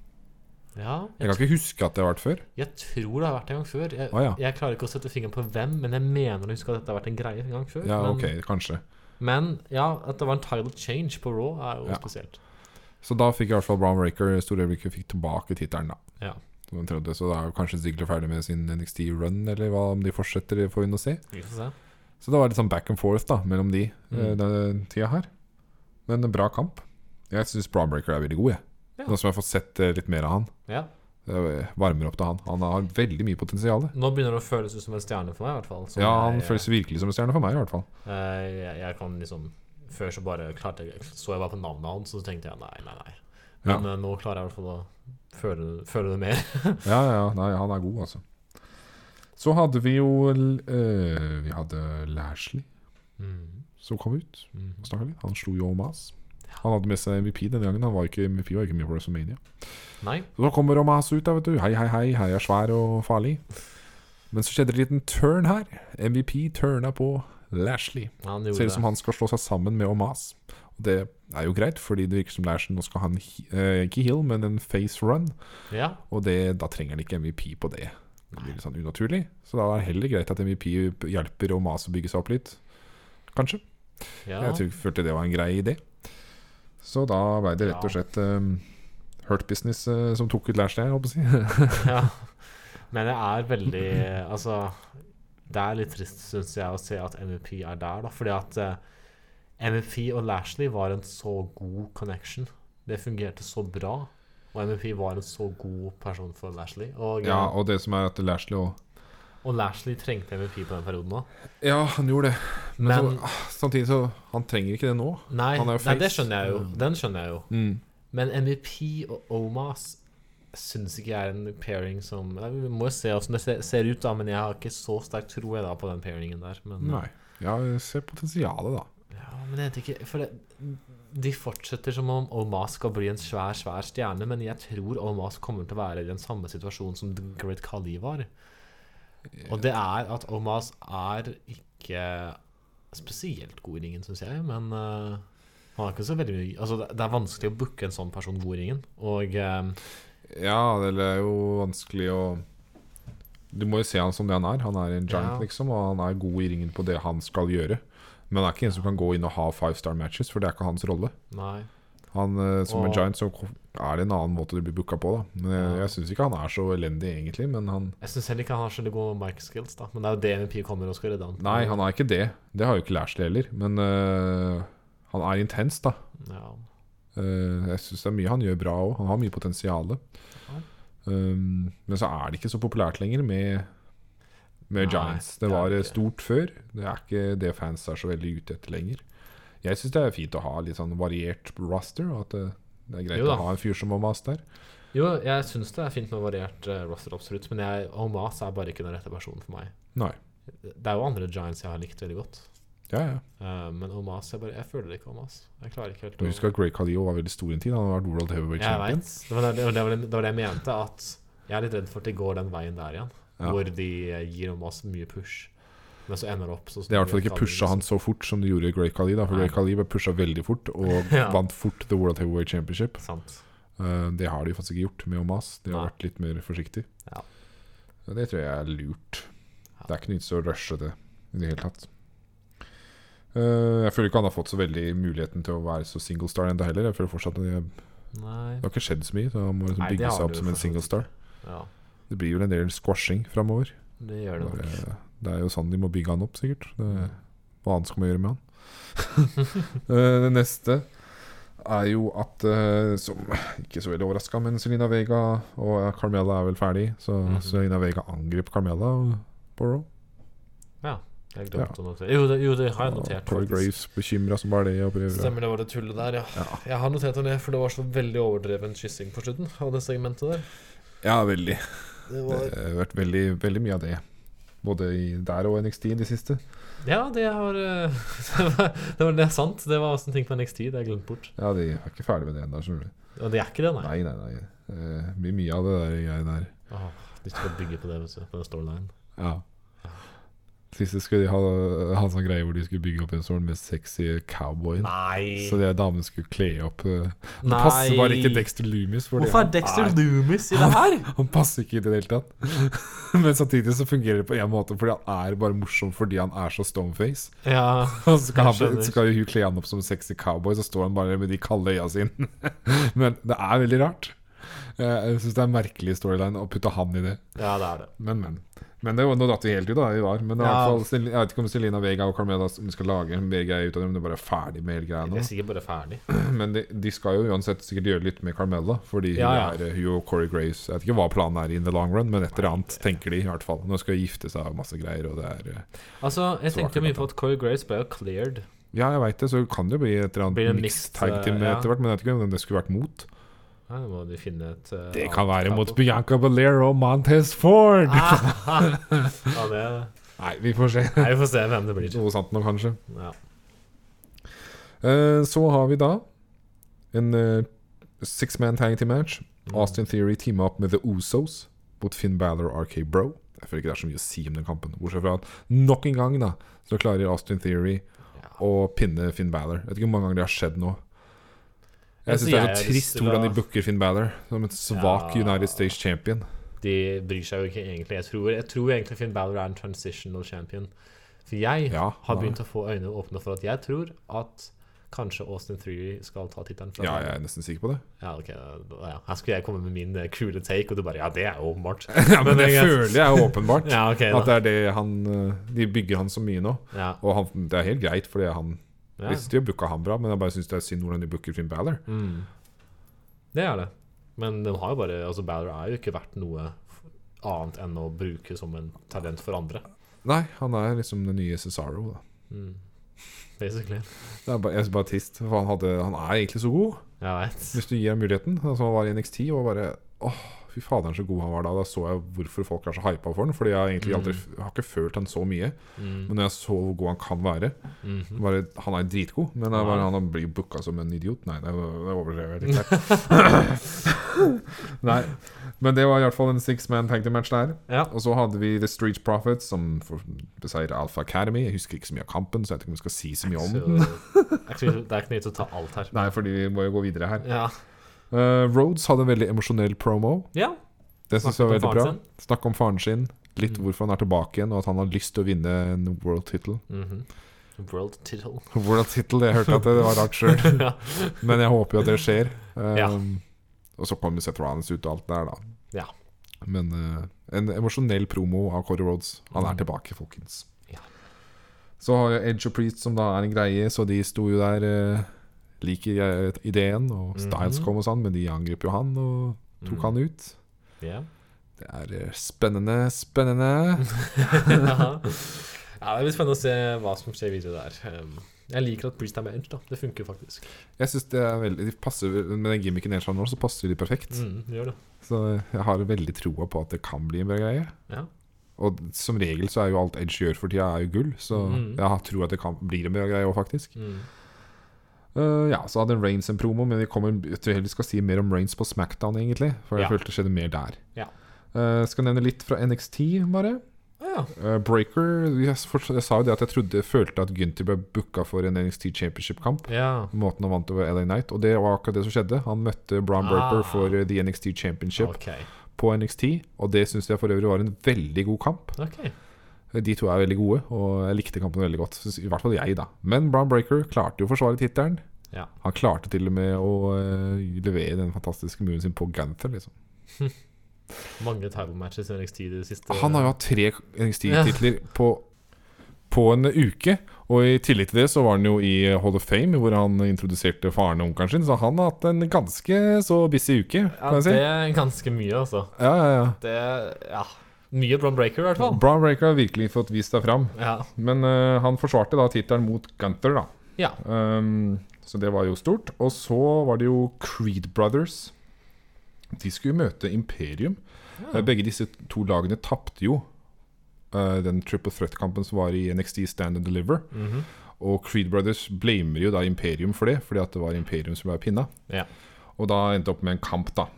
Ja,
Jeg
jeg,
kan ikke huske at det har vært før.
jeg tror det har vært en gang før. Jeg,
Å, ja.
jeg klarer ikke å sette fingeren på hvem, men jeg mener å huske at dette har vært en greie en gang før.
Ja,
men,
ok, kanskje.
men ja, at det var en title change på Raw, er jo
Ja.
spesielt.
Så da fikk i hvert fall Brown Raker store øyeblikket fikk tilbake tittelen, da.
Ja,
Som han trodde. Så da er jo kanskje Ziggler ferdig med sin NXT-run, eller hva om de fortsetter, det får vi nå se.
vi får se.
Så det var litt sånn back and forth da mellom de
Mm.
eh, denne tida her. Men en bra kamp. Jeg syns Brown Raker er veldig god, jeg.
Ja.
Nå som jeg har fått sett eh, litt mer av han.
Ja.
Jeg eh, varmer opp til han. Han har veldig mye potensial.
Nå begynner det å føles ut som en stjerne for meg, i hvert fall. som
Ja, han
jeg,
føles virkelig som en stjerne for meg, i hvert fall.
eh, jeg, jeg kan liksom Før så bare klarte jeg Så jeg bare på navnet hans, og så tenkte jeg nei, nei, nei.
Ja.
Men eh, nå klarer jeg i hvert fall å føle, føle det mer.
Ja, ja, ja. nei, han er god, altså. Så hadde vi jo eh, Vi hadde Lashley
Mm,
som kom ut
mm.
og snakka litt. Han slo jo Omas. Han hadde med seg MVP denne gangen. Han var ikke, MVP var ikke med på WrestleMania.
Nei.
Så da kommer Omas ut, da, vet du. Hei, hei, hei. Hei er svær og farlig. Men så skjedde det en liten turn her. MVP turna på Lashley.
Han gjorde
Ser ut som han skal slå seg sammen med Omas. Og det er jo greit, fordi det virker som Lashley nå skal ha en he- eh, ikke heal, men en face run.
det. Ja.
Og det, da trenger han ikke MVP på det. Det blir litt sånn unaturlig. Så da er det heller greit at MVP hjelper og maser å bygge seg opp litt. Kanskje.
ja.
Jeg tror, følte det var en grei idé. Så da ble det rett og slett um, Hurt Business eh, som tok ut Lashley, jeg håper jeg å si.
Ja. Men det er veldig Altså, det er litt trist, syns jeg, å se at MVP er der, da. Fordi at eh, MVP og Lashley var en så god connection. Det fungerte så bra. Og MVP var en så god person for Lashley. Og,
ja, og det som er at Lashley òg
og Lashley trengte MVP på den perioden òg.
Ja, han gjorde det. Men,
Men
så, ah, samtidig så Han trenger ikke det nå.
nei,
han er jo
nei, det
face. Mm.
skjønner jeg jo. Den skjønner jeg jo. Men MVP og Omas syns ikke jeg er en pairing som Nei, Vi må jo se åssen det se- ser ut, da, men jeg har ikke så sterk tro jeg da på den pairingen der. Men,
Nei. Ja, se potensialet, da.
Ja, men jeg vet ikke For det, de fortsetter som om Omas skal bli en svær, svær stjerne, men jeg tror Omas kommer til å være i den samme situasjonen som The Great Khali var. Og det er at Omas er ikke spesielt god i ringen, syns jeg, men eh, han er ikke så veldig mye Altså, det, det er vanskelig å booke en sånn person god i ringen, og eh,
Ja, det er jo vanskelig å Du må jo se han som det han er. Han er en giant,
Ja.
liksom, og han er god i ringen på det han skal gjøre. Men han er ikke en som kan gå inn og ha five star matches, for det er ikke hans rolle.
nei.
Han eh, Som en
Og-
giant så ko- er det en annen måte du blir booka på, da. Men jeg,
Ja.
jeg syns ikke han er så elendig, egentlig, men han
Jeg syns heller ikke han har så gode mic skills, da, men det er jo det MVP kommer og skal redde han.
Nei, han er ikke det. Det har jo ikke Lashley heller. Men eh, han er intens, da.
ja.
Eh, jeg syns det er mye han gjør bra òg. Han har mye potensial.
Ja.
Um, men så er det ikke så populært lenger med, med
Nei,
Giants. Det
det er
var
det
eh,
ikke.
stort før. Det er ikke det fans er så veldig ute etter lenger. Jeg syns det er fint å ha litt sånn variert roster, og at det, det er greit
Jo da.
å ha en fyr som Omas der.
Jo, jeg syns det er fint med variert eh, roster, absolutt, men jeg, Omas er bare ikke den rette personen for meg.
Nei.
Det er jo andre Giants jeg har likt veldig godt,
Ja, ja.
Eh, men Omas Jeg bare, jeg føler ikke Omas. Jeg klarer ikke helt
Du husker at Grey Khalil var veldig stor en tid. Han har vært World Heavyweight
Jeg
Champion.
vet. Det var det, det, var det, det var det jeg mente, at jeg er litt redd for at de går den veien der igjen,
Ja.
hvor de eh, gir Omas mye push, men så ender det opp sånn som
Det er i hvert fall
Great
ikke
Khali, liksom.
pusha han så fort som det gjorde Grey Khalil. Da, for
Nei.
Grey Khalil ble pusha veldig fort, og
Ja.
vant fort The World Heavyweight Championship.
liksom. Sant.
Eh, det har de faktisk ikke gjort med Omas. De har
Nei.
vært litt mer forsiktig.
Ja.
Og Det tror jeg er lurt.
Ja.
Det er ikke noe vits å rushe det i det hele tatt. Eh, jeg føler ikke han har fått så veldig muligheten til å være så single star ennå heller. Jeg føler fortsatt at Det,
Nei.
det har ikke skjedd så mye. Så han må liksom
Nei, det
bygge
har
seg
du
opp som en
for så
single
vidt.
star.
Ja,
Det blir vel en del squashing framover.
det gjør det nok.
Bare- Det er jo sånn de må bygge han opp, sikkert. Det, hva annet skal man gjøre med han? Eh, det neste er jo at eh, Som ikke så veldig overraska, men Selina Vega og Carmela er vel ferdig. Så
Mhm.
Selina Vega angrep Carmela på Raw.
Jeg glemte å notere. Jo, det, jo, det har jeg notert.
Corey
faktisk.
Graves bekymra som bare det. Og prøver. å-
Stemmer, det var det tullet der, ja.
Ja.
Jeg har notert det ned, for det var så veldig overdreven kyssing på slutten av det segmentet der.
Ja, veldig.
Det
Det
var,
har vært veldig, veldig mye av det. Både i der og NXT i det siste.
ja, det har eh, Det var, det var det er sant. Det var også en ting på NXT det er glemt bort.
Ja, de er ikke ferdig med det ennå, skjønner du.
Og det er ikke det, nei.
Nei, nei, nei. Eh, blir mye av det der greiet der.
Åh, de skal bygge på det, vet du. På den storylinen.
Ja. Sist skulle de ha, ha en sånn greie hvor de skulle bygge opp en sånn med sexy cowboyen.
Nei!
Så de damene skulle kle opp eh, Det passer bare ikke Dexter Loomis. fordi
Hvorfor
han
er Dexter Loomis i det her?
Han passer ikke i det hele tatt. Men samtidig så fungerer det på én måte, fordi han er bare morsom fordi han er så stoneface.
Ja,
Og så skal, han,
skjønner.
så skal hun kle han opp som sexy cowboy, så står han bare med de kalde øya sine. Men det er veldig rart. Eh, Jeg syns det er en merkelig storyline å putte han i det.
ja, det er det.
Men, men. Men det var, nå datt vi helt ut, da. Vi var. Men det er i
Ja.
hvert fall, Sel- jeg vet ikke om Selina Vega og Carmela som skal lage en mer greie ut av det, om det bare er ferdig med hele greia
Jeg
nå.
er sikkert bare ferdig.
Men de, de skal jo uansett sikkert gjøre litt med Carmela, fordi hun,
Ja, ja.
Er, eh, hun og Corey Graves Jeg vet ikke hva planen er in the long run, men et eller annet tenker de i hvert fall. Nå skal de gifte seg og masse greier, og det er eh,
Altså, jeg
Så
tenkte
akkurat
mye på at Corey Grace ble jo cleared.
Ja, jeg veit det, så kan det jo bli et eller
Blir det
annet
mixed,
mixed-tag team
eh, ja.
etter hvert, men jeg vet ikke om det skulle vært mot.
Ja, nå må de finne et eh,
Det
annet
kan være mot
tabu.
Bianca Belair og Montez Ford!
Ah, ja, det
Nei, vi får se.
Nei, vi får se hvem det blir.
Noe sant nå, kanskje.
Ja.
Eh, Så har vi da en eh, six-man tag team match.
Mm.
Austin Theory teama opp med The Usos mot Finn Balor og RK Bro. Jeg føler ikke det er så mye å si om den kampen, bortsett fra at nok en gang da så klarer Austin Theory
Ja.
å pinne Finn Balor. Jeg vet ikke hvor mange ganger det har skjedd nå. Jeg
Jeg
syns
synes
det
jeg
er
har
så
lyst
trist
til å-
hvordan de booker Finn Balor som en svak
Ja.
United States champion.
De bryr seg jo ikke egentlig. Jeg tror, jeg tror egentlig Finn Balor er en transitional champion. For jeg
Ja,
har begynt å få øynene åpne for at jeg tror at kanskje Austin Theory skal ta tittelen fra
ja,
ham.
jeg er nesten sikker på det.
Ja, ok, da- ja. Her skulle jeg komme med min eh, kule take, og du bare Ja, det er jo åpenbart.
ja, men
Men
jeg
jeg-
føler jeg er åpenbart
Ja, ok,
at
da.
det er det han eh, De bygger han så mye nå.
Ja,
Og han, det er helt greit, fordi han
ja.
visste jo booka han bra, men jeg bare syns det er synd hvordan de booker Finn Balor.
Mm. Det er det. Men den har jo bare Altså, Balor er jo ikke verdt noe f- annet enn å bruke som en talent for andre.
Nei, han er liksom den nye Cesaro, da.
Mm. Basically.
Det er bare, jeg er bare trist, for han, hadde, han er egentlig så god.
Jeg veit.
Hvis du gir ham muligheten, sånn som han var i NXT, og bare åh, fy faderen så god han var da. Da så jeg hvorfor folk er så hypa for han. Fordi jeg har egentlig aldri jeg har ikke følt han så mye.
Mm.
Men når jeg så hvor god han kan være
Mhm.
bare, Han er dritgod, men jeg bare, han blir booka som en idiot. Nei, det, det overdrev jeg litt her. Nei. Men det var i hvert fall en six man tag team match der.
Ja.
Og så hadde vi The Street Profits, som for- beseirer Alpha Academy. Jeg husker ikke så mye av kampen, så jeg vet ikke om vi skal si så mye om
Så,
den.
actually, det er ikke nøye til å ta alt her.
Nei, fordi vi må jo gå videre her.
Ja.
Uh, Rhodes hadde en veldig emosjonell promo.
ja.
Det synes jeg
Snakket
var
om
veldig bra.
faren
Snakk om faren sin. Litt
Mm.
hvorfor han er tilbake igjen, og at han har lyst til å vinne en world title.
Mhm. World title.
World title, jeg hørte at det, det var rart sjøl,
ja.
men jeg håper jo at det skjer. Um,
Ja.
Og så kommer Seth Rollins ut og alt det der, da.
Ja.
Men eh, en emosjonell promo av Corey Rhodes. Han er
Mm.
tilbake, folkens.
Ja.
Så har jeg Edge og Priest, som da er en greie, så de sto jo der. eh, liker jeg ideen, og Styles
Mhm. Mm.
kom og sånn, men de angrep jo han og tok han ut.
Ja.
Det er eh, spennende, spennende.
ja, det blir spennende å se hva som skjer videre der. Um, Jeg liker at Priest er med Edge, da. Det funker faktisk.
Jeg synes det er veldig de passer, Med den gimmicken Edge har nå, så passer de perfekt.
Mm, det gjør det.
Så jeg har veldig troa på at det kan bli en bra greie.
Ja.
Og som regel så er jo alt Edge gjør for tida, er jo gull, så
Mhm.
jeg har tro at det kan, blir en bra greie òg, faktisk.
Mm.
Eh, ja, så hadde Rains en promo, men vi kommer, jeg tror heller vi skal si mer om Rains på Smackdown, egentlig. For jeg
Ja.
følte det skjedde mer der.
Ja.
Eh, skal nevne litt fra NXT, bare.
Ah, ja.
Eh, Breaker jeg, forts- jeg sa jo det at jeg trodde, følte at Gunther ble booka for en NXT Championship-kamp.
ja.
Måten han vant over LA Knight. Og det var akkurat det som skjedde. Han møtte Brown Burper
Ah.
for eh, The NXT Championship
Ok.
på NXT. Og det syns jeg for øvrig var en veldig god kamp.
ok.
De to er veldig gode, og jeg likte kampen veldig godt. Synes- I hvert fall jeg, da. Men Brown Breaker klarte jo å forsvare tittelen.
Ja.
Han klarte til og med å eh, levere den fantastiske muren sin på Gunther. Liksom.
Mange title matches i NXT i det siste.
Han har jo hatt tre NXT-titler på, på en uke. Og i tillegg til det så var han jo i Hall of Fame, hvor han introduserte faren og onkelen sin. Så han har hatt en ganske så busy uke,
ja,
kan jeg si.
Det er ganske mye, altså.
Ja, ja, ja.
Det Ja. Mye Bron Breaker, i hvert fall.
Brown Breaker har virkelig fått vist seg fram.
Ja.
Men eh, han forsvarte da tittelen mot Gunther, da.
ja.
Um, så det var jo stort. Og så var det jo Creed Brothers. De skulle jo møte Imperium.
Ja.
Eh, Begge disse to lagene tapte jo eh, den triple threat-kampen som var i NXT Stand and Deliver.
Mhm.
Og Creed Brothers blamer jo da Imperium for det, fordi at det var Imperium som ble pinna.
Ja.
Og da endte opp med en kamp, da.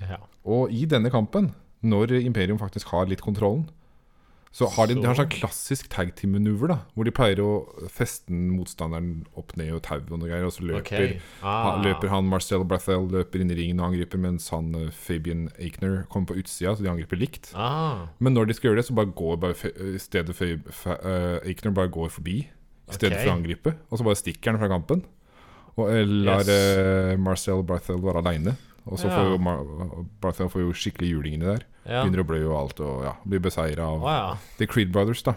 ja.
Og i denne kampen, når Imperium faktisk har litt kontrollen, så har de, de har en
Så-
sånn klassisk tag team-manøver, da. Hvor de pleier å feste motstanderen opp ned og tauet og noe greier, og så løper,
Ok. Ah.
ha, løper han Marcel Brathel løper inn i ringen og angriper, mens han eh, Fabian Aikner kommer på utsida, så de angriper likt.
Ah.
Men når de skal gjøre det, så bare går bare fe, i stedet for fa, eh, Aikner bare går forbi, i stedet
Ok.
for å angripe, og så bare stikker han fra kampen. Og eh, lar
Yes.
eh, Marcel Brathel være aleine. Og så
Ja.
får jo Mar Brathel får jo skikkelig juling inni der.
Ja.
Begynner å blø og alt, og ja, blir beseira av
Å ja.
The Creed Brothers, da.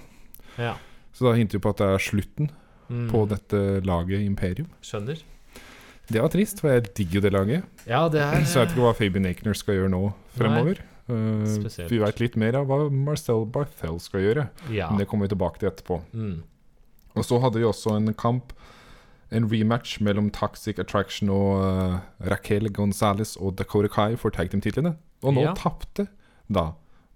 ja.
Så da hinter jo på at det er slutten
Mm.
på dette laget Imperium.
Skjønner.
Det var trist, for jeg digger jo det laget.
Ja, det er
Så jeg vet ikke hva Fabian Aikner skal gjøre nå fremover. Eh,
spesielt.
vi veit litt mer av hva Marcel Barthel skal gjøre.
Ja.
Men det kommer vi tilbake til etterpå.
Mm.
Og så hadde vi også en kamp, en rematch mellom Toxic Attraction og uh, Raquel Gonzales og Dakota Kai for tag team-titlene. Og nå
Ja.
tapte da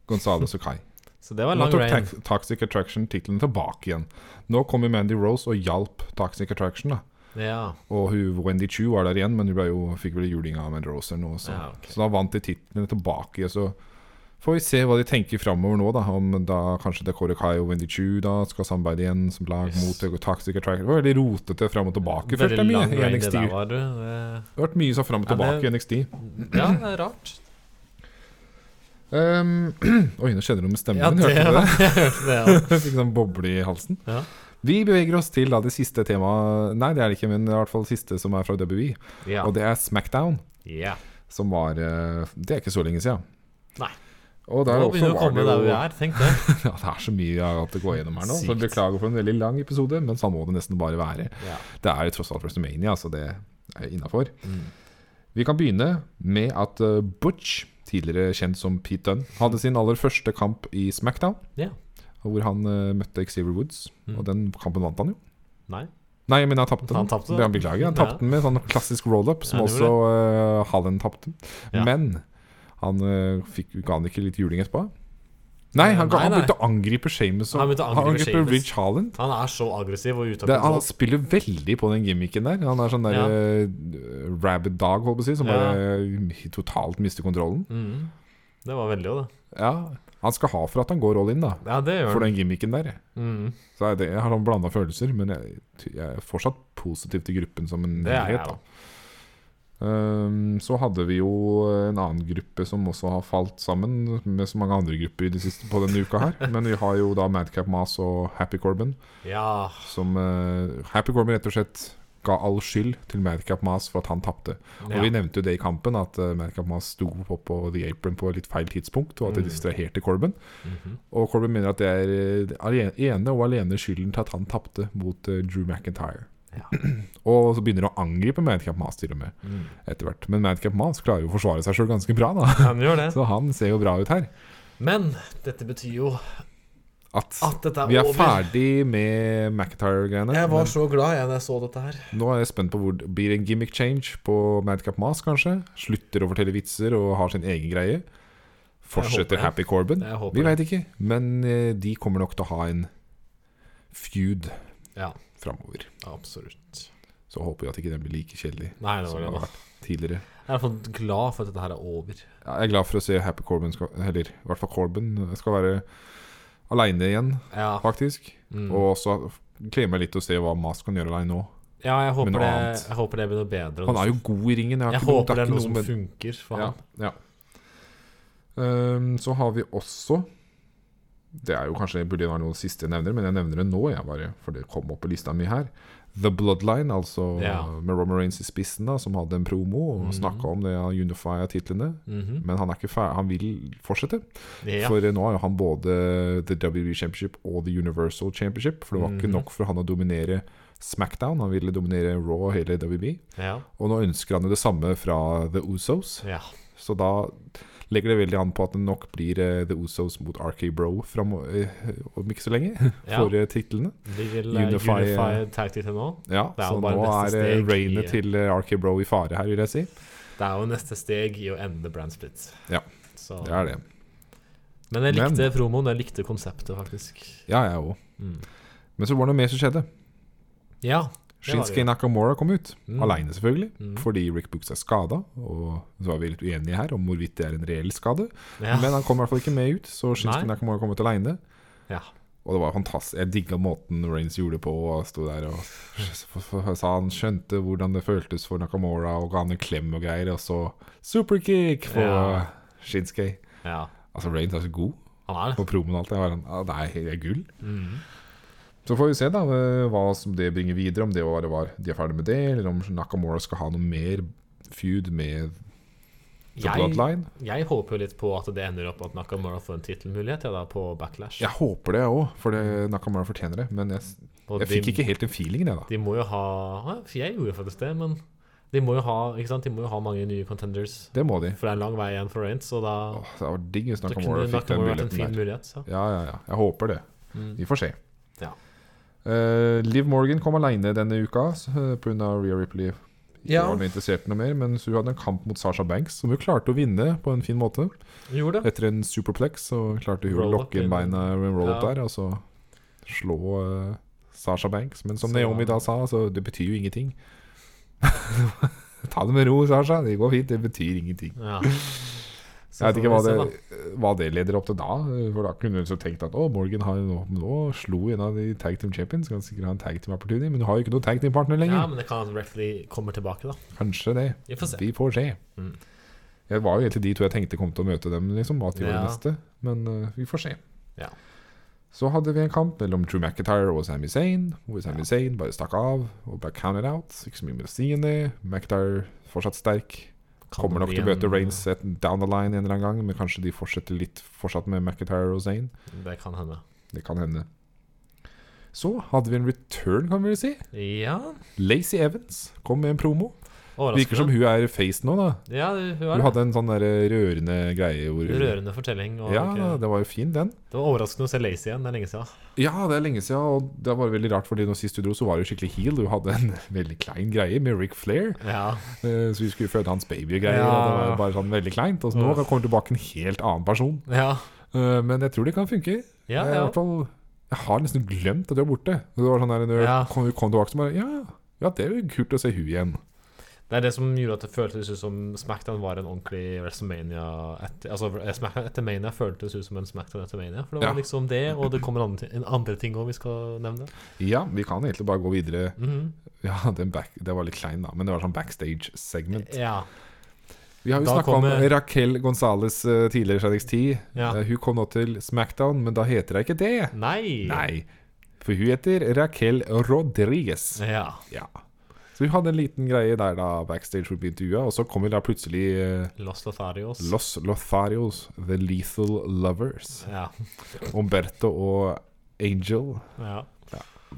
Gonzales og Kai.
Så det var
Nå
lang
tok
rain.
Tax- Toxic Attraction tittelen tilbake igjen. Nå kommer Mandy Rose og hjalp Toxic Attraction. da
Ja.
Og hun, Wendy Chu var der igjen, men hun ble jo, fikk vel juling av Mandy Rose. Eller noe, så.
Ja, ok.
så da vant de titlene tilbake. Så får vi se hva de tenker framover nå. da Om da kanskje Decore Kai og Wendy Chu da skal samarbeide igjen som lag
Yes.
mot Toxic Attraction. Det var veldig rotete fram og tilbake.
Veldig
følte jeg mye
lang
i
rain det
NXT.
der var, du. Det-
Det har vært mye sånn fram og
Ja,
tilbake
det-
i NXT.
Ja, det er rart.
Um, oi, nå skjedde det noe med stemmen
Ja,
min.
det,
Hørte du det?
jeg hørte det, ja.
Jeg fikk sånn boble i halsen.
Ja.
Vi beveger oss til da det siste temaet Nei, det er det ikke, men det er i hvert fall det siste som er fra WWE.
Ja.
Og det er Smackdown,
ja.
som var eh, Det er ikke så lenge siden.
Nei.
Og der
Nå
også
begynner vi å
var
komme
det
der vi
jo
er, tenk det.
Ja, det er så mye jeg har hatt å gå gjennom her nå, så
Sykt.
beklager for en veldig lang episode, men sånn må det nesten bare være.
Ja.
Det er jo tross alt WrestleMania, så det er innafor.
Mm.
Vi kan begynne med at eh, Butch, tidligere kjent som Pete Dunn, hadde sin aller første kamp i SmackDown,
Ja.
hvor han eh, møtte Xavier Woods,
Mm.
og den kampen vant han jo.
Nei.
Nei, men han tapte den.
Han tapte den.
Ja, Beklager. Han
Ja.
tapte den med sånn klassisk roll-up, som
Ja, han gjorde
også uh, Hallen tapte.
Ja.
Men han eh, fikk, ga han ikke litt juling etterpå? Nei, han,
Nei,
han
nei.
begynte å angripe Shames.
Han begynte å angripe Sheamus.
Rich Holland.
Han er så aggressiv og ute av
Det, han
kontroll.
spiller veldig på den gimmicken der. Han er sånn der
Ja.
eh, rabid dog, holdt på å si, som
Ja.
bare eh, totalt mister kontrollen.
Mm. Det var veldig òg, det.
Ja, Han skal ha for at han går all in, da.
Ja, det gjør
For
han.
den gimmicken der.
Mm.
Så er det, jeg har blanda følelser, men jeg, jeg er fortsatt positiv til gruppen som en
Det er jeg
helhet. da.
òg.
Ehm, så hadde vi jo en annen gruppe som også har falt sammen med så mange andre grupper i det siste på denne uka her. Men vi har jo da Madcap Mas og Happy Corbin,
Ja.
som eh, Happy Corbin rett og slett ga all skyld til Madcap Mas for at han tapte. Og
ja.
vi nevnte jo det i kampen, at eh, Madcap Mas sto på, på The Apron på litt feil tidspunkt, og at det
Mm.
distraherte Corbin.
Mhm.
Og Corbin mener at det er eh, alene- ene og alene skylden til at han tapte mot eh, Drew McIntyre.
Ja.
og så begynner han å angripe Madcap Mas til og med
Mm.
etter hvert. Men Madcap Mas klarer jo å forsvare seg sjøl ganske bra, da.
Han gjør det.
Så han ser jo bra ut her.
Men dette betyr jo
At
at dette er,
vi er
over.
ferdig med McIntyre-greiene.
Jeg var
men
så glad jeg da jeg så dette her.
Nå er jeg spent på hvor det blir en gimmick change på Madcap Mas, kanskje. Slutter å fortelle vitser og har sin egen greie.
Jeg håper
Fortsetter
det.
Happy Corbin.
Jeg håper
Vi veit ikke, men eh, de kommer nok til å ha en feud
Ja.
framover.
Absolutt.
Så håper vi at ikke den blir like kjedelig
Nei, det
som
var
den har
det. da.
vært tidligere.
Jeg er i hvert fall glad for at dette her er over.
Ja, Jeg er glad for å se Happy Corbin skal, Eller i hvert fall Corbin eh, skal være aleine igjen,
Ja,
faktisk.
mm.
Og også gleder meg litt til å se hva Mas kan gjøre aleine nå.
ja jeg,
Men
håper
noe
det,
annet.
jeg håper det blir noe bedre.
Han er jo god i ringen. Jeg, har
jeg
ikke noe-
håper det er
ikke
noe som
med-
funker for
Ja,
han.
ja. Ehm, så har vi også Det er jo kanskje burde være noe siste jeg nevner, men jeg nevner det nå, jeg bare, for det kom opp på lista mi her. The Bloodline, altså
Ja.
med Roman Reigns i spissen, da som hadde en promo og
Mhm.
snakka om det av Unifia-titlene.
Mhm.
Men han er ikke ferdig, han vil fortsette.
Ja.
For eh, nå har jo han både The WWE Championship og The Universal Championship. For det var
Mhm.
ikke nok for han å dominere SmackDown, han ville dominere Raw og hele WB.
Ja.
Og nå ønsker han jo det samme fra The Usos.
ja.
Så da legger det veldig an på at det nok blir eh, The Usos mot RK Bro fram, eh, om ikke så lenge.
Ja.
For eh, titlene.
De vil eh,
Unify,
unify,
eh,
tag team til nå.
Ja,
Det er
så
jo
nå
bare
er
neste
eh,
steg i-
rainet til eh, RK Bro i fare her, vil jeg si.
Det er jo neste steg i å ende brand split.
Ja.
Så.
Det er det.
Men jeg
Men-
likte promoen, jeg likte konseptet, faktisk.
Ja, jeg òg.
Mm.
Men så var det noe mer som skjedde.
Ja. Det var det,
Shinsuke
ja.
Nakamura kom ut.
Mm.
Aleine, selvfølgelig.
Mm.
Fordi Rick Books er skada. Og så var vi litt uenige her om hvorvidt det er en reell skade.
ja.
Men han kom i hvert fall ikke med ut, så Shinsuke
Nei.
Nakamura kom ut aleine.
Ja.
Og det var fantastisk. Jeg digga måten Reigns gjorde det på. Og han sto der og sa han skjønte hvordan det føltes for Nakamura, og ga han en klem og greier. Og så superkick for
Ja.
Shinsuke.
ja.
Altså, Reigns er så god
Han er det.
på promoen og alt. Jeg var sånn, ah, Nei, det er gull.
Mm.
Så får vi se da eh, hva som det bringer videre, om det var, var de er ferdig med det, eller om Nakamura skal ha noe mer feud med The
Jeg,
Bloodline.
jeg håper jo litt på at det ender opp at Nakamura får en tittelmulighet ja, da, på Backlash.
Jeg håper det òg, for det, Nakamura fortjener det. Men jeg,
Og
jeg
de,
fikk ikke helt den feelingen, jeg, da.
De må jo ha ja, for Jeg gjorde faktisk det, men de må jo ha, ikke sant? De må jo ha mange nye contenders.
Det må de.
For det er en lang vei igjen for Reigns, så da,
Åh, det var digg hvis
da
Nakamura
kunne
fikk den
Nakamura vært en fin
muligheten der. Mm.
mulighet. Så.
Ja, ja, ja. Jeg håper det. Vi får se.
Ja.
Eh, Liv Morgan kom aleine denne uka eh, pga. Rhea Ripley. Ikke
Ja.
var noe interessert i noe mer, men hun hadde en kamp mot Sasha Banks, som hun klarte å vinne på en fin måte.
Gjorde det.
Etter en superplex så klarte hun å
Roll-up
lokke inn
inn.
beina med en roll-up
Ja.
der, og så slå eh, Sasha Banks. Men som
Så-
Naomi da sa, så det betyr jo ingenting. Ta det med ro, Sasha. Det går fint. Det betyr ingenting.
Ja.
Jeg vet ikke hva det, hva det leder opp til da. For da kunne hun så tenkt at å, Morgan har nå, nå slo en av de tag team champions. Kan sikkert ha en tag team opportunity, men hun har jo ikke noen tag team partner
Ja,
lenger.
men det kan hende Refley kommer tilbake, da.
Kanskje det.
Vi får se.
Vi får se.
Mm.
Det var jo egentlig de to jeg tenkte kom til å møte dem, liksom, at de var
Ja.
det neste. Men eh, vi får se.
Ja.
Så hadde vi en kamp mellom Drew McIntyre og Sami Zayn. Hvor Sami Zayn bare stakk av og ble counted out. Ikke så mye mer å si enn det. McIntyre fortsatt sterk.
Kan
Kommer
det
nok
bli
til å møte
en-
Reigns et- down the line en eller annen gang, men kanskje de fortsetter litt fortsatt med McIntyre og Zayn.
Det kan hende.
Det kan hende. Så hadde vi en return, kan vi vel si.
Ja.
Lacey Evans kom med en promo. Virker som
Overraskende.
hun er face nå, da.
Ja, det- hun
Hun
er det.
hadde en sånn der rørende greie hvor
Rørende fortelling. Og
Ja,
ikke-
det var jo fin, den.
det var overraskende å se Lacey igjen. Det er lenge siden.
Ja, det er lenge siden, og det var veldig rart, fordi når sist du dro, så var du skikkelig heel. Du hadde en veldig klein greie med Ric Flair,
Ja.
eh, så vi skulle føde hans baby-greier,
Ja.
og det var bare sånn veldig kleint. Og så nå
Uff.
kommer det tilbake en helt annen person.
Ja,
Eh, Men jeg tror det kan funke.
ja,
jeg, Eh, i
ja.
hvert fall, jeg har nesten glemt at du er borte. Og Det var sånn der, når
Ja.
du kom, kom tilbake, så bare ja, ja, det er jo kult å se hun igjen.
Det er det som gjorde at det føltes ut som Smackdown var en ordentlig WrestleMania etter, Altså Smackdown etter Mania føltes ut som en Smackdown etter Mania. For det var
Ja.
liksom det, og det kommer andre, en andre ting òg vi skal nevne.
Ja, vi kan egentlig bare gå videre.
Mhm.
Ja, den back, Det var litt klein, da, men det var sånn backstage-segment.
Ja.
Vi har jo
Da
snakka om
kommer-
Raquel Gonzales eh, tidligere fra NXT.
ja.
Eh, Hun kom nå til Smackdown, men da heter hun ikke det.
Nei.
Nei, for hun heter Raquel Rodriguez.
Ja.
Ja. Så hun hadde en liten greie der da backstage hun ble intervjua, og så kommer da plutselig eh,
Los Lotharios.
Los Lotharios, The Lethal Lovers.
ja.
Umberto og Angel.
ja.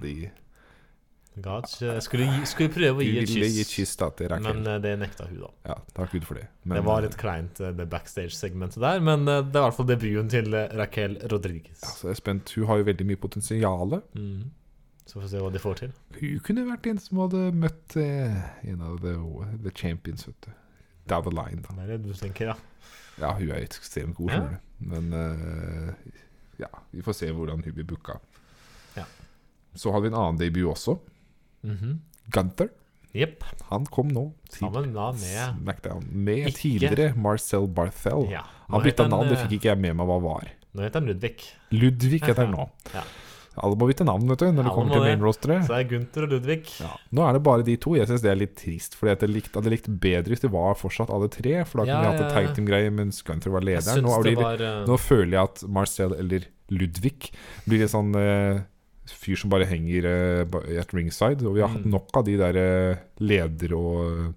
De,
God, jeg skulle, gi- skulle prøve å
de
gi
ville gi et
et kyss,
kyss da til Raquel.
men eh, det nekta hun, da.
ja, takk Gud for det. Men,
Det var litt kleint, eh, det backstage-segmentet der, men eh, det er i hvert fall debuten til eh, Raquel Rodriguez.
altså, jeg er spent. Hun har jo veldig mye potensiale.
Mhm. Så får vi se hva de får til.
Hun kunne vært en som hadde møtt eh, en av the, the champions, vet du. Down the line, da.
Det er det du tenker, ja.
Ja, hun er ekstremt god,
Ja.
skjønner du. Men eh, ja, vi får se hvordan hun blir booka.
Ja.
Så hadde vi en annen debut også.
Mhm.
Gunther.
Jepp.
Han kom nå. til
Sammen da med
Smackdown. Med
Ikke-
tidligere Marcel Barthel.
ja.
Han bytta navn,
eh,
det fikk ikke jeg med meg hva var.
Nå heter han Ludvig.
Ludvig heter han nå.
Ja.
Alle må bytte navn, vet du, når
Alle
det kommer
må
til
det.
main rosteret.
Så det er Gunther og Ludvig.
Ja. Nå er det bare de to. Jeg syns det er litt trist. Fordi at jeg likte, hadde likt bedre hvis det var fortsatt alle tre. For da kunne
Ja,
vi hatt
ja,
en
ja.
tag team-greie mens Gunther var
Jeg
lederen.
syns
Nå,
det
blir,
var eh,
nå føler jeg at Marcel, eller Ludvig, blir en sånn eh, fyr som bare henger eh, ba- at ringside. Og vi har hatt
Mm.
nok av de der eh, leder- og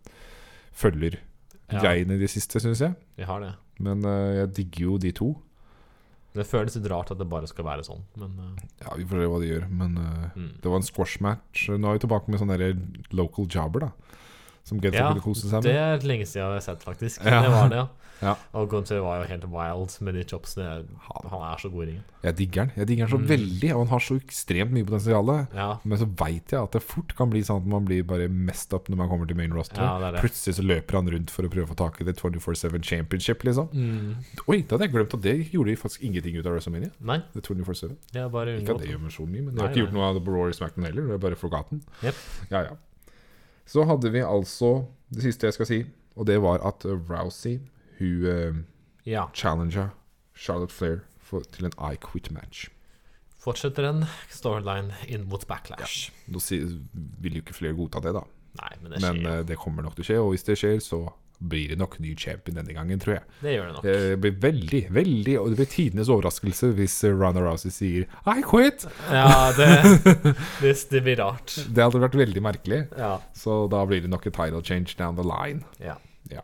ja,
følger-greiene i det siste, syns jeg.
Vi har det.
Men eh, jeg digger jo de to.
Det føles litt rart at det bare skal være sånn, men eh,
Ja, Vi får se hva de gjør. Men eh,
mm.
det var en squash-match. Nå er vi tilbake med sånne der local jobber, da. Som Gunther
Ja,
kunne kose seg
Det
med.
er lenge siden jeg har sett, faktisk.
Ja.
Det var det, ja.
Ja.
Og Gunther var jo helt wild med de chopsene.
Han-
Han er så god i ringen.
Jeg digger den. Jeg digger den så
Mm.
veldig, og han har så ekstremt mye potensial.
Ja.
Men så veit jeg at det fort kan bli sånn at man blir bare messed up når man kommer til main roster.
ja, det er det.
Plutselig så løper han rundt for å prøve å få tak i det 24-7 Championship, liksom.
Mm.
Oi, da hadde jeg glemt at det gjorde de faktisk ingenting ut av WrestleMania.
Nei,
Det 24-7.
det er bare
Ikke at
unngått.
det gjør meg så mye, men jeg har
Nei,
ikke
nei.
gjort noe av det på Rory Smackdown heller. Det er bare forgotten.
Jep.
Ja, ja. Så hadde vi altså det siste jeg skal si, og det var at eh, Rousey, hun eh,
Ja.
challenga Charlotte Flair for, til en I Quit-match.
Fortsetter en storyline inn mot backlash.
Nå si- vil jo ikke flere godta det, da.
Nei, men det skjer.
Men
jo.
eh, det kommer nok til å skje, og hvis det skjer, så blir det nok ny champion denne gangen, tror jeg.
det gjør det nok.
eh, Det blir veldig, veldig Og det blir tidenes overraskelse hvis eh, Ronda Rousey sier I quit!
Ja, det, det, det blir rart.
Det hadde vært veldig merkelig.
Ja.
Så da blir det nok et title change down the line.
ja.
Ja.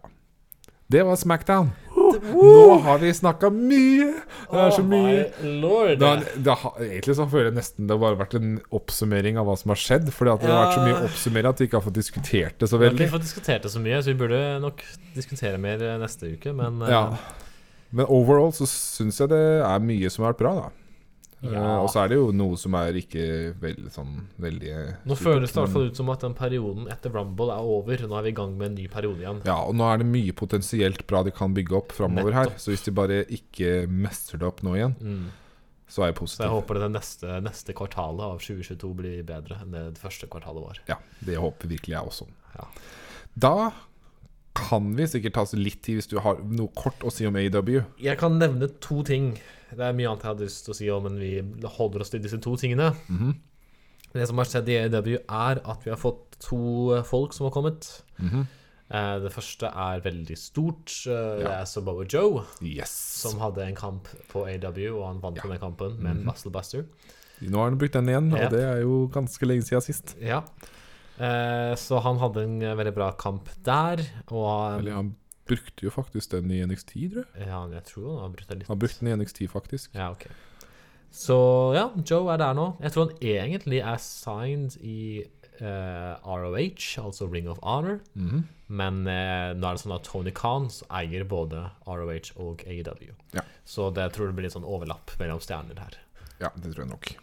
Det var Smackdown. Nå har vi snakka mye! Det er så mye.
my lord.
Det har, det har, egentlig så føler jeg nesten det har bare vært en oppsummering av hva som har skedd. Fordi at det har vært så mye
Ja.
oppsummering at vi ikke har fått diskutert det så
vi har
veldig.
ikke fått diskutert det så mye, så vi burde nok diskutere mer eh, neste uke, men eh,
Ja. Men overall så syns jeg det er mye som har vært bra, da.
Ja.
Eh, og så er det jo noe som er ikke veldig sånn veldig
nå føles det i hvert fall ut som at den perioden etter Rumble er over. Nå er vi i gang med en ny periode igjen.
Ja, og nå er det mye potensielt bra de kan bygge opp framover her.
Nettopp.
Så hvis de bare ikke mestrer det opp nå igjen,
Mm.
så er jeg
Så jeg
positiv.
håper det neste, neste kvartalet av 2022 blir bedre enn det første kvartalet var.
Ja, det håper virkelig jeg også.
Ja.
Da kan vi sikkert ta oss litt tid hvis du har noe kort å si om E AW.
Jeg kan nevne to ting. Det er mye annet jeg hadde lyst til å si òg, men vi holder oss til disse to tingene. Det som har skjedd i AEW, er at vi har fått to eh, folk som har kommet. Eh, Det første er veldig stort. Eh, Det
Ja.
er Saboa Joe,
Yes!
som hadde en kamp på AEW, og han vant
Ja.
denne kampen med en Battlebuster.
Nå har han brukt den igjen,
Ja.
og det er jo ganske lenge siden sist.
Ja. Eh, Så han hadde en eh, veldig bra kamp der, og
Eller han brukte jo faktisk den i NXT, tror jeg.
ja, jeg tror han har brutt det litt.
Han brukte den i NXT, faktisk.
Ja, ok. Så ja, Joe er der nå. Jeg tror han egentlig er signed i eh, ROH, altså Ring of Honor.
Mhm.
Men eh, nå er det sånn at Tony Khan eier både ROH og AEW.
Ja.
Så det jeg tror det blir litt sånn overlapp mellom stjerner her.
Ja, det tror jeg nok.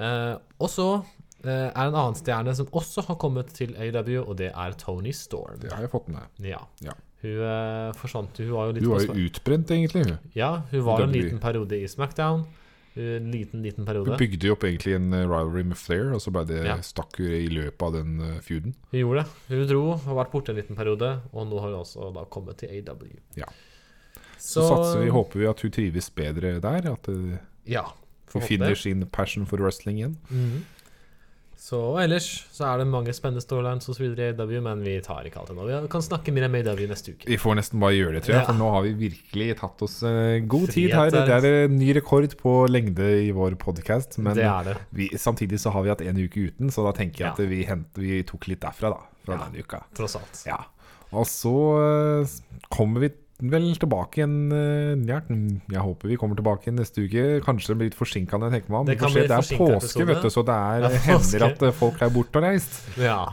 Eh, og så eh, er det en annen stjerne som også har kommet til AEW, og det er Tony Storm.
Det har jeg fått med meg.
Ja.
Ja.
Hun eh, forsvant Hun var jo litt
Hun var
på
jo utbrent, egentlig. hun.
sp- Ja, hun var en
WWE.
liten periode i SmackDown. En liten, liten
Hun
periode.
bygde jo opp egentlig en eh, rivalry med Flair, og så ble det
Ja.
stakk hun i løpet av den eh, feuden.
Hun gjorde det. Hun dro, har vært borte en liten periode, og nå har hun også da kommet til AW.
Ja.
Så,
Så, satser vi, håper vi at hun trives bedre der, at eh,
Ja. får
hun
håpe
finner
det.
sin passion for wrestling igjen.
Mhm. Så og ellers så er det mange spennende storylines osv. i AW, men vi tar ikke alt ennå. Vi kan snakke mer om AW neste uke.
Vi får nesten bare gjøre det, tror jeg,
Ja.
for nå har vi virkelig tatt oss eh, god tid her.
Frihet
Det
der.
er en ny rekord på lengde i vår podkast, men
det er det.
vi, samtidig så har vi hatt en uke uten, så da tenker jeg at
Ja.
vi, hent, vi tok litt derfra, da. Fra
Ja.
denne uka.
Tross alt.
Ja. Og så eh, kommer vi vel tilbake igjen eh, ja, Jeg håper vi kommer tilbake igjen neste uke. Kanskje det blir litt forsinka. Det,
Det kan bli
det er
forsinket
påske,
episode.
vet du, så det er,
Det er påske.
hender at eh, folk er borte og reist.
Ja,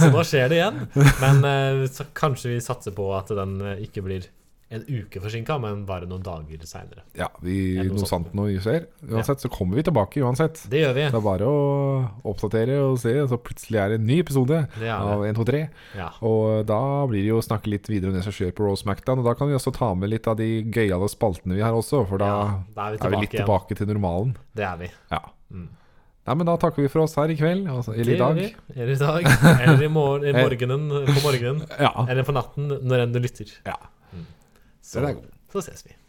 så nå skjer det igjen. Men eh, så kanskje vi satser på at den eh, ikke blir en uke forsinka, men bare noen dager seinere.
Ja, vi,
Det er noe
noe
sånt.
sant noe skjer. Uansett så kommer vi tilbake uansett.
Det gjør vi.
Det er bare å oppdatere og se, og så plutselig er det en ny episode
Det er
av 123.
Ja.
Og da blir det jo å snakke litt videre om det som skjer på Raw Smackdown. Og da kan vi også ta med litt av de gøyale spaltene vi har også, for da
Ja, da er vi
er vi litt
tilbake
tilbake
igjen.
til normalen.
Det er vi.
Ja.
Mm.
Nei, men da takker vi for oss her i kveld, altså, eller i
Det gjør
dag.
vi. Eller i dag. Eller i mor i morgenen, på morgenen.
Ja.
Eller på natten, når enn du lytter.
ja.
Så,
Den er god.
så ses vi.